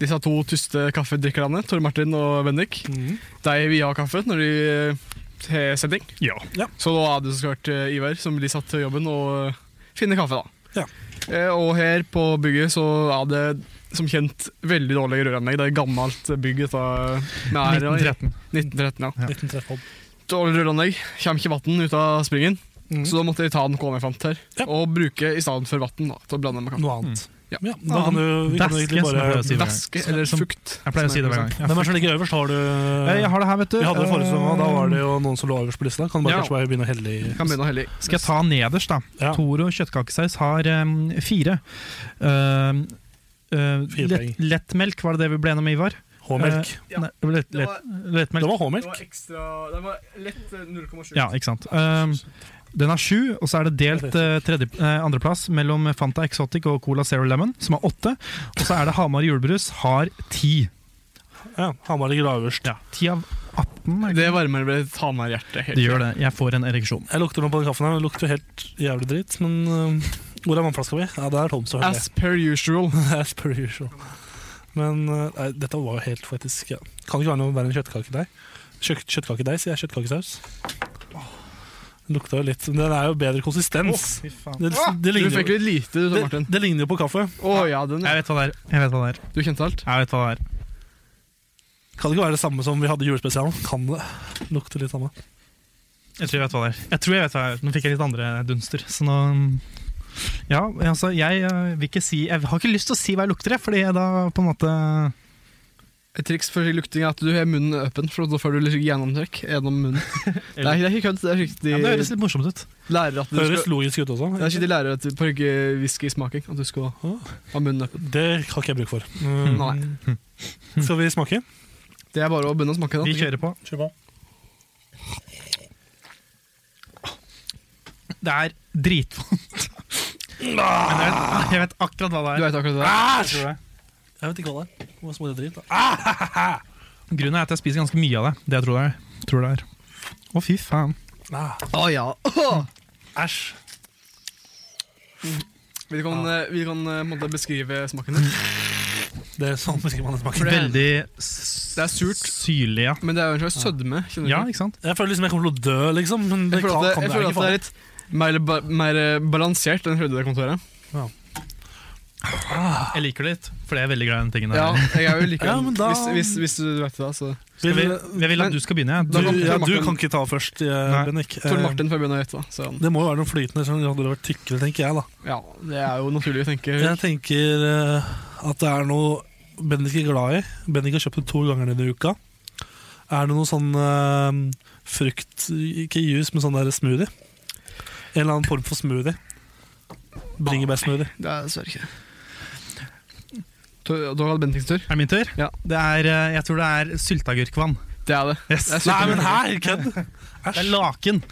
Speaker 6: disse to tyste kaffedrikkerne, Tor Martin og Bendik, de vil ha kaffe når de eh, har sending.
Speaker 5: Ja.
Speaker 3: Ja.
Speaker 6: Så da er det så klart eh, Ivar som blir satt til jobben og eh, finner kaffe, da.
Speaker 3: Ja.
Speaker 6: Eh, og her på bygget så er det som kjent veldig dårlige røranlegg. Det er et gammelt bygg. Dette, med ære-
Speaker 5: 1913.
Speaker 6: 1913 ja.
Speaker 3: 1913.
Speaker 6: Dårlig røranlegg. Kommer ikke vann ut av springen.
Speaker 5: Mm.
Speaker 3: Mhm.
Speaker 6: Så da måtte jeg ta noe jeg fant her,
Speaker 3: Ja.
Speaker 6: og bruke i stedet for vann til å blande med kaffe.
Speaker 3: Noe annet.
Speaker 6: Mm. Ja.
Speaker 3: Ja, da kan du, vi kan jo egentlig bare
Speaker 5: Væske, som jeg pleier å si. hver gang.
Speaker 6: Væske
Speaker 5: Som-
Speaker 6: eller
Speaker 5: som-
Speaker 6: fukt.
Speaker 5: Jeg pleier å
Speaker 6: som
Speaker 5: si det hver
Speaker 6: er
Speaker 5: gang.
Speaker 3: Hvem er det som ligger øverst? Har du
Speaker 5: Eh, Jeg har det her, vet du.
Speaker 3: Vi hadde det forrige sesong, og da var det jo noen som lå øverst på lista. Kan du bare
Speaker 6: Ja.
Speaker 3: kanskje bare begynne å helle i
Speaker 6: Kan begynne å helle i.
Speaker 5: Eh, Skal jeg ta nederst, da?
Speaker 3: Ja.
Speaker 5: Toro kjøttkakesaus har em, fire. Ehm, eh,
Speaker 3: Fire poeng.
Speaker 5: lett, lettmelk, var det det vi ble enige om, Ivar?
Speaker 3: H-melk.
Speaker 6: Ja.
Speaker 5: Nei, lett,
Speaker 6: Det
Speaker 5: lett,
Speaker 6: var,
Speaker 5: lettmelk.
Speaker 3: Det var H-melk.
Speaker 6: ekstra Eh, Det var lett eh, 0,7.
Speaker 5: Ja, ikke sant. Ehm, den har sju, og så er det delt eh, tredje, eh, andreplass mellom Fanta Exotic og Cola Zero Lemon, som har åtte. Og så er det Hamar julebrus, har ti.
Speaker 3: Ja, Hamar ligger da øverst.
Speaker 5: Ja, Ti av 18. er det ikke?
Speaker 6: Det varmer ble ta meg i hjertet.
Speaker 5: Det gjør det. Jeg får en ereksjon.
Speaker 3: Jeg lukter noe på den kaffen her. Det lukter helt jævlig dritt, men øh, Hvor er vannflaska mi? Ja, det er tom, <laughs> selvfølgelig.
Speaker 6: As per usual.
Speaker 3: As per usual. Men eh, nei, dette var jo helt faktisk ja. Kan det ikke være noe verre enn kjøttkakedeig. Kjøtt, kjøttkakedeig, sier jeg. Kjøttkakesaus. Den lukta jo litt Men den er jo bedre konsistens. det, det,
Speaker 6: Du
Speaker 3: ligner
Speaker 6: fikk
Speaker 3: jo,
Speaker 6: litt lite, du,
Speaker 3: det,
Speaker 6: Martin.
Speaker 3: det ligner jo på kaffe.
Speaker 6: Å ja, den
Speaker 5: Jeg vet hva det er. Jeg vet hva det er.
Speaker 6: Du kjente alt?
Speaker 5: Jeg vet hva det er.
Speaker 3: Kan det ikke være det samme som vi hadde i julespesialen? Kan det lukte litt samme?
Speaker 5: Jeg tror jeg vet hva det er. Jeg tror jeg vet hva det er. Nå fikk jeg litt andre dunster. Så nå mm. Ja, altså, jeg eh, vil ikke si Jeg har ikke lyst til å si hva jeg lukter, jeg, fordi jeg da på en måte
Speaker 6: Et triks for lukting er at du har munnen åpen, for da får du litt gjennomtrekk gjennom munnen. det, er, det er ikke kødd. Det er riktig
Speaker 5: ja, men Det høres litt morsomt ut.
Speaker 6: lærer at du
Speaker 3: Høres
Speaker 6: skal
Speaker 3: logisk ut også.
Speaker 6: det er ikke de lærer at du på ikke whiskysmaking at du skal ha munnen åpen.
Speaker 3: Det har ikke jeg bruk for. Mm.
Speaker 6: Nei.
Speaker 3: Skal vi smake?
Speaker 6: Det er bare å begynne å smake.
Speaker 5: Vi
Speaker 6: Da.
Speaker 5: kjører på. Det er dritvondt.
Speaker 6: <laughs>
Speaker 5: Men jeg vet, jeg vet akkurat hva det
Speaker 6: Ah. Du
Speaker 5: er.
Speaker 6: vet akkurat det. der.
Speaker 5: tror jeg.
Speaker 3: Jeg vet ikke hva det er. Hva smaker det dritt? da?
Speaker 5: Grunnen er at jeg spiser ganske mye av det. Det jeg tror det er. Tror det er. Å, fy faen.
Speaker 6: Å ja.
Speaker 3: Ah, Æsj.
Speaker 6: Vi kan, eh, vi kan eh, på en måte beskrive smaken. din.
Speaker 3: Det er sånn beskriver man den smaken.
Speaker 5: Veldig Det
Speaker 6: er surt.
Speaker 5: Syrlig, ja.
Speaker 6: Men det er jo en slags sødme. kjenner du
Speaker 5: Ja,
Speaker 6: ikke?
Speaker 5: ikke sant?
Speaker 3: Jeg føler liksom jeg kommer til å dø, liksom. Men det
Speaker 6: Jeg føler
Speaker 3: kan,
Speaker 6: at det,
Speaker 3: kan
Speaker 6: jeg
Speaker 3: det,
Speaker 6: føler
Speaker 3: ikke
Speaker 6: at det er
Speaker 3: faen.
Speaker 6: litt mer, ba, mer eh, balansert enn tredje kontoret.
Speaker 5: Jeg liker det litt, for jeg er veldig glad i den tingen
Speaker 6: Ah. <laughs> Ja,
Speaker 5: der.
Speaker 6: jeg er jo like
Speaker 3: Ja, men da-
Speaker 6: hvis, hvis, hvis du vet det, da, så
Speaker 5: Jeg vil, jeg vil
Speaker 6: Men-
Speaker 5: at du skal begynne.
Speaker 3: Du,
Speaker 5: jeg.
Speaker 6: Da kan-
Speaker 3: ja,
Speaker 6: Tor
Speaker 3: du
Speaker 6: Martin-
Speaker 3: kan ikke ta først, eh,
Speaker 5: Nei.
Speaker 3: Bennik. Eh,
Speaker 6: Tor Martin får begynne å gjette. da, Så,
Speaker 3: Det må jo være noe flytende, sånn at det hadde vært tykkere, tenker jeg. da
Speaker 6: ja, det er jo naturlig å tenke.
Speaker 3: Jeg tenker eh, at det er noe Bendik er glad i. Bendik har kjøpt det to ganger denne uka. Er det noe sånn eh, frukt Ikke juice, men sånn der smoothie? En eller annen form for smoothie. Bringebærsmoothie.
Speaker 6: Det er dessverre ikke Da var det Bentings tur.
Speaker 5: Er det min tur?
Speaker 6: Ja.
Speaker 5: Det er, eh, jeg tror det er sylteagurkvann.
Speaker 6: Det er det.
Speaker 5: Yes.
Speaker 6: Det er
Speaker 3: Nei,
Speaker 6: super-
Speaker 3: men her! Kødd!
Speaker 5: Det er laken.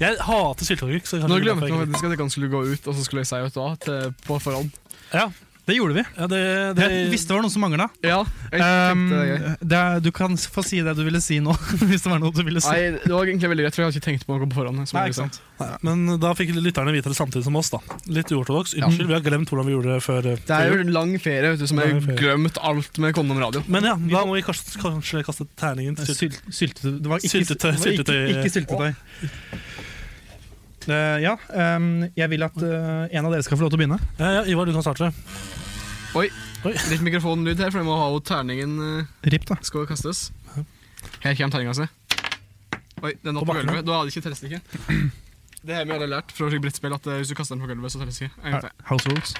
Speaker 3: Jeg hater sylteagurk. så kanskje
Speaker 6: Nå
Speaker 3: det er
Speaker 6: glemte
Speaker 3: derfor
Speaker 6: jeg
Speaker 3: jeg
Speaker 6: faktisk at jeg kan skulle gå ut, og så skulle jeg si vet du hva, til, på forhånd.
Speaker 3: ikke- Ja,
Speaker 5: Det gjorde vi.
Speaker 3: ja, det, det,
Speaker 5: Jeg visste det var noe som mangla.
Speaker 6: Ja, ehm, jeg
Speaker 5: Um,
Speaker 6: tenkte det er gøy.
Speaker 5: det er- du kan få si det du ville si nå, <laughs> hvis det var noe du ville si.
Speaker 6: Nei, det var egentlig veldig greit, for jeg hadde ikke tenkt på noe på forhånd. som jeg
Speaker 5: Nei, ikke
Speaker 6: ville si.
Speaker 5: sant?
Speaker 3: Nei, men eh, da fikk lytterne vite det samtidig som oss. da Litt uortodoks. Unnskyld, vi har glemt hvordan vi gjorde det før.
Speaker 6: Det er jo en lang ferie, vet du, som jeg
Speaker 3: Lang
Speaker 6: har
Speaker 3: ferie.
Speaker 6: glemt alt med Kondom Radio.
Speaker 3: Men ja, da må vi kanskje, kanskje kaste terningen til sylt.
Speaker 5: Sylt, syltetøy. Det var ikke
Speaker 3: Syltetøy,
Speaker 5: det var ikke-
Speaker 3: syltetøy.
Speaker 5: Ikke, syltetøy. Eh, ja, ehm, jeg vil at eh, en av dere skal få lov til å begynne.
Speaker 3: Ja, ja, Ivar, du kan starte.
Speaker 6: Litt mikrofonlyd her, for jeg må ha jo terningen eh,
Speaker 5: Ripp, da.
Speaker 6: skal kastes. Her kommer terninga si. Oi, den er opp på
Speaker 3: bakken.
Speaker 6: gulvet. Da hadde ikke telles det ikke. <clears throat> Det har vi alle lært fra brettspill, at eh, hvis du kaster den på gulvet, så telles det ikke. En,
Speaker 5: House rules.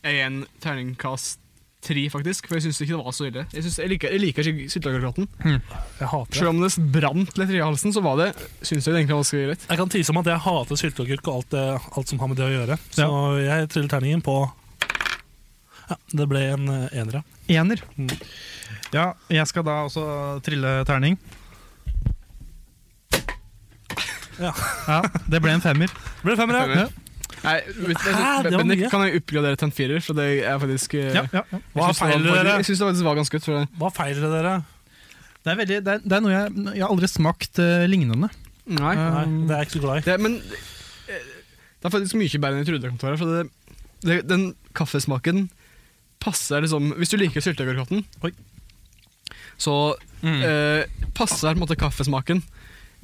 Speaker 6: Jeg er en terningkast tre, faktisk. For jeg syns ikke det var så ille. Jeg, synes, jeg liker, jeg liker ikke sylteagurkrotten.
Speaker 3: Jeg hater det.
Speaker 6: Selv om det brant litt i halsen, så var det, synes jeg det egentlig var ganske greit.
Speaker 3: Jeg kan tise om at jeg hater sylteagurk og alt, det- alt som har med det å gjøre. Så jeg triller terningen på Ja, det ble en eh, ener, ja.
Speaker 5: Ener. Mm. Ja, jeg skal da også trille terning.
Speaker 3: Ja.
Speaker 5: Ja, det ble en femmer.
Speaker 3: Det ble femmer, ja.
Speaker 6: Femmer. Nei, vet, vet,
Speaker 3: Hæ? Det var
Speaker 6: Bendik,
Speaker 3: mye.
Speaker 6: kan jeg oppgradere til en firer, for det er faktisk eh,
Speaker 5: Ja, ja, ja.
Speaker 3: Hva
Speaker 6: jeg synes det var
Speaker 3: feiler
Speaker 6: faktisk-
Speaker 3: dere?
Speaker 6: Jeg syns det faktisk var ganske godt. For det.
Speaker 3: Hva feiler det dere?
Speaker 5: Det er, veldig, det er, det er noe jeg, jeg har aldri smakt eh, lignende.
Speaker 6: Nei.
Speaker 5: Eh,
Speaker 3: Nei, det er jeg ikke så glad i.
Speaker 6: Det, men eh, det er faktisk mye bedre enn jeg trodde. Kontoret, for det, det, den kaffesmaken passer liksom Hvis du liker sylteagurkrotten,
Speaker 5: Oi.
Speaker 6: så eh, passer på en måte kaffesmaken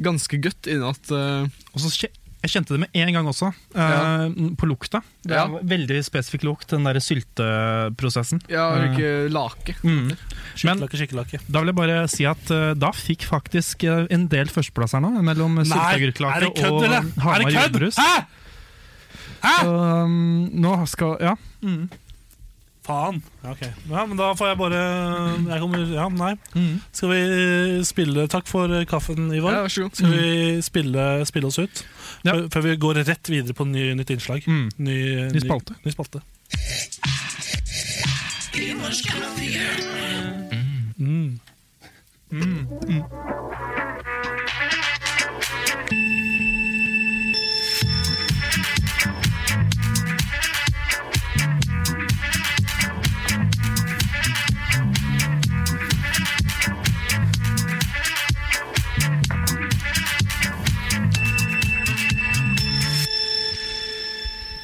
Speaker 6: ganske godt innat eh,
Speaker 5: Og så kje- jeg kjente det med en gang også, eh,
Speaker 6: Ja.
Speaker 5: på lukta. Det
Speaker 6: Ja.
Speaker 5: er Veldig spesifikk lukt, den der sylteprosessen.
Speaker 6: Ja, ikke lake.
Speaker 5: Mm. Men
Speaker 3: Skikkelake, skikkelake.
Speaker 5: da vil jeg bare si at eh, da fikk faktisk eh, en del førsteplass her nå, mellom
Speaker 3: er
Speaker 5: sylteagurklake
Speaker 3: det kødd,
Speaker 5: og
Speaker 3: eller? Er
Speaker 5: Hamar
Speaker 3: det kødd?
Speaker 5: julebrus.
Speaker 3: Hæ?
Speaker 5: Så, um, nå skal Ja.
Speaker 3: Faen. Ja, ok. ja, men da får jeg bare jeg kommer, Ja, nei. Skal vi spille Takk for eh, kaffen, Ivar.
Speaker 6: Ja, vær så god.
Speaker 3: Skal vi spille, spille oss ut?
Speaker 5: Ja.
Speaker 3: Før, før vi går rett videre på ny, nytt innslag.
Speaker 5: Mm.
Speaker 3: Ny,
Speaker 5: Ny spalte.
Speaker 3: Ny, spalte. Mm.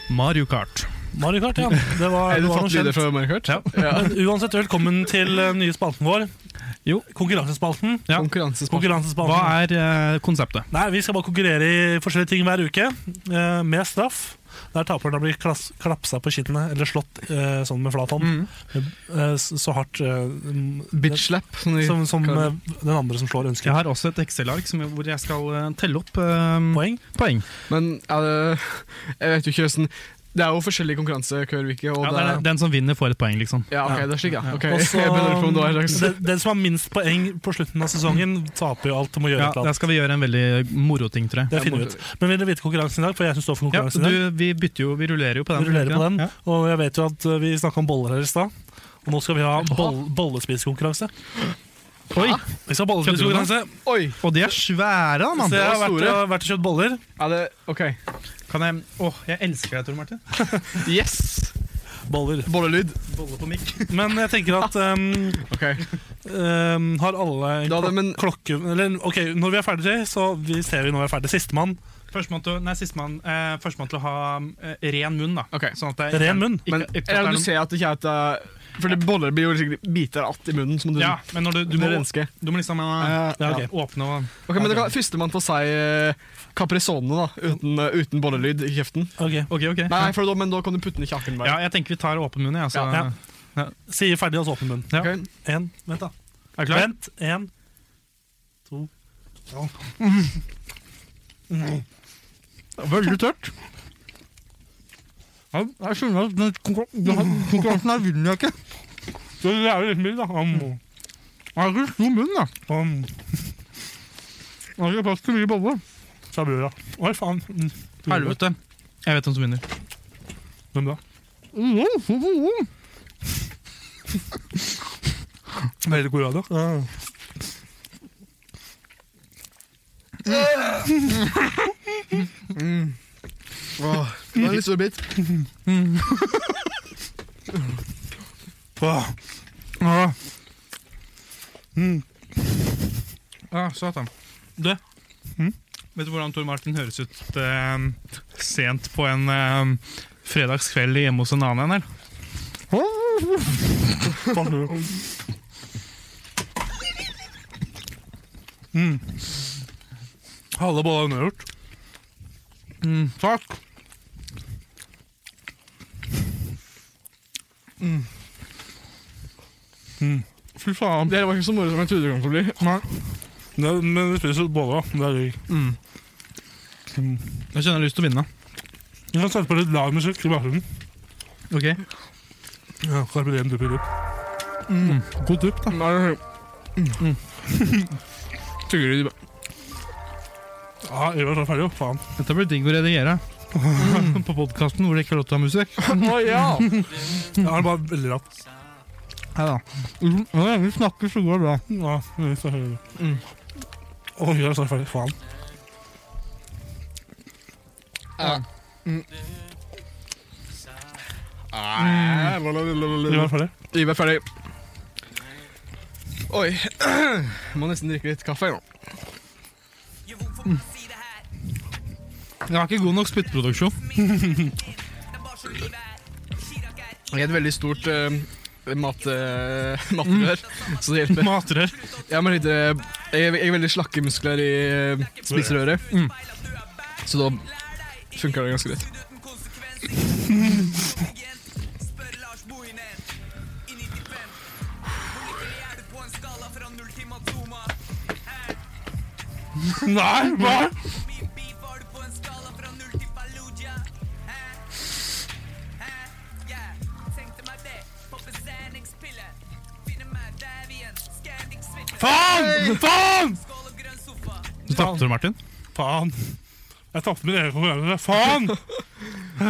Speaker 5: Mario Kart.
Speaker 3: Mario Kart, ja. Det var,
Speaker 6: Er
Speaker 3: det var
Speaker 6: det
Speaker 3: noe
Speaker 6: fått lyder
Speaker 3: kjent.
Speaker 6: fra Mario Kart?
Speaker 5: Ja.
Speaker 3: Men uansett, velkommen til eh, nye spalten vår.
Speaker 5: Jo.
Speaker 3: Konkurransespalten.
Speaker 5: Ja.
Speaker 6: Konkurransesport.
Speaker 3: Konkurransespalten.
Speaker 5: Hva er eh, konseptet?
Speaker 3: Nei, Vi skal bare konkurrere i forskjellige ting hver uke, eh, med straff. Der taperne blir klass, klapsa på kinnet, eller slått eh, sånn med flat
Speaker 5: Mm.
Speaker 3: hånd. Eh, s- så hardt eh,
Speaker 6: Bitchlap. Sånn
Speaker 3: som, som
Speaker 6: Kaller
Speaker 3: eh, den andre som slår, ønsker.
Speaker 5: Jeg har også et Excel-ark som- hvor jeg skal eh, telle opp eh,
Speaker 3: Poeng.
Speaker 5: poeng.
Speaker 6: Men er det, jeg vet jo ikke hvordan Det er jo forskjellig konkurranse, Kørvike. Og
Speaker 5: Ja,
Speaker 6: det
Speaker 5: det er
Speaker 6: er,
Speaker 5: den- den som vinner, får et poeng, liksom.
Speaker 6: ja, ok, det er slik, ja. Ok,
Speaker 3: Og
Speaker 5: <laughs>
Speaker 3: så-
Speaker 6: <laughs> jeg begynner på om det var en slags
Speaker 3: den, den som har minst poeng på slutten av sesongen, taper jo alt og må gjøre
Speaker 5: Ja,
Speaker 3: et eller
Speaker 5: Der
Speaker 3: annet.
Speaker 5: skal vi gjøre en veldig moro ting, tror jeg.
Speaker 3: Det finner vi ut. Men vil dere vite konkurransen i dag? For jeg som står for
Speaker 5: Ja,
Speaker 3: konkurransen i dag.
Speaker 5: du, vi bytter jo, vi rullerer jo på den.
Speaker 3: Vi rullerer på den.
Speaker 5: Ja.
Speaker 3: Og jeg vet jo at eh, vi snakka om boller her i stad. Og nå skal vi ha boll bollespisekonkurranse.
Speaker 5: Oi,
Speaker 3: Vi skal ha bollespisekonkurranse.
Speaker 6: Oi!
Speaker 5: Og de er svære, da, mann!
Speaker 3: Så jeg har
Speaker 6: var
Speaker 3: vært,
Speaker 6: store.
Speaker 3: jeg har vært og kjøpt boller.
Speaker 6: Er det OK.
Speaker 5: Kan jeg Åh, jeg elsker deg, Tor Martin.
Speaker 6: Yes!
Speaker 3: Boller.
Speaker 6: Bollelyd.
Speaker 5: Bolle på mikk.
Speaker 3: Men jeg tenker at ehm,
Speaker 6: Ok,
Speaker 3: ehm, har alle en
Speaker 6: Da
Speaker 3: klok
Speaker 6: hadde- men-
Speaker 3: klokke Eller ok, når vi er ferdige, så vi ser vi når vi er ferdige. Sistemann.
Speaker 5: Førstemann til, å- nei, sistemann, eh, førstemann til å ha eh, ren munn, da.
Speaker 6: Ok.
Speaker 5: Sånn at det er-
Speaker 3: Ren munn.
Speaker 6: Men
Speaker 5: Ikke- ikke at det er
Speaker 6: eller, du
Speaker 5: noen-
Speaker 6: ser at det ikke er et eh, For det boller blir jo sikkert biter att i munnen. Som du,
Speaker 5: Ja, men når du, du,
Speaker 6: du
Speaker 5: må,
Speaker 6: må renske.
Speaker 5: du må liksom eh,
Speaker 6: Eh,
Speaker 3: Ja, ok.
Speaker 5: åpne og
Speaker 6: ok, men okay. Førstemann til å si uh, Caprisone, da. Uten, eh, uten bollelyd i kjeften.
Speaker 3: Ok.
Speaker 5: Ok, ok.
Speaker 6: Nei, for da, men da kan du putte den i kjaken.
Speaker 5: Ja,
Speaker 6: bare.
Speaker 5: jeg tenker vi tar åpen munn, jeg. Altså.
Speaker 3: Ja. Sier ferdig, altså åpen munn.
Speaker 5: Ja.
Speaker 6: Ok.
Speaker 3: En, vent, da.
Speaker 5: Er du klar?
Speaker 3: Vent. En, to
Speaker 5: Veldig tørt. Ja, Jeg skjønner at den konkurran- den her- konkurransen her vinner jeg ikke.
Speaker 3: Så det er jo litt mye, da.
Speaker 5: Jeg har ikke stor munn, da. Jeg har ikke plass til mye bolle.
Speaker 3: Sa brura. Oi, faen. Mm.
Speaker 5: Helvete. Jeg vet hvem som vinner.
Speaker 3: Hvem da? Veldig god radio.
Speaker 6: Åh, det var en litt stor bit.
Speaker 5: Åh. Åh. Mm. Ah, satan. Du,
Speaker 3: Mm?
Speaker 5: vet du hvordan Tor Martin høres ut eh, sent på en eh, fredagskveld hjemme hos en annen? Eller?
Speaker 3: Halve bolla unnagjort.
Speaker 5: Mm, takk.
Speaker 3: Fy faen.
Speaker 6: Det her var ikke så moro som jeg trodde det kom til å bli.
Speaker 3: Det, men vi spiser boller, da. Det er digg.
Speaker 5: Jeg kjenner jeg har lyst til å vinne.
Speaker 3: Vi kan sette på litt lav musikk i bakgrunnen.
Speaker 5: Ok.
Speaker 3: Ja, Carpe Diem, dupp i dupp.
Speaker 5: God dupp, da.
Speaker 6: Mm. <laughs> Tygger du det bare?
Speaker 3: Ja, Eva er snart ferdig, jo. Faen.
Speaker 5: Dette blir digg å redigere.
Speaker 3: <laughs>
Speaker 5: På podkasten hvor det ikke er lov til å ha musikk.
Speaker 6: Å, <laughs> ja.
Speaker 3: Jeg har bare veldig rart.
Speaker 5: Mm. Ja, vi snakker, så går det bra. Mm.
Speaker 3: Ja, vi skal høre det. Oi, jeg er snart ferdig. Faen. Eva er ferdig.
Speaker 6: Livet er ferdig. Oi. <clears throat> Må nesten drikke litt kaffe nå.
Speaker 5: Jeg har ikke god nok spyttproduksjon.
Speaker 6: Jeg er et veldig stort uh, mat, eh, <laughs> matrør, så det hjelper.
Speaker 5: Matrør.
Speaker 6: Jeg, må lite, jeg, jeg er veldig slakke muskler i eh, spiserøret, Mm. så da funker det ganske greit.
Speaker 3: Nei, hva? Faen! Faen!
Speaker 5: Du tapte, Tor Martin.
Speaker 3: Faen. Jeg tapte min egen konkurranse. Faen!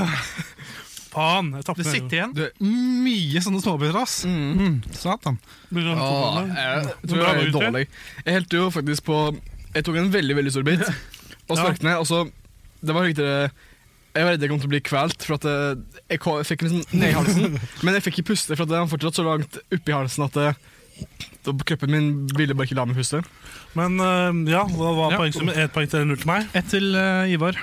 Speaker 5: <laughs>
Speaker 3: Faen. Jeg tapte
Speaker 5: Det
Speaker 3: min egen.
Speaker 5: sitter igjen mye sånne småbiter, ass. Mm, Satan.
Speaker 3: Blir det en
Speaker 6: Åh,
Speaker 3: konkurranse?
Speaker 6: jeg
Speaker 3: Ah, Bra
Speaker 6: tror jeg er
Speaker 3: uttrykk.
Speaker 6: dårlig. Jeg helte jo faktisk på Jeg tok en veldig, veldig stor bit og sparket ned, og så Det var riktig Jeg var redd jeg kom til å bli kvalt, for at eh, jeg, ko- jeg fikk liksom ned i
Speaker 3: <laughs>
Speaker 6: halsen. Men jeg fikk ikke puste, for at det var fortsatt så langt oppi halsen at eh, da kroppen min ville bare ikke la meg puste.
Speaker 3: Men eh, ja, hva var
Speaker 5: Ja.
Speaker 3: poengsummen? Ett poeng til null til meg.
Speaker 5: Ett til eh, Ivar.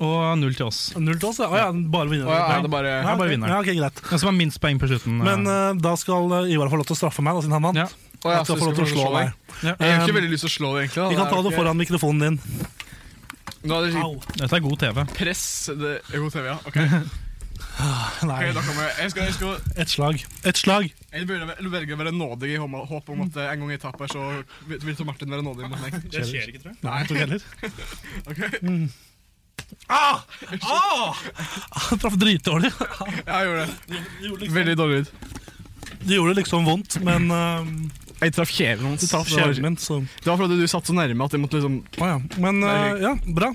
Speaker 5: og null til oss.
Speaker 3: Null til oss, ja. Å ja. Bare vinneren.
Speaker 6: Å ja, er det bare
Speaker 5: er bare
Speaker 3: ok.
Speaker 5: vinneren.
Speaker 3: Ja, ok, greit.
Speaker 5: Den som har minst poeng på slutten. eh.
Speaker 3: Men eh, da skal eh, Ivar få lov til å straffe meg, da, siden han vant.
Speaker 5: Ja.
Speaker 6: Å ja,
Speaker 3: At jeg får
Speaker 6: så du skal
Speaker 3: lov til å slå
Speaker 6: meg.
Speaker 3: meg.
Speaker 6: Jeg har ikke veldig lyst til å slå deg, egentlig. da.
Speaker 3: Vi kan ta
Speaker 6: er
Speaker 3: det
Speaker 6: ikke-
Speaker 3: foran mikrofonen din.
Speaker 6: Nå er det sikkert
Speaker 3: Au.
Speaker 5: Dette er god TV.
Speaker 6: press det er god TV, ja. Ok, Ok,
Speaker 3: Nei,
Speaker 6: da kommer jeg. Jeg skal, jeg skal
Speaker 3: ett slag. Ett slag!
Speaker 6: jeg begynner- jeg velger å være nådig i håp- håp om at eh, en gang jeg taper, så vil vil Tor Martin være nådig mot meg.
Speaker 5: Det skjer ikke, tror jeg.
Speaker 3: Nei, tok heller.
Speaker 6: Ok?
Speaker 3: Ah! Ah! Han traff dritdårlig.
Speaker 6: Ja, <laughs> jeg gjorde det. Veldig dårlig lyd.
Speaker 3: Det gjorde liksom vondt, men eh,
Speaker 6: Jeg traff kjeven hans.
Speaker 3: du traff kjeven min, så
Speaker 6: Det var fordi du satt så nærme at jeg måtte liksom
Speaker 3: Å ja. Men eh, ja, bra.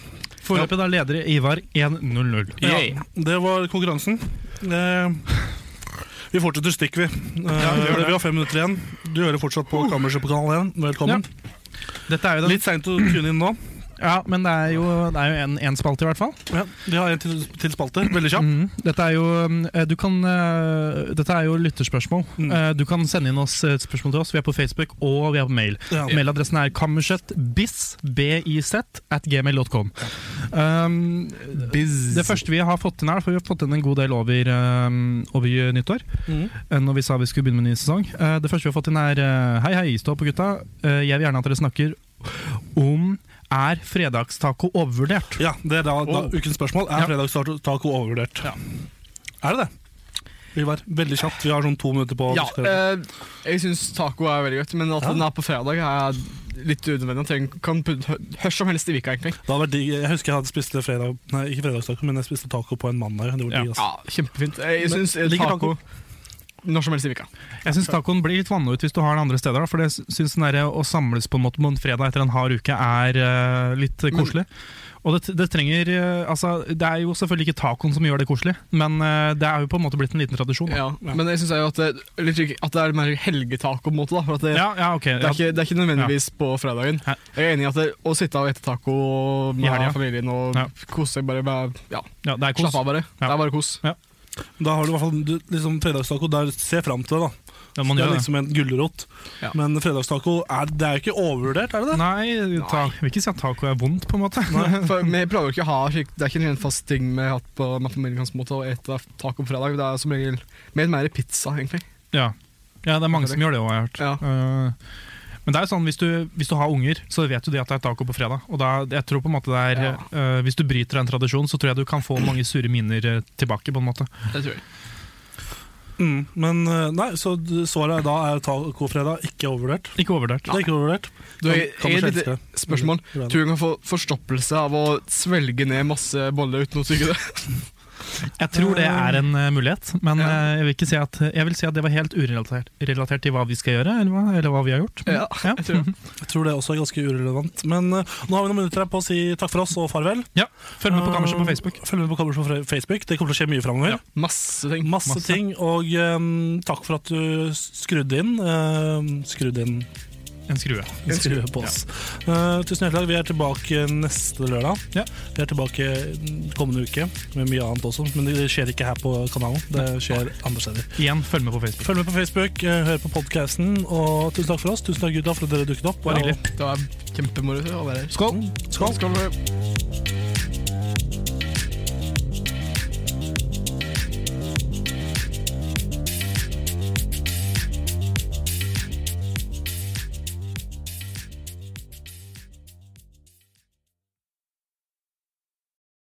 Speaker 5: Foreløpig da leder Ivar 1-0-0.
Speaker 3: Ja, det var konkurransen. Eh, vi fortsetter stykk, vi. Eh,
Speaker 5: vi gjør
Speaker 3: vi
Speaker 5: det.
Speaker 3: har fem minutter igjen. Du hører fortsatt på Kammerset på kanal 1. Velkommen.
Speaker 5: Dette er jo den,
Speaker 3: Litt seint å tune inn nå.
Speaker 5: ja, men det er jo, det er jo en, en spalte, i hvert fall.
Speaker 3: Ja, vi har en til, til spalte. Veldig kjapp.
Speaker 5: Mhm. Dette er jo mm, eh, Du kan eh, Dette er jo lytterspørsmål.
Speaker 3: Mm.
Speaker 5: Eh, Du kan sende inn oss eh, spørsmål til oss. Vi er på Facebook og vi er på mail.
Speaker 3: Ja.
Speaker 5: Mailadressen er kammersetbiz B-I-Z, at gmail.com. Um, det første vi har fått inn her, for vi har fått inn en god del over, um, over nyttår.
Speaker 3: Mhm.
Speaker 5: eh, Når vi sa vi skulle begynne med en ny sesong. Eh, Det første vi har fått inn, er eh, Hei, hei, stå på gutta. Eh, Jeg vil gjerne at dere snakker om er fredagstaco overvurdert?
Speaker 3: Ja, det er da, da
Speaker 5: Oh.
Speaker 3: ukens spørsmål. Er
Speaker 5: Ja.
Speaker 3: fredagstaco overvurdert? Er det det? Ivar, veldig kjapt. Vi har sånn to minutter på å
Speaker 6: Ja,
Speaker 3: diskutere.
Speaker 6: eh, jeg syns taco er veldig godt, men at
Speaker 3: Ja.
Speaker 6: den er på fredag er litt unødvendig. Jeg kan putte hø- hør som helst i vika, egentlig.
Speaker 3: Det hadde vært digg. Jeg husker jeg hadde spiste fredag, nei, ikke fredagstaco, men jeg spiste taco på en mandag. Det var
Speaker 5: Ja.
Speaker 3: digg, ass.
Speaker 6: Ja, Kjempefint. Eh, Jeg
Speaker 3: Men
Speaker 6: syns
Speaker 3: ligger
Speaker 6: taco når som helst i vika.
Speaker 5: Jeg syns tacoen blir litt vanna ut hvis du har den andre steder. da, For jeg syns den der å samles på en måte på en fredag etter en hard uke er eh, litt koselig. Og det, det trenger eh, Altså, det er jo selvfølgelig ikke tacoen som gjør det koselig, men eh, det er jo på en måte blitt en liten tradisjon. da.
Speaker 6: Ja. Men jeg syns jo at det, litt, slik- at det er mer helgetaco, på en måte. da For at det,
Speaker 5: Ja, ja, ok.
Speaker 6: det, er
Speaker 5: ja.
Speaker 6: ikke, det er ikke nødvendigvis på fredagen.
Speaker 5: Ja.
Speaker 6: Jeg er enig i at det, å sitte og ete taco med
Speaker 5: I helga.
Speaker 6: familien og
Speaker 5: Ja.
Speaker 6: kose seg bare med, ja,
Speaker 5: Ja, det er kos.
Speaker 6: Slappe av, bare.
Speaker 5: Ja.
Speaker 6: Det er bare kos.
Speaker 3: Da har du i hvert fall du- liksom, fredagstaco. Der ser jeg fram til det, da.
Speaker 5: Ja, man
Speaker 3: det
Speaker 5: gjør
Speaker 3: er
Speaker 5: det.
Speaker 3: liksom en gulrot.
Speaker 6: Ja.
Speaker 3: Men fredagstaco er, det er jo ikke overvurdert, er det det?
Speaker 5: Nei, ta, jeg vil ikke si at taco er vondt, på en måte.
Speaker 6: For vi prøver jo ikke å ha slik, Det er ikke en ren fast ting vi har hatt på med familien hans måte å ete taco på fredag. Det er som regel mer, mer pizza, egentlig.
Speaker 5: <laughs> Ja. ja, det er mange som gjør det òg, har jeg hørt.
Speaker 6: Ja.
Speaker 5: Eh, men det er jo sånn, hvis du, hvis du har unger, så vet du det at det er taco på fredag. Og da, jeg tror på en måte det er, eh, Hvis du bryter en tradisjon, så tror jeg du kan få mange sure miner eh, tilbake. på en måte.
Speaker 6: Det tror jeg.
Speaker 3: Mm. Men eh, nei, så d- svaret da er tacofredag ikke overvurdert.
Speaker 5: Ikke overvurdert.
Speaker 3: Det er ikke overvurdert.
Speaker 6: Du, jeg,
Speaker 3: Kan- kan
Speaker 6: jeg,
Speaker 3: du
Speaker 6: jeg,
Speaker 3: elske det?
Speaker 6: spørsmål.
Speaker 3: Bra.
Speaker 6: Tror du hun kan få forstoppelse av å svelge ned masse boller uten å tygge det?
Speaker 5: Jeg tror det er en eh, mulighet, men
Speaker 6: Ja.
Speaker 5: eh, jeg, vil ikke si at, jeg vil si at det var helt urelatert relatert til hva vi skal gjøre, eller hva, eller hva vi har gjort.
Speaker 6: Ja,
Speaker 5: Ja.
Speaker 6: jeg tror det.
Speaker 3: Jeg tror det også er ganske urelevant. Men eh, nå har vi noen minutter her på å si takk for oss og farvel.
Speaker 5: Følg med på kammerset på Facebook.
Speaker 3: Følg med på Kammerset på Fre- Facebook. Det kommer til å skje mye framover.
Speaker 5: Ja.
Speaker 6: Masse ting.
Speaker 3: Masse,
Speaker 5: Masse.
Speaker 3: ting. Og eh, takk for at du skrudde inn. eh, skrudde inn
Speaker 5: En skrue.
Speaker 3: Skrue på oss. Eh, tusen hjertelig takk. Vi er tilbake neste lørdag.
Speaker 5: Ja.
Speaker 3: Vi er tilbake kommende uke med mye annet også. Men det skjer ikke her på kanalen. Det skjer andre steder.
Speaker 5: Igjen, følg med på Facebook.
Speaker 3: Følg med på Facebook, eh, hør på podkasten, og tusen takk for oss. Tusen takk, gutta, for at dere dukket opp.
Speaker 5: Bare hyggelig.
Speaker 6: Det var kjempemoro å være her.
Speaker 5: Skål!
Speaker 3: Skål.
Speaker 6: Skål.